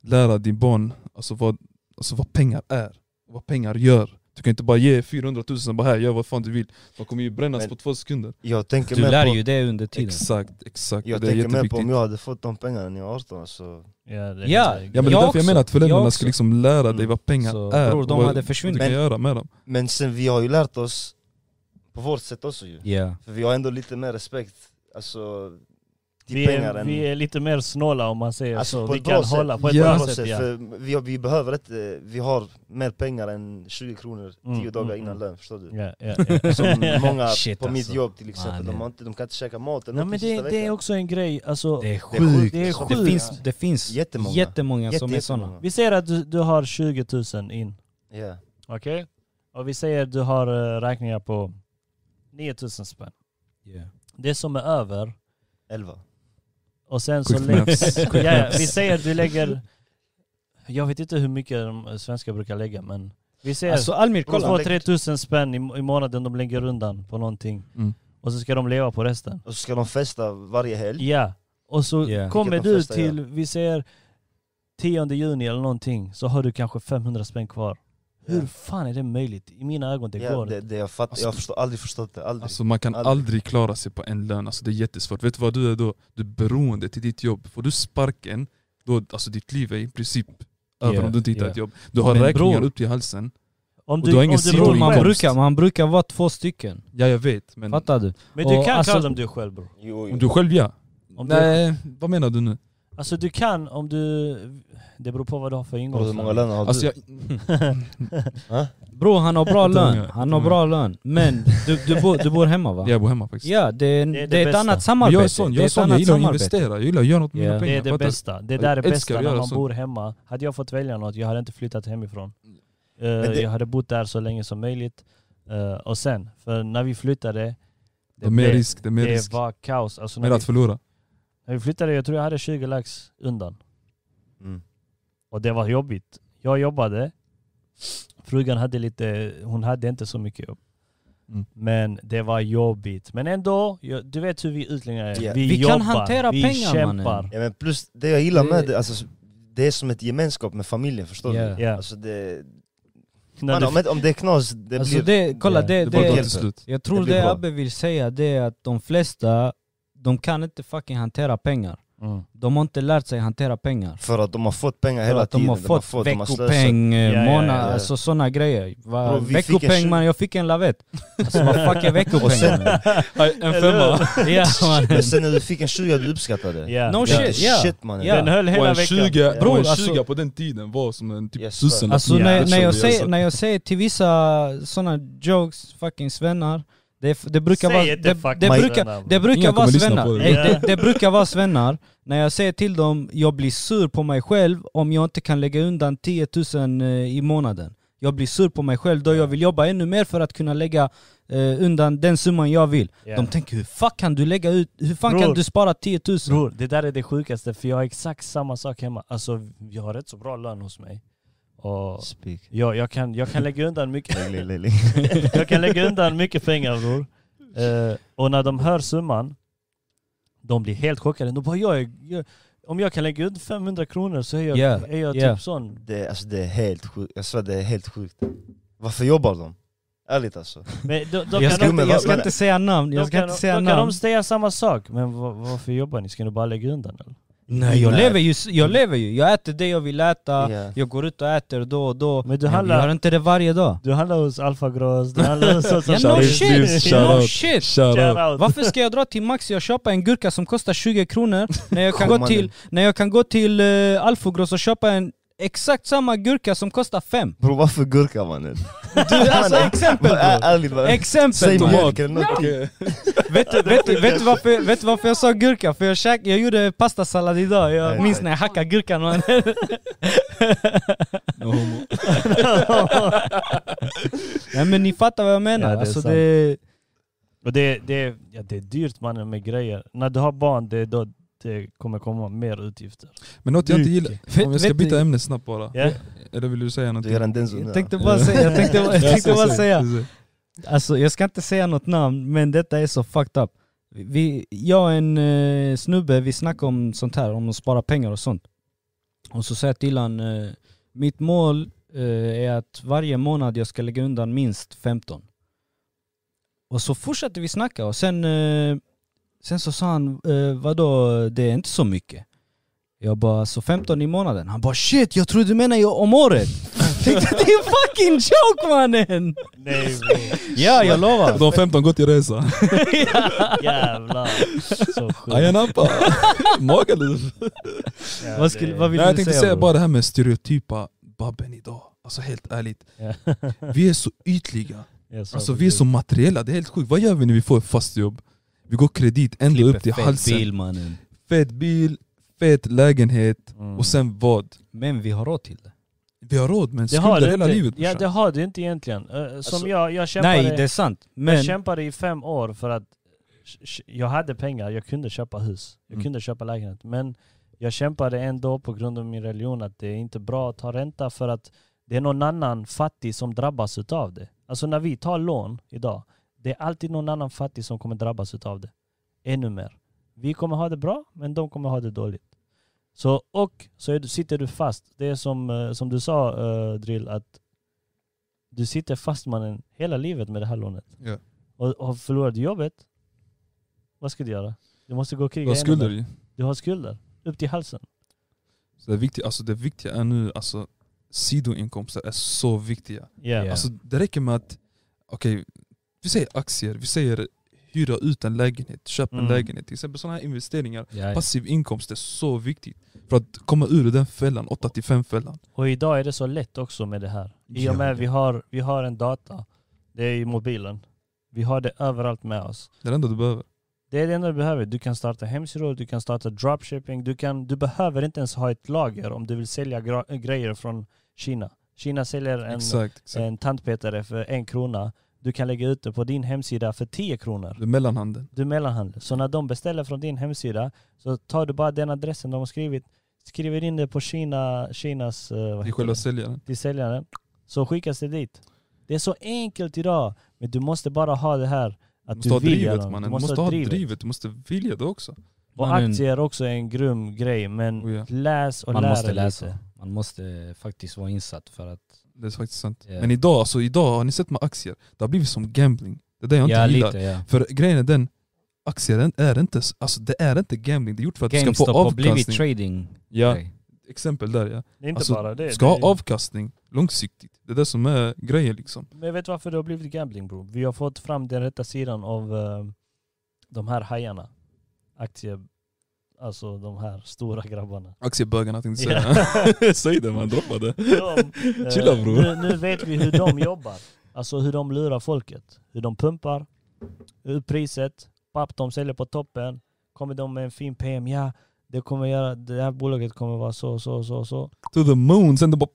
[SPEAKER 2] lära din barn alltså, vad, alltså, vad pengar är, vad pengar gör. Du kan inte bara ge 400 000 och bara här, gör vad fan du vill. De kommer ju brännas
[SPEAKER 1] Men-
[SPEAKER 2] på två sekunder.
[SPEAKER 1] Jag tänker
[SPEAKER 4] Du
[SPEAKER 1] mer
[SPEAKER 4] lär
[SPEAKER 1] på,
[SPEAKER 4] ju det under tiden
[SPEAKER 2] Exakt, exakt.
[SPEAKER 1] jag
[SPEAKER 2] det är
[SPEAKER 1] tänker mer på
[SPEAKER 2] jätteviktigt.
[SPEAKER 1] om jag hade fått de pengarna när jag var 18 alltså.
[SPEAKER 3] Ja, det är
[SPEAKER 4] Ja,
[SPEAKER 3] helt-
[SPEAKER 2] Ja, men det är
[SPEAKER 4] Jag
[SPEAKER 2] därför jag
[SPEAKER 4] också.
[SPEAKER 2] menar att
[SPEAKER 4] Jag
[SPEAKER 2] föräldrarna
[SPEAKER 4] också.
[SPEAKER 2] ska liksom lära dig
[SPEAKER 1] Mm.
[SPEAKER 2] vad pengar
[SPEAKER 4] Så,
[SPEAKER 2] är
[SPEAKER 4] bror,
[SPEAKER 2] och
[SPEAKER 4] de
[SPEAKER 2] vad
[SPEAKER 4] hade
[SPEAKER 2] du
[SPEAKER 4] försvunnit.
[SPEAKER 2] kan
[SPEAKER 1] Men-
[SPEAKER 2] göra med dem.
[SPEAKER 1] Men sen vi har ju lärt oss, på vårt sätt också ju.
[SPEAKER 4] Ja,
[SPEAKER 1] För vi har ändå lite mer respekt, alltså, till
[SPEAKER 3] vi,
[SPEAKER 1] pengar
[SPEAKER 3] är,
[SPEAKER 1] än...
[SPEAKER 3] vi är lite mer snåla om man säger
[SPEAKER 1] Alltså
[SPEAKER 3] så.
[SPEAKER 1] på
[SPEAKER 3] Vi
[SPEAKER 1] ett
[SPEAKER 3] kan
[SPEAKER 1] bra sätt.
[SPEAKER 3] hålla på ett
[SPEAKER 2] Ja.
[SPEAKER 3] bra
[SPEAKER 1] På något
[SPEAKER 3] sätt.
[SPEAKER 1] sätt,
[SPEAKER 3] Ja.
[SPEAKER 1] för vi, vi behöver inte, vi har mer pengar än 20 kronor 10
[SPEAKER 3] Mm,
[SPEAKER 1] dagar
[SPEAKER 3] mm,
[SPEAKER 1] innan
[SPEAKER 3] mm.
[SPEAKER 1] lön, förstår du?
[SPEAKER 3] Ja, ja, ja.
[SPEAKER 1] Som många
[SPEAKER 4] Shit,
[SPEAKER 1] på mitt
[SPEAKER 4] alltså.
[SPEAKER 1] jobb till exempel,
[SPEAKER 4] Man,
[SPEAKER 1] de,
[SPEAKER 4] ja.
[SPEAKER 1] har inte, de kan inte käka mat eller
[SPEAKER 3] Nej,
[SPEAKER 1] något
[SPEAKER 3] men
[SPEAKER 1] den
[SPEAKER 3] det,
[SPEAKER 1] sista
[SPEAKER 3] det är
[SPEAKER 1] veckan.
[SPEAKER 3] också en grej. Alltså,
[SPEAKER 4] det är
[SPEAKER 1] Det är
[SPEAKER 4] sjukt
[SPEAKER 1] sjukt.
[SPEAKER 3] Det är
[SPEAKER 1] alltså.
[SPEAKER 3] sjukt.
[SPEAKER 4] Det finns, det finns
[SPEAKER 1] Jättemånga.
[SPEAKER 4] jättemånga
[SPEAKER 1] Jätte-
[SPEAKER 4] som är såna
[SPEAKER 1] jättemånga.
[SPEAKER 3] vi säger att du, du har 20 000 in.
[SPEAKER 1] Ja.
[SPEAKER 3] Okej? Och vi säger att du har eh, räkningar på 9 000 spänn.
[SPEAKER 4] Ja.
[SPEAKER 3] Det som är över
[SPEAKER 1] Elva.
[SPEAKER 3] och sen så
[SPEAKER 2] Quick maths.
[SPEAKER 3] lägger... ja, ja, vi säger att du lägger... Jag vet inte hur mycket de svenskar brukar lägga men... Vi säger
[SPEAKER 4] Alltså Almir, kolla!
[SPEAKER 1] Kolla.
[SPEAKER 3] 2-3 tusen spänn i, i månaden de lägger undan på någonting.
[SPEAKER 2] Mm.
[SPEAKER 3] Och så ska de leva på resten.
[SPEAKER 1] Och så ska de festa varje helg.
[SPEAKER 3] Ja. Och så
[SPEAKER 4] Ja.
[SPEAKER 3] kommer
[SPEAKER 1] Vilket de
[SPEAKER 3] du
[SPEAKER 1] flesta gör.
[SPEAKER 3] till, vi säger 10 juni eller någonting, så har du kanske 500 spänn kvar. Hur
[SPEAKER 1] Ja.
[SPEAKER 3] fan är det möjligt? I mina ögon det
[SPEAKER 1] Ja,
[SPEAKER 3] går Alltså-
[SPEAKER 1] det,
[SPEAKER 3] inte.
[SPEAKER 1] det jag fattar, jag har förstå, aldrig förstått det, aldrig.
[SPEAKER 2] Alltså, man kan
[SPEAKER 1] Aldrig.
[SPEAKER 2] aldrig klara sig på en lön, alltså, det är jättesvårt. Vet du vad du är då? Du är beroende till ditt jobb. Får du sparken, då, alltså, ditt liv är i princip över
[SPEAKER 4] Yeah,
[SPEAKER 2] om du inte hittar
[SPEAKER 4] yeah.
[SPEAKER 2] ett jobb. Du har
[SPEAKER 4] Men
[SPEAKER 2] räkningar
[SPEAKER 4] bror-
[SPEAKER 2] upp till halsen.
[SPEAKER 3] Om
[SPEAKER 2] och du har ingen
[SPEAKER 3] om
[SPEAKER 2] sidoinkomst.
[SPEAKER 4] Bror,
[SPEAKER 3] bor
[SPEAKER 4] man,
[SPEAKER 3] själv.
[SPEAKER 4] brukar, man brukar vara två stycken,
[SPEAKER 2] Ja jag vet, men
[SPEAKER 4] fattar du?
[SPEAKER 3] Men du
[SPEAKER 4] och
[SPEAKER 3] kan
[SPEAKER 4] alltså-
[SPEAKER 3] klara om du är själv bror.
[SPEAKER 1] Jo, jo.
[SPEAKER 2] om du själv ja.
[SPEAKER 3] Om du-
[SPEAKER 2] Nej, vad menar du nu?
[SPEAKER 3] Alltså du kan om du... Det beror på vad du har för
[SPEAKER 1] Och
[SPEAKER 3] ingång.
[SPEAKER 1] hur många löner har
[SPEAKER 2] Alltså
[SPEAKER 1] du?
[SPEAKER 2] jag,
[SPEAKER 4] Bror han har bra
[SPEAKER 2] Inte
[SPEAKER 4] lön,
[SPEAKER 2] många.
[SPEAKER 4] han har bra lön. Men du, du, bor, du bor hemma va?
[SPEAKER 2] jag bor hemma faktiskt.
[SPEAKER 4] Ja, det är, det
[SPEAKER 3] är
[SPEAKER 4] är,
[SPEAKER 3] det
[SPEAKER 4] ett
[SPEAKER 3] bästa.
[SPEAKER 4] annat
[SPEAKER 2] Men
[SPEAKER 4] samarbete.
[SPEAKER 2] jag är sån, jag,
[SPEAKER 4] det
[SPEAKER 2] är sån, jag gillar att investera, jag gillar att göra något med
[SPEAKER 4] Ja.
[SPEAKER 2] mina
[SPEAKER 3] Det
[SPEAKER 2] pengar.
[SPEAKER 3] är det
[SPEAKER 2] fattar du?
[SPEAKER 3] bästa. Det där är
[SPEAKER 2] Jag älskar
[SPEAKER 3] bästa
[SPEAKER 2] att
[SPEAKER 3] när
[SPEAKER 2] göra
[SPEAKER 3] man
[SPEAKER 2] sånt.
[SPEAKER 3] bor hemma. Hade jag fått välja något, jag hade inte flyttat hemifrån. Eh,
[SPEAKER 1] det-
[SPEAKER 3] Jag hade bott där så länge som möjligt. Eh, och sen, för när vi flyttade,
[SPEAKER 2] Det är mer
[SPEAKER 3] blev-
[SPEAKER 2] risk, det är mer risk.
[SPEAKER 3] det var kaos. Alltså när,
[SPEAKER 2] Mer
[SPEAKER 3] vi,
[SPEAKER 2] att förlora.
[SPEAKER 3] när vi flyttade, jag tror jag hade 20 lax undan.
[SPEAKER 1] Mm.
[SPEAKER 3] Och det var jobbigt. Jag jobbade, frugan hade lite, hon hade inte så mycket jobb.
[SPEAKER 2] Mm.
[SPEAKER 3] Men det var jobbigt. Men ändå, jag, du vet hur vi utlänningar är.
[SPEAKER 1] Ja.
[SPEAKER 3] Vi,
[SPEAKER 4] Vi kan
[SPEAKER 3] jobbar,
[SPEAKER 4] hantera
[SPEAKER 3] vi
[SPEAKER 4] pengar,
[SPEAKER 3] kämpar.
[SPEAKER 4] mannen.
[SPEAKER 1] Ja, men plus, det jag gillar med
[SPEAKER 4] Det-
[SPEAKER 1] det, alltså, det är som ett gemenskap med familjen, förstår
[SPEAKER 4] Ja.
[SPEAKER 1] du?
[SPEAKER 3] Ja.
[SPEAKER 1] Alltså det,
[SPEAKER 3] När
[SPEAKER 1] man,
[SPEAKER 3] du-
[SPEAKER 1] om, om det är knas, det
[SPEAKER 4] Alltså
[SPEAKER 1] blir...
[SPEAKER 4] det, kolla
[SPEAKER 3] Ja,
[SPEAKER 4] det,
[SPEAKER 2] Det bara
[SPEAKER 4] det,
[SPEAKER 2] går
[SPEAKER 1] hjälper.
[SPEAKER 2] till slut.
[SPEAKER 4] jag tror
[SPEAKER 1] Det blir
[SPEAKER 4] det
[SPEAKER 1] bra.
[SPEAKER 4] Abbe vill säga det är att de flesta, de kan inte fucking hantera pengar.
[SPEAKER 3] Mm.
[SPEAKER 4] De har inte lärt sig hantera pengar.
[SPEAKER 1] För att de har fått pengar
[SPEAKER 4] För
[SPEAKER 1] hela
[SPEAKER 4] att de
[SPEAKER 1] tiden,
[SPEAKER 4] har fått
[SPEAKER 1] de har slösat.
[SPEAKER 4] veckopeng, eh,
[SPEAKER 3] Ja, ja,
[SPEAKER 4] månad,
[SPEAKER 1] ja.
[SPEAKER 4] alltså sådana grejer. Va,
[SPEAKER 1] Bro, vi fick en
[SPEAKER 4] veckopeng
[SPEAKER 1] tju-
[SPEAKER 4] man, jag fick en lavett. Alltså vad fuck är veckopeng?
[SPEAKER 2] En femma.
[SPEAKER 4] ja, man.
[SPEAKER 1] Men sen när du fick en 20 du uppskattade det.
[SPEAKER 3] Ja.
[SPEAKER 4] No
[SPEAKER 3] Ja.
[SPEAKER 4] shit. ja.
[SPEAKER 1] Shit mannen.
[SPEAKER 4] Ja.
[SPEAKER 3] Den höll
[SPEAKER 2] Och
[SPEAKER 3] hela
[SPEAKER 2] en
[SPEAKER 3] veckan.
[SPEAKER 2] 20,
[SPEAKER 1] Ja.
[SPEAKER 2] bror, en 20
[SPEAKER 4] Alltså-
[SPEAKER 2] på den tiden var som en typ
[SPEAKER 1] Yes,
[SPEAKER 2] tusen.
[SPEAKER 4] Alltså
[SPEAKER 3] Ja,
[SPEAKER 2] det
[SPEAKER 4] när, när, jag
[SPEAKER 2] kände jag
[SPEAKER 4] säger,
[SPEAKER 2] så.
[SPEAKER 4] när jag säger till vissa såna jokes, fucking svennar, det, f- det brukar
[SPEAKER 3] Säg
[SPEAKER 4] vara...
[SPEAKER 3] inte
[SPEAKER 4] Det,
[SPEAKER 3] fuck
[SPEAKER 4] det,
[SPEAKER 3] my
[SPEAKER 4] brukar,
[SPEAKER 3] svennar.
[SPEAKER 4] det
[SPEAKER 2] Ingen
[SPEAKER 4] brukar
[SPEAKER 2] kommer
[SPEAKER 4] vara
[SPEAKER 2] lyssna
[SPEAKER 4] svennar.
[SPEAKER 2] på det.
[SPEAKER 4] Nej,
[SPEAKER 3] Ja.
[SPEAKER 4] det, det brukar vara svennar. När jag säger till dem, jag blir sur på mig själv om jag inte kan lägga undan 10 000 eh, i månaden. Jag blir sur på mig själv då jag vill jobba ännu mer för att kunna lägga eh, undan den summan jag vill.
[SPEAKER 3] Ja.
[SPEAKER 4] De tänker hur fuck kan du lägga ut, hur fan kan
[SPEAKER 3] Bror.
[SPEAKER 4] du spara 10 000?
[SPEAKER 3] Bror, det där är det sjukaste för jag har exakt samma sak hemma. Alltså jag har rätt så bra lön hos mig. Och
[SPEAKER 1] Spik.
[SPEAKER 3] jag, jag, kan, jag kan lägga undan mycket,
[SPEAKER 1] Lägg, lägg, lägg, lägg.
[SPEAKER 3] jag kan lägga undan mycket pengar bror. Eh, och när de hör summan, de blir helt chockade. De bara, jag är, jag, om jag kan lägga ut 500 kronor så är jag,
[SPEAKER 4] Yeah,
[SPEAKER 3] är jag
[SPEAKER 4] yeah.
[SPEAKER 3] typ sån.
[SPEAKER 1] Det, alltså, det är helt sjukt. Jag svär det är helt sjukt. Varför jobbar de? Ärligt alltså.
[SPEAKER 3] Men då, då
[SPEAKER 4] Jag ska,
[SPEAKER 3] kan de,
[SPEAKER 4] inte,
[SPEAKER 1] men
[SPEAKER 4] jag
[SPEAKER 1] vad-
[SPEAKER 4] ska
[SPEAKER 1] men-
[SPEAKER 4] inte säga namn,
[SPEAKER 3] då
[SPEAKER 4] jag ska
[SPEAKER 3] kan,
[SPEAKER 4] inte
[SPEAKER 3] de-
[SPEAKER 4] säga
[SPEAKER 3] då kan de
[SPEAKER 4] namn.
[SPEAKER 3] säga samma sak. Men va- varför jobbar ni? Ska ni bara lägga undan eller?
[SPEAKER 4] Nej jag
[SPEAKER 1] Nej.
[SPEAKER 4] lever ju, s- jag lever ju. Jag äter det jag vill äta,
[SPEAKER 1] Ja.
[SPEAKER 4] jag går ut och äter då och då.
[SPEAKER 3] Men du
[SPEAKER 4] Jag
[SPEAKER 3] handlar-
[SPEAKER 4] gör inte det varje dag.
[SPEAKER 3] Du handlar hos Alfa Gross, du handlar hos oss.
[SPEAKER 4] Ja, no
[SPEAKER 2] Shoutout,
[SPEAKER 4] shit!
[SPEAKER 2] Livs,
[SPEAKER 4] No
[SPEAKER 2] shoutout.
[SPEAKER 4] shit!
[SPEAKER 2] Shoutout.
[SPEAKER 4] Varför ska jag dra till Maxi och köpa en gurka som kostar 20 kronor när jag kan gå
[SPEAKER 1] Kommande.
[SPEAKER 4] till, när jag kan gå till uh, Alfogross och köpa en exakt samma gurka som kostar 5?
[SPEAKER 1] Bror varför gurka mannen?
[SPEAKER 4] Du, alltså
[SPEAKER 3] eh,
[SPEAKER 4] exempel
[SPEAKER 1] Ä-
[SPEAKER 4] bro.
[SPEAKER 1] Ärligt bara.
[SPEAKER 4] Exempel
[SPEAKER 1] Säg
[SPEAKER 4] bro.
[SPEAKER 1] mjölk eller någonting.
[SPEAKER 2] Okej.
[SPEAKER 4] Vet, du- vet, du- vet, du varför, vet du varför jag sa gurka? För jag, käk, jag gjorde pastasallad idag, jag
[SPEAKER 1] Nej,
[SPEAKER 4] minns
[SPEAKER 1] nej.
[SPEAKER 4] när jag hackade gurkan man.
[SPEAKER 2] No homo.
[SPEAKER 4] Nej men ni fattar vad jag menar.
[SPEAKER 3] Ja, det är
[SPEAKER 4] alltså,
[SPEAKER 3] sant.
[SPEAKER 4] det,
[SPEAKER 3] Och det, det, ja, det är dyrt mannen med grejer. När du har barn, det, är då det kommer komma mer utgifter.
[SPEAKER 2] Men något jag inte gillar,
[SPEAKER 4] Vet-
[SPEAKER 2] om jag ska
[SPEAKER 4] vet
[SPEAKER 2] byta
[SPEAKER 4] du-
[SPEAKER 2] ämne snabbt bara.
[SPEAKER 3] Ja.
[SPEAKER 2] Eller vill du säga
[SPEAKER 1] Du
[SPEAKER 2] någonting?
[SPEAKER 1] gör en denzo
[SPEAKER 4] jag
[SPEAKER 1] nu.
[SPEAKER 4] tänkte bara säga, jag tänkte, jag tänkte bara säga
[SPEAKER 2] Precis.
[SPEAKER 4] Alltså jag ska inte säga något namn, men detta är så fucked up. Vi, jag och en eh, snubbe, vi snackade om sånt här, om att spara pengar och sånt. Och så säger jag till han, eh, mitt mål eh, är att varje månad jag ska lägga undan minst 15. Och så fortsatte vi snacka och sen, eh, sen så sa han, eh, vadå det är inte så mycket. Jag bara, så 15 i månaden? Han bara shit, jag trodde du menade ju om året. Tänkte det är en fucking joke mannen!
[SPEAKER 3] Nej
[SPEAKER 4] Ja, jag lovar.
[SPEAKER 2] De 15 går till resa.
[SPEAKER 3] Jävlar. Så sjukt.
[SPEAKER 2] Ayanapa! Magaluf!
[SPEAKER 3] Ja,
[SPEAKER 4] Vad, skulle, vad vill
[SPEAKER 2] Nej, jag
[SPEAKER 4] du
[SPEAKER 2] tänkte
[SPEAKER 4] säga?
[SPEAKER 2] säga
[SPEAKER 4] bro?
[SPEAKER 2] bara det här med stereotypa Babben idag. Alltså helt ärligt.
[SPEAKER 3] Ja.
[SPEAKER 2] Vi är så ytliga.
[SPEAKER 3] Ja, så
[SPEAKER 2] Alltså vi är
[SPEAKER 3] precis.
[SPEAKER 2] så materiella, det är helt sjukt. Vad gör vi när vi får ett fast jobb? Vi går kredit ända
[SPEAKER 4] Klipper
[SPEAKER 2] upp till
[SPEAKER 4] fet
[SPEAKER 2] halsen.
[SPEAKER 4] bil, mannen.
[SPEAKER 2] Fet bil, fet lägenhet
[SPEAKER 3] Mm.
[SPEAKER 2] och sen vad?
[SPEAKER 4] Men vi har råd till det.
[SPEAKER 2] Vi har råd men
[SPEAKER 3] Det har
[SPEAKER 2] skulder
[SPEAKER 3] du
[SPEAKER 2] hela
[SPEAKER 3] inte.
[SPEAKER 2] livet
[SPEAKER 3] Ja
[SPEAKER 2] brorsan.
[SPEAKER 3] det har du inte egentligen. Eh, Som
[SPEAKER 1] Alltså-
[SPEAKER 3] jag, jag kämpade,
[SPEAKER 4] Nej, det är sant.
[SPEAKER 3] jag
[SPEAKER 4] Men
[SPEAKER 3] kämpade i fem år för att sh- sh- jag hade pengar, jag kunde köpa hus. Jag
[SPEAKER 2] Mm.
[SPEAKER 3] kunde köpa lägenhet. Men jag kämpade ändå på grund av min religion att det är inte bra att ta ränta för att det är någon annan fattig som drabbas utav det. Alltså när vi tar lån idag, det är alltid någon annan fattig som kommer drabbas utav det. Ännu mer. Vi kommer ha det bra, men de kommer ha det dåligt. Så, och så är du, sitter du fast. Det är som, eh, som du sa eh, Drill, att du sitter fast mannen hela livet med det här lånet.
[SPEAKER 2] Ja.
[SPEAKER 3] Och, och förlorar du jobbet, vad ska du göra? Du måste gå och kriga
[SPEAKER 2] Vad
[SPEAKER 3] igenom
[SPEAKER 2] skulder
[SPEAKER 3] det.
[SPEAKER 2] vi?
[SPEAKER 3] Du har skulder. Upp till halsen.
[SPEAKER 2] Så det, viktiga, alltså det viktiga är nu, alltså sidoinkomster är så viktiga.
[SPEAKER 3] Yeah.
[SPEAKER 4] Ja.
[SPEAKER 2] Alltså det räcker med att, okej, vi säger aktier, vi säger hyra ut en lägenhet, köpa
[SPEAKER 3] Mm.
[SPEAKER 2] en lägenhet. Till exempel sådana här investeringar.
[SPEAKER 4] Ja, ja.
[SPEAKER 2] Passiv inkomst är så viktigt för att komma ur den fällan, 8-5 fällan.
[SPEAKER 3] Och idag är det så lätt också med det här. I och
[SPEAKER 2] Ja,
[SPEAKER 3] med
[SPEAKER 2] det-
[SPEAKER 3] vi har, vi har en data, det är i mobilen. Vi har det överallt med oss.
[SPEAKER 2] Det är det enda du behöver.
[SPEAKER 3] Det är det enda du behöver. Du kan starta hemsidor, du kan starta dropshipping. Du, kan, du behöver inte ens ha ett lager om du vill sälja gra- eh, grejer från Kina. Kina säljer en,
[SPEAKER 2] exakt. exakt.
[SPEAKER 3] en tandpetare för en krona. Du kan lägga ut det på din hemsida för 10 kronor.
[SPEAKER 2] Det är mellanhanden.
[SPEAKER 3] Du mellanhandlar. Så när de beställer från din hemsida så tar du bara den adressen de har skrivit, skriver in det på Kina, Kinas... eh, vad
[SPEAKER 2] Det är
[SPEAKER 3] heter
[SPEAKER 2] själva
[SPEAKER 3] det?
[SPEAKER 2] säljaren.
[SPEAKER 3] till säljaren så skickas det dit. Det är så enkelt idag, men du måste bara ha det här
[SPEAKER 2] Du
[SPEAKER 3] att
[SPEAKER 2] måste
[SPEAKER 3] du
[SPEAKER 2] ha
[SPEAKER 3] vill
[SPEAKER 2] drivet
[SPEAKER 3] göra något.
[SPEAKER 2] mannen. Du måste, ha drivet. du måste vilja det också.
[SPEAKER 3] Och
[SPEAKER 4] Mannen-
[SPEAKER 3] aktier är också en grym grej, men
[SPEAKER 2] Oh ja.
[SPEAKER 3] läs och
[SPEAKER 4] Man
[SPEAKER 3] lär
[SPEAKER 4] måste
[SPEAKER 3] dig
[SPEAKER 4] läsa.
[SPEAKER 3] lite.
[SPEAKER 4] Man måste faktiskt vara insatt för att...
[SPEAKER 2] Det är faktiskt sant.
[SPEAKER 4] Ja.
[SPEAKER 2] Men idag, alltså idag, har ni sett med aktier? Det har blivit som gambling. Det är det jag inte
[SPEAKER 4] ja,
[SPEAKER 2] gillar.
[SPEAKER 4] lite ja.
[SPEAKER 2] För grejen är den, aktier den är inte, alltså det är inte gambling, det är gjort för att du ska
[SPEAKER 4] GameStop
[SPEAKER 2] få
[SPEAKER 4] har blivit
[SPEAKER 2] avkastning.
[SPEAKER 4] trading.
[SPEAKER 2] Ja,
[SPEAKER 4] Grej.
[SPEAKER 2] exempel där ja.
[SPEAKER 3] Det är inte
[SPEAKER 2] Alltså,
[SPEAKER 3] bara det.
[SPEAKER 2] Ska
[SPEAKER 3] det
[SPEAKER 2] ha
[SPEAKER 3] är-
[SPEAKER 2] avkastning långsiktigt. Det är det som är grejen liksom.
[SPEAKER 3] Men vet du varför det har blivit gambling bro? Vi har fått fram den rätta sidan av eh, de här hajarna. Aktie... Alltså de här stora grabbarna.
[SPEAKER 2] Aktiebögarna tänkte
[SPEAKER 3] Ja.
[SPEAKER 2] jag säga. Säg det man, droppa det.
[SPEAKER 3] De, eh,
[SPEAKER 2] Chilla, bror.
[SPEAKER 3] Nu, nu vet vi hur de jobbar. Alltså hur de lurar folket. Hur de pumpar upp priset. Papp de säljer på toppen. Kommer de med en fin PM. Ja, det, kommer göra, det här bolaget kommer vara så, så, så, så.
[SPEAKER 2] To the moon, sen det bara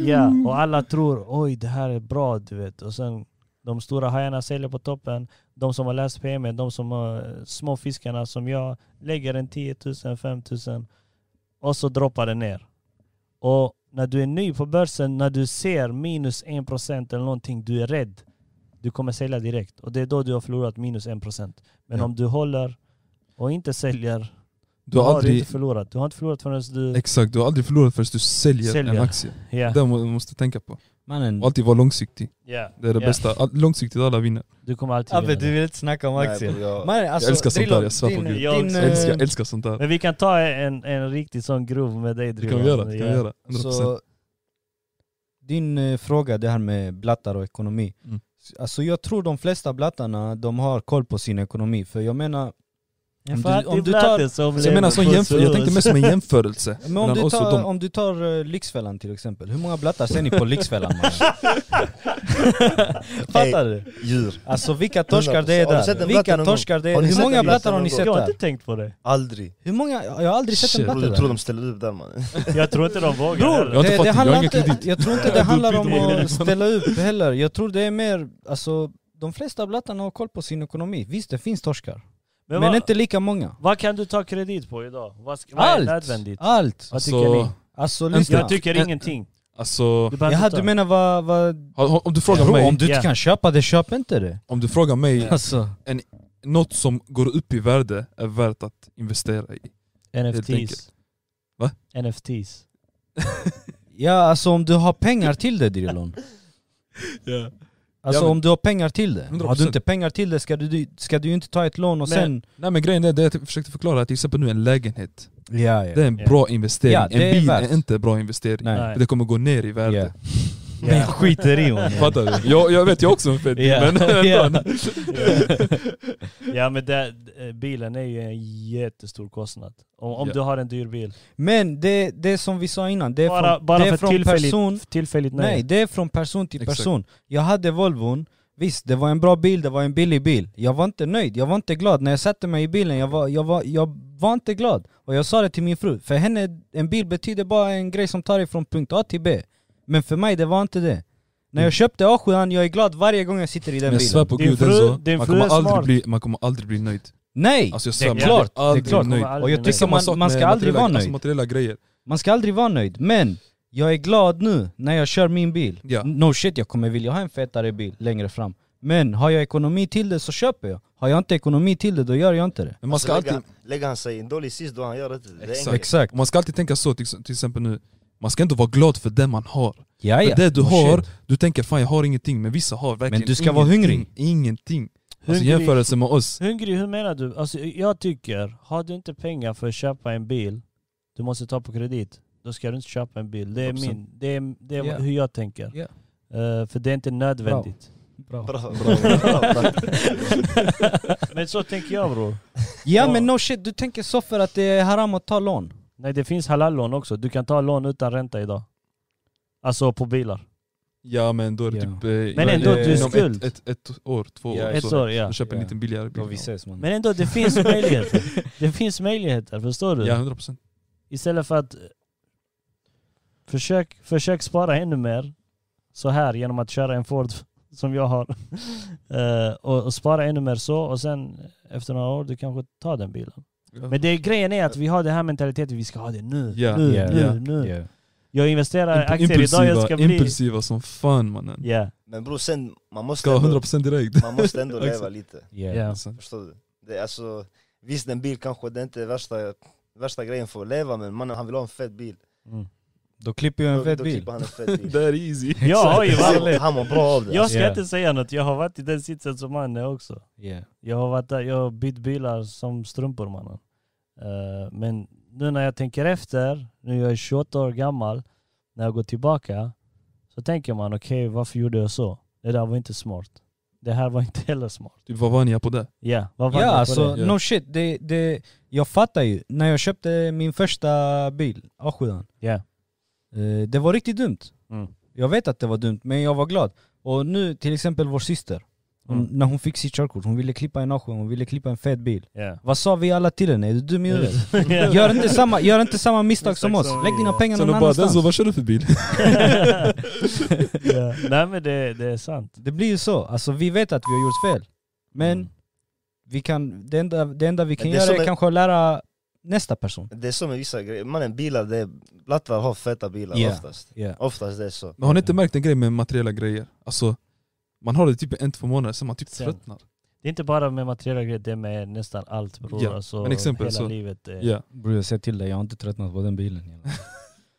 [SPEAKER 3] Ja,
[SPEAKER 2] Mm.
[SPEAKER 3] och alla tror oj det här är bra du vet. Och sen de stora hajarna säljer på toppen. De som har läst PM, de som har eh, små fiskarna som jag lägger en 10 000, 5 000 och så droppar det ner. Och när du är ny på börsen, när du ser minus 1% eller någonting, du är rädd. Du kommer sälja direkt och det är då du har förlorat minus 1%. Men
[SPEAKER 5] Ja.
[SPEAKER 3] om du håller och inte säljer,
[SPEAKER 2] Du har aldrig,
[SPEAKER 3] inte förlorat. Du har inte förlorat förrän du...
[SPEAKER 2] exakt, du har aldrig förlorat förrän du säljer,
[SPEAKER 3] Säljer.
[SPEAKER 2] en aktie.
[SPEAKER 3] Ja.
[SPEAKER 2] Det må- måste du tänka på.
[SPEAKER 4] Mannen,
[SPEAKER 2] Och alltid vara långsiktig.
[SPEAKER 3] Ja.
[SPEAKER 2] Det är det
[SPEAKER 3] Ja.
[SPEAKER 2] bästa. All, långsiktigt alla vinner.
[SPEAKER 3] Du kommer alltid
[SPEAKER 4] Abbe
[SPEAKER 3] vinna
[SPEAKER 4] du
[SPEAKER 3] det.
[SPEAKER 4] vill inte snacka om aktier.
[SPEAKER 1] Nej, jag,
[SPEAKER 4] Mannen, alltså,
[SPEAKER 2] älskar sånt
[SPEAKER 4] Drillo,
[SPEAKER 2] där, jag svär på
[SPEAKER 4] din-
[SPEAKER 2] Gud.
[SPEAKER 3] Jag
[SPEAKER 4] din,
[SPEAKER 3] också.
[SPEAKER 2] Jag
[SPEAKER 4] eh,
[SPEAKER 2] älskar, jag älskar sånt där.
[SPEAKER 3] Men vi kan ta en, en riktig sån grov med dig
[SPEAKER 2] Det kan vi
[SPEAKER 3] Drillo.
[SPEAKER 2] göra. Det kan vi
[SPEAKER 3] Ja.
[SPEAKER 2] göra. 100%.
[SPEAKER 4] eh, Så, din eh, fråga, det här med blattar och ekonomi.
[SPEAKER 2] Mm.
[SPEAKER 4] Alltså jag tror de flesta blattarna, de har koll på sin ekonomi. För jag menar,
[SPEAKER 3] Ja,
[SPEAKER 4] Om
[SPEAKER 3] för
[SPEAKER 4] du-
[SPEAKER 3] att
[SPEAKER 4] om
[SPEAKER 3] det är
[SPEAKER 4] du tar-
[SPEAKER 3] Blatte som
[SPEAKER 2] Så Alltså, jag menar,
[SPEAKER 3] lever
[SPEAKER 2] sån
[SPEAKER 3] på
[SPEAKER 2] jämför, jag tänkte
[SPEAKER 3] Suez.
[SPEAKER 2] mest som en jämförelse
[SPEAKER 4] men om,
[SPEAKER 2] mellan
[SPEAKER 4] du
[SPEAKER 2] oss och
[SPEAKER 4] tar,
[SPEAKER 2] dem.
[SPEAKER 4] om du tar eh, Lyxfällan till exempel, hur många blattar ser ni på Lyxfällan? mannen? Fattar du?
[SPEAKER 1] djur.
[SPEAKER 4] Alltså vilka torskar det är
[SPEAKER 1] Har du sett
[SPEAKER 4] där?
[SPEAKER 1] en blatt
[SPEAKER 4] Vilka
[SPEAKER 1] någon gång?
[SPEAKER 4] torskar det
[SPEAKER 1] Har
[SPEAKER 4] är?
[SPEAKER 1] ni
[SPEAKER 4] Hur
[SPEAKER 1] sett
[SPEAKER 4] många
[SPEAKER 1] en blatt
[SPEAKER 4] blattar har ni
[SPEAKER 1] någon gång?
[SPEAKER 4] sett
[SPEAKER 3] Jag har
[SPEAKER 4] där?
[SPEAKER 3] inte tänkt på det.
[SPEAKER 1] Aldrig.
[SPEAKER 4] Hur många? Jag har aldrig sett en
[SPEAKER 2] Shit.
[SPEAKER 4] blatte
[SPEAKER 1] Bror, jag tror
[SPEAKER 4] där.
[SPEAKER 1] de ställde upp där mannen.
[SPEAKER 3] Jag tror inte de vågar.
[SPEAKER 4] Bror,
[SPEAKER 3] heller.
[SPEAKER 2] Jag har inte
[SPEAKER 4] det,
[SPEAKER 2] fattat,
[SPEAKER 4] det
[SPEAKER 2] jag har
[SPEAKER 4] handlar
[SPEAKER 2] ingen
[SPEAKER 4] inte,
[SPEAKER 2] kredit.
[SPEAKER 4] jag tror inte det
[SPEAKER 2] Jag
[SPEAKER 4] handlar
[SPEAKER 2] har
[SPEAKER 4] om
[SPEAKER 2] inte kredit.
[SPEAKER 4] att ställa upp heller. Jag tror det är mer, alltså de flesta blattarna har koll på sin ekonomi. Visst det finns torskar, men,
[SPEAKER 3] Men, vad,
[SPEAKER 4] inte lika många.
[SPEAKER 3] vad kan du ta kredit på idag? Vad, ska, vad är
[SPEAKER 4] Allt!
[SPEAKER 3] nödvändigt?
[SPEAKER 4] Allt!
[SPEAKER 3] Vad tycker
[SPEAKER 2] Så,
[SPEAKER 3] ni?
[SPEAKER 4] Alltså
[SPEAKER 2] Inte.
[SPEAKER 4] lyssna.
[SPEAKER 3] Jag tycker
[SPEAKER 2] Ja.
[SPEAKER 3] ingenting.
[SPEAKER 2] alltså,
[SPEAKER 3] Du behöver
[SPEAKER 4] Jaha
[SPEAKER 3] inte
[SPEAKER 4] du
[SPEAKER 3] ta.
[SPEAKER 4] menar vad... vad
[SPEAKER 2] ha- ha- om du frågar
[SPEAKER 4] Bro, om
[SPEAKER 2] mig,
[SPEAKER 4] du inte
[SPEAKER 3] Ja.
[SPEAKER 4] kan köpa det, köp inte det.
[SPEAKER 2] om du frågar mig,
[SPEAKER 4] Alltså.
[SPEAKER 2] något som går upp i värde är värt att investera i.
[SPEAKER 3] NFTs.
[SPEAKER 2] enkelt. Va?
[SPEAKER 3] NFTs.
[SPEAKER 4] Ja alltså om du har pengar till det Drilon. Alltså
[SPEAKER 2] Ja, men-
[SPEAKER 4] om du har pengar till det. Har du
[SPEAKER 2] 100%.
[SPEAKER 4] inte pengar till det ska du, ska du ju inte ta ett lån och
[SPEAKER 2] Men-
[SPEAKER 4] sen...
[SPEAKER 2] Nej men grejen är det jag typ försökte förklara, att till exempel nu en lägenhet,
[SPEAKER 4] Ja,
[SPEAKER 2] det är en
[SPEAKER 3] Ja.
[SPEAKER 2] bra investering.
[SPEAKER 4] Ja, det
[SPEAKER 2] en
[SPEAKER 4] är
[SPEAKER 2] bil
[SPEAKER 4] värt.
[SPEAKER 2] är inte en bra investering.
[SPEAKER 4] Nej.
[SPEAKER 2] För Det kommer gå ner i värde.
[SPEAKER 4] Ja. Men jag skiter i honom.
[SPEAKER 2] Fattar du? Jag, jag vet, jag är också en fet
[SPEAKER 4] Ja.
[SPEAKER 2] men
[SPEAKER 4] Ja.
[SPEAKER 2] ändå.
[SPEAKER 3] Ja men det, eh, bilen är ju en jättestor kostnad. Om, om
[SPEAKER 2] Ja.
[SPEAKER 3] du har en dyr bil.
[SPEAKER 4] Men det, det är som vi sa innan, det är
[SPEAKER 3] bara
[SPEAKER 4] från,
[SPEAKER 3] bara
[SPEAKER 4] det är
[SPEAKER 3] för
[SPEAKER 4] från
[SPEAKER 3] tillfälligt,
[SPEAKER 4] person
[SPEAKER 3] tillfälligt nej.
[SPEAKER 4] Nej, det är från person till
[SPEAKER 2] Exakt.
[SPEAKER 4] person. Jag hade Volvon, visst det var en bra bil, det var en billig bil. Jag var inte nöjd, jag var inte glad. När jag satte mig i bilen, jag var, jag var, jag var inte glad. Och jag sa det till min fru, för henne, en bil betyder bara en grej som tar dig från punkt A till B. Men för mig, det var inte det. När jag köpte A7, jag är glad varje gång jag sitter i den
[SPEAKER 2] Mm. Men jag svär
[SPEAKER 4] bilen.
[SPEAKER 2] på
[SPEAKER 3] Din
[SPEAKER 2] gud
[SPEAKER 3] fru-
[SPEAKER 2] Enzo,
[SPEAKER 3] din
[SPEAKER 2] man
[SPEAKER 3] fru
[SPEAKER 2] kommer,
[SPEAKER 3] är smart.
[SPEAKER 2] aldrig bli, man kommer aldrig bli nöjd.
[SPEAKER 4] Nej!
[SPEAKER 2] Alltså jag
[SPEAKER 3] Det är
[SPEAKER 2] svär, man
[SPEAKER 4] klart,
[SPEAKER 2] kommer aldrig
[SPEAKER 4] det är klart.
[SPEAKER 2] bli
[SPEAKER 3] Kommer
[SPEAKER 2] nöjd.
[SPEAKER 3] aldrig
[SPEAKER 4] Och jag
[SPEAKER 3] bli
[SPEAKER 2] Det är
[SPEAKER 4] tycker
[SPEAKER 3] nöjd.
[SPEAKER 2] samma
[SPEAKER 4] man-
[SPEAKER 2] sak
[SPEAKER 4] man ska
[SPEAKER 2] med
[SPEAKER 4] aldrig
[SPEAKER 2] materiella-
[SPEAKER 4] vara nöjd.
[SPEAKER 2] Alltså materiella grejer.
[SPEAKER 4] Man ska aldrig vara nöjd, men jag är glad nu när jag kör min bil.
[SPEAKER 2] Ja.
[SPEAKER 4] No shit, jag kommer vilja ha en fetare bil längre fram. Men har jag ekonomi till det så köper jag. Har jag inte ekonomi till det då gör jag inte det.
[SPEAKER 2] Men man ska alltid,
[SPEAKER 1] lägger, lägger han sig i en dålig sits då han gör det. det är
[SPEAKER 2] Exakt.
[SPEAKER 1] enkelt.
[SPEAKER 4] Exakt.
[SPEAKER 2] man ska alltid tänka så, till, till exempel nu, man ska ändå vara glad för det man har.
[SPEAKER 4] Ja, ja.
[SPEAKER 2] För det du
[SPEAKER 4] No
[SPEAKER 2] har,
[SPEAKER 4] shit.
[SPEAKER 2] du tänker fan jag har ingenting, men vissa har verkligen
[SPEAKER 4] du ska vara
[SPEAKER 2] ingenting,
[SPEAKER 4] hungrig.
[SPEAKER 2] Ingenting. Alltså
[SPEAKER 3] Hungrig.
[SPEAKER 2] jämförelse med oss.
[SPEAKER 3] Hungrig, hur menar du? Alltså, jag tycker, har du inte pengar för att köpa en bil, du måste ta på kredit. Då ska du inte köpa en bil. Det är,
[SPEAKER 2] 100%.
[SPEAKER 3] min, det är, det är
[SPEAKER 4] Ja.
[SPEAKER 3] hur jag tänker.
[SPEAKER 4] Ja.
[SPEAKER 3] Eh, för det är inte nödvändigt.
[SPEAKER 1] Bra, bra, bra, bra.
[SPEAKER 3] Men så tänker jag bror.
[SPEAKER 4] Ja men no shit, du tänker så för att det är haram att ta lån.
[SPEAKER 3] Nej det finns halallån också. Du kan ta lån utan ränta idag. Alltså på bilar.
[SPEAKER 2] Ja men då är det
[SPEAKER 4] Ja.
[SPEAKER 2] typ... eh,
[SPEAKER 3] Men
[SPEAKER 4] ändå, du är
[SPEAKER 2] inom
[SPEAKER 3] skuld.
[SPEAKER 2] Ett, ett, ett år, två
[SPEAKER 4] Ja,
[SPEAKER 2] år.
[SPEAKER 3] Ett
[SPEAKER 2] så.
[SPEAKER 3] år ja.
[SPEAKER 2] Du köper en
[SPEAKER 4] Ja.
[SPEAKER 2] liten billigare bil.
[SPEAKER 4] ses man.
[SPEAKER 3] Men ändå det finns möjligheter. Det finns möjligheter, förstår du?
[SPEAKER 2] Ja, 100%.
[SPEAKER 3] Istället för att eh, försök, försök spara ännu mer så här genom att köra en Ford som jag har. Eh, och, och spara ännu mer så och sen efter några år du kanske tar den bilen.
[SPEAKER 2] Ja.
[SPEAKER 3] Men det, grejen är att vi har den här mentaliteten, vi ska ha det nu,
[SPEAKER 2] Ja,
[SPEAKER 3] nu,
[SPEAKER 4] ja,
[SPEAKER 3] nu,
[SPEAKER 2] ja,
[SPEAKER 3] nu.
[SPEAKER 4] Ja.
[SPEAKER 3] Jag investerar i
[SPEAKER 2] Imp-
[SPEAKER 3] aktier idag, jag ska
[SPEAKER 2] impulsiva,
[SPEAKER 3] bli...
[SPEAKER 2] impulsiva som fan mannen.
[SPEAKER 3] Ja,
[SPEAKER 1] Men bror sen, man måste
[SPEAKER 2] Ska ha
[SPEAKER 1] ändå,
[SPEAKER 2] 100% direkt.
[SPEAKER 1] man måste ändå leva lite.
[SPEAKER 3] ja.
[SPEAKER 2] Alltså,
[SPEAKER 1] Förstår du? Det är alltså, visst en bil kanske det är inte är värsta, värsta grejen för att leva men mannen han vill ha en fet bil.
[SPEAKER 3] Mm.
[SPEAKER 4] Då klipper jag en
[SPEAKER 1] Då-
[SPEAKER 4] fet
[SPEAKER 1] då
[SPEAKER 4] bil.
[SPEAKER 1] klipper han en fet bil.
[SPEAKER 2] Det är easy.
[SPEAKER 3] Jag har ju
[SPEAKER 1] Han-
[SPEAKER 3] varit...
[SPEAKER 1] Han mår bra av det.
[SPEAKER 3] Jag ska
[SPEAKER 4] Ja.
[SPEAKER 3] inte säga något, jag har varit i den sitsen som han är också.
[SPEAKER 4] Ja.
[SPEAKER 3] Jag har varit där, jag har bytt bilar som strumpor mannen. Eh, men nu när jag tänker efter, nu jag är 28 år gammal, när jag går tillbaka så tänker man okej varför gjorde jag så? Det där var inte smart. Det här var inte heller smart.
[SPEAKER 2] Typ vad var ni på det?
[SPEAKER 3] Ja, vad var
[SPEAKER 4] Ja
[SPEAKER 3] det på
[SPEAKER 4] alltså,
[SPEAKER 3] det?
[SPEAKER 2] det?
[SPEAKER 4] no shit, det, det, jag fattar ju. När jag köpte min första bil, A7,
[SPEAKER 3] Ja.
[SPEAKER 4] eh, det var riktigt dumt.
[SPEAKER 3] Mm.
[SPEAKER 4] Jag vet att det var dumt, men jag var glad. Och nu till exempel vår syster, hon,
[SPEAKER 3] Mm.
[SPEAKER 4] när hon fick sitt körkort, hon ville klippa en A7, hon ville klippa en fet bil.
[SPEAKER 3] Ja.
[SPEAKER 4] Vad sa vi alla till henne? Är du dum i huvudet? Gör inte samma, gör inte samma misstag som
[SPEAKER 3] Misstag
[SPEAKER 4] oss,
[SPEAKER 3] som
[SPEAKER 4] lägg
[SPEAKER 3] vi
[SPEAKER 4] dina
[SPEAKER 3] gör.
[SPEAKER 4] pengar
[SPEAKER 2] Så
[SPEAKER 4] någon
[SPEAKER 2] de bara Denzo,
[SPEAKER 4] annanstans.
[SPEAKER 2] vad kör du för bil?
[SPEAKER 3] ja. Nej men det, det är sant. Mm.
[SPEAKER 4] Det blir ju så, alltså vi vet att vi har gjort fel. Men vi kan, det, enda, det enda vi kan
[SPEAKER 1] det är
[SPEAKER 4] göra
[SPEAKER 1] som
[SPEAKER 4] är
[SPEAKER 1] en-
[SPEAKER 4] kanske att lära nästa person.
[SPEAKER 1] Alltså, Det är så med vissa grejer, mannen bilar, det är, blattar har feta bilar
[SPEAKER 4] Ja.
[SPEAKER 1] oftast.
[SPEAKER 4] Yeah.
[SPEAKER 1] Oftast det är så.
[SPEAKER 2] Men har ni inte märkt en grej med materiella grejer? Alltså, man har det typ en, två månader, sen man typ
[SPEAKER 3] Sen.
[SPEAKER 2] tröttnar.
[SPEAKER 3] Det är inte bara med materiella grejer, det är med nästan allt bror.
[SPEAKER 2] Ja,
[SPEAKER 3] Alltså,
[SPEAKER 2] men exempel
[SPEAKER 3] hela
[SPEAKER 2] så.
[SPEAKER 3] livet. eh,
[SPEAKER 2] Ja.
[SPEAKER 4] Bror jag säger till dig, jag har inte tröttnat på den bilen.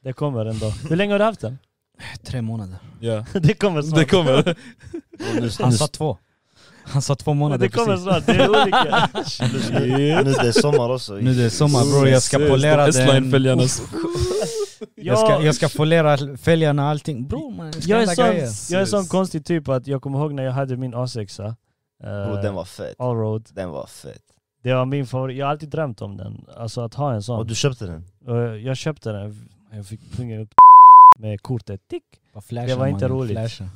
[SPEAKER 3] Det kommer en dag. Hur länge har du haft den?
[SPEAKER 4] Tre månader.
[SPEAKER 2] ja.
[SPEAKER 3] Det kommer snart.
[SPEAKER 2] Det kommer.
[SPEAKER 1] Och nu,
[SPEAKER 4] Han sa två. Han sa två månader
[SPEAKER 3] det kommer
[SPEAKER 4] precis.
[SPEAKER 3] snart, det är olika.
[SPEAKER 1] plus, nu, nu det är sommar också.
[SPEAKER 4] Nu det är sommar bror, jag ska
[SPEAKER 2] Ses,
[SPEAKER 4] polera
[SPEAKER 2] de
[SPEAKER 4] den.
[SPEAKER 2] S-line-fälgarna.
[SPEAKER 4] Jag ska, jag ska polera fälgarna och allting. Bror man, det ska
[SPEAKER 3] jag, är
[SPEAKER 4] hända grejer.
[SPEAKER 3] sån, jag är sån konstig typ att jag kommer ihåg när jag hade min A6.
[SPEAKER 1] Bror,
[SPEAKER 3] Uh,
[SPEAKER 1] den var fet.
[SPEAKER 3] Allroad.
[SPEAKER 1] Den var fet.
[SPEAKER 3] Det var min favorit. Jag har alltid drömt om den. Alltså att ha en sån.
[SPEAKER 1] Och du köpte den?
[SPEAKER 3] Och jag köpte den. Jag fick punga upp med kortet. Tick.
[SPEAKER 4] Bara flasha,
[SPEAKER 3] Det var inte
[SPEAKER 4] mannen,
[SPEAKER 3] roligt.
[SPEAKER 4] flasha.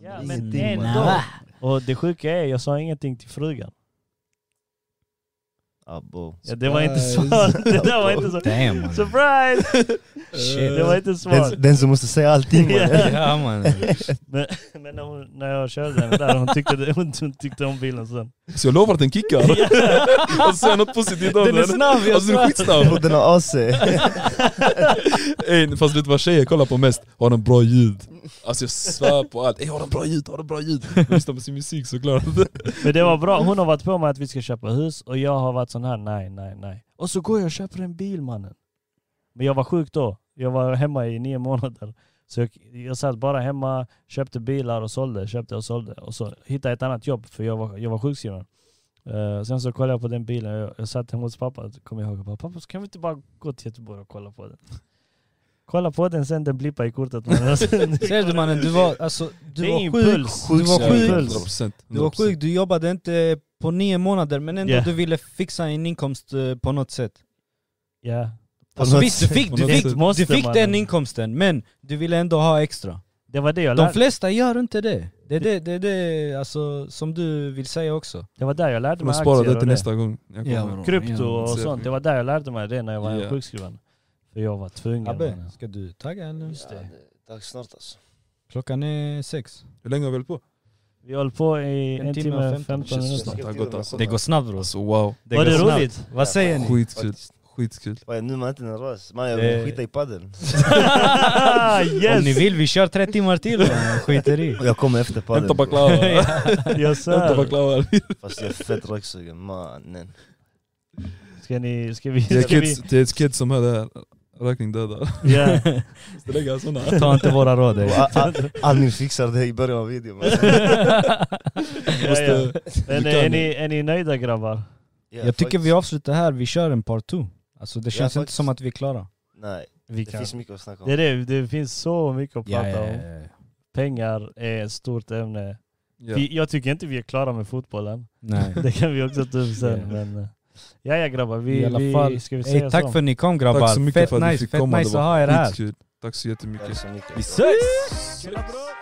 [SPEAKER 3] Ja,
[SPEAKER 1] Ingenting,
[SPEAKER 3] men
[SPEAKER 1] mannen.
[SPEAKER 3] en dag. Och det sjuka är, jag sa ingenting till frugan.
[SPEAKER 1] Abo.
[SPEAKER 3] Ja, det var inte
[SPEAKER 5] Surprise.
[SPEAKER 3] smart. Det där var inte så...
[SPEAKER 4] Damn mannen.
[SPEAKER 3] Surprise!
[SPEAKER 4] Shit.
[SPEAKER 3] Det var inte smart.
[SPEAKER 1] Eh. Den, den som måste säga allting mannen.
[SPEAKER 4] Ja mannen.
[SPEAKER 3] Men, men när, hon, när jag körde den där, hon tyckte, det, hon, hon tyckte om bilen sen.
[SPEAKER 2] Så jag lovar att den kickar. Och säga något positivt om den.
[SPEAKER 4] Den är snabb, jag
[SPEAKER 2] Alltså den är
[SPEAKER 4] svär.
[SPEAKER 2] skitsnabb.
[SPEAKER 1] Bror den har AC.
[SPEAKER 2] Ey, fast vet du vad tjejer kollar på mest? Har den bra ljud? Alltså jag svär på allt. Ey, har den bra ljud? Har den bra ljud? De lyssnar på sin musik såklart.
[SPEAKER 3] Men det var bra, hon har varit på mig att vi ska köpa hus och jag har varit sån här nej, nej, nej. Och så går jag och köper en bil mannen. Men jag var sjuk då. Jag var hemma i nio månader. Så jag, jag satt bara hemma, köpte bilar och sålde, köpte och sålde. Och så hittade jag ett annat jobb för jag var, jag var sjukskriven. Eh, sen så kollade jag på den bilen, jag, jag satt hemma hos pappa, kom jag ihåg, jag bara, pappa så kan vi inte bara gå till Göteborg och kolla på den? Kolla på den sen den blippar i kortet. mannen.
[SPEAKER 4] Ser du mannen, du var, alltså,
[SPEAKER 3] Det
[SPEAKER 4] du
[SPEAKER 3] är
[SPEAKER 4] var
[SPEAKER 3] ingen
[SPEAKER 4] sjuk.
[SPEAKER 3] puls.
[SPEAKER 4] Du var sjuk.
[SPEAKER 2] 100%.
[SPEAKER 4] Du var sjuk, du jobbade inte på nio månader men ändå
[SPEAKER 3] Yeah.
[SPEAKER 4] du ville fixa en inkomst eh, på något sätt.
[SPEAKER 3] Ja.
[SPEAKER 4] Alltså visst, du fick,
[SPEAKER 2] På
[SPEAKER 4] du
[SPEAKER 2] något
[SPEAKER 4] fick,
[SPEAKER 2] sätt.
[SPEAKER 4] du
[SPEAKER 3] Måste
[SPEAKER 4] fick
[SPEAKER 3] man.
[SPEAKER 4] den inkomsten men du ville ändå ha extra.
[SPEAKER 3] Det var det jag
[SPEAKER 4] De
[SPEAKER 3] lärde
[SPEAKER 4] flesta gör inte det. Det är det, det, är det alltså, som du vill säga också.
[SPEAKER 3] Det var där jag lärde
[SPEAKER 2] Men
[SPEAKER 3] mig
[SPEAKER 2] spara
[SPEAKER 3] aktier
[SPEAKER 2] det
[SPEAKER 3] och
[SPEAKER 2] till
[SPEAKER 3] det.
[SPEAKER 2] nästa gång. Jag kommer.
[SPEAKER 3] Krypto och
[SPEAKER 2] Exakt.
[SPEAKER 3] sånt. Det var där jag lärde mig det när jag var
[SPEAKER 2] Ja.
[SPEAKER 3] sjukskriven. För jag var tvungen.
[SPEAKER 4] Abbe,
[SPEAKER 3] mannen.
[SPEAKER 4] ska du tagga eller?
[SPEAKER 3] Just det.
[SPEAKER 1] Dags snart alltså.
[SPEAKER 4] Klockan är sex.
[SPEAKER 2] Hur länge har vi hållit på?
[SPEAKER 3] Vi höll på i en, timme och 15
[SPEAKER 2] Shit, så
[SPEAKER 3] minuter.
[SPEAKER 2] snabbt det har gått alltså.
[SPEAKER 4] Det går snabbt bror.
[SPEAKER 2] Alltså wow.
[SPEAKER 3] Var det roligt?
[SPEAKER 4] Vad säger ni?
[SPEAKER 2] Skitkul. Skitkul.
[SPEAKER 1] Oj, nu är man inte nervös. Man, jag
[SPEAKER 4] Eh.
[SPEAKER 1] vill skita i padel.
[SPEAKER 4] Om ni
[SPEAKER 3] yes!
[SPEAKER 4] vill vi kör tre timmar till mannen, skiter i.
[SPEAKER 1] Och jag kommer efter
[SPEAKER 2] Hämta
[SPEAKER 1] padel.
[SPEAKER 2] baklava. Hämta
[SPEAKER 3] Jag svär.
[SPEAKER 2] baklava.
[SPEAKER 1] Fast jag är fett röksugen mannen.
[SPEAKER 3] Ska ni... Ska vi...
[SPEAKER 2] Det är
[SPEAKER 3] Ska vi
[SPEAKER 2] kids- Det är ett kid som hör det här. Rökning dödar.
[SPEAKER 3] ja.
[SPEAKER 2] Måste lägga såna.
[SPEAKER 4] Ta inte våra råd.
[SPEAKER 1] Och
[SPEAKER 4] ey.
[SPEAKER 1] A- A- Amin fixar det i början av videon. mannen.
[SPEAKER 3] ja, ja. Men eh,
[SPEAKER 2] kan
[SPEAKER 3] är
[SPEAKER 2] ju.
[SPEAKER 3] ni, är ni nöjda grabbar?
[SPEAKER 1] Ja,
[SPEAKER 4] Jag tycker vi
[SPEAKER 1] faktiskt.
[SPEAKER 4] avslutar här, vi kör en part 2. Alltså det känns inte
[SPEAKER 1] faktiskt.
[SPEAKER 4] som att vi är klara.
[SPEAKER 1] Nej,
[SPEAKER 3] Vi
[SPEAKER 1] det finns mycket att snacka om.
[SPEAKER 3] Det, är det, det finns så mycket att prata om.
[SPEAKER 4] ja.
[SPEAKER 3] Pengar är ett stort ämne.
[SPEAKER 2] Ja.
[SPEAKER 3] Vi, jag tycker inte vi är klara med fotbollen.
[SPEAKER 4] Nej.
[SPEAKER 3] Det kan vi också ta upp sen.
[SPEAKER 4] Ja.
[SPEAKER 3] Men, eh, ja, ja grabbar, vi,
[SPEAKER 4] I alla fall.
[SPEAKER 3] vi, ska vi säga
[SPEAKER 4] Ey, tack
[SPEAKER 3] så?
[SPEAKER 4] för att ni kom grabbar.
[SPEAKER 2] Tack så mycket
[SPEAKER 4] fett
[SPEAKER 2] för att du
[SPEAKER 4] nice,
[SPEAKER 2] fick
[SPEAKER 4] fett
[SPEAKER 2] komma.
[SPEAKER 4] nice
[SPEAKER 2] Det
[SPEAKER 4] att
[SPEAKER 2] var
[SPEAKER 4] ha er här.
[SPEAKER 2] skitkul. Tack så jättemycket.
[SPEAKER 1] Tack så mycket.
[SPEAKER 4] Vi ses!
[SPEAKER 3] Tjena, bror!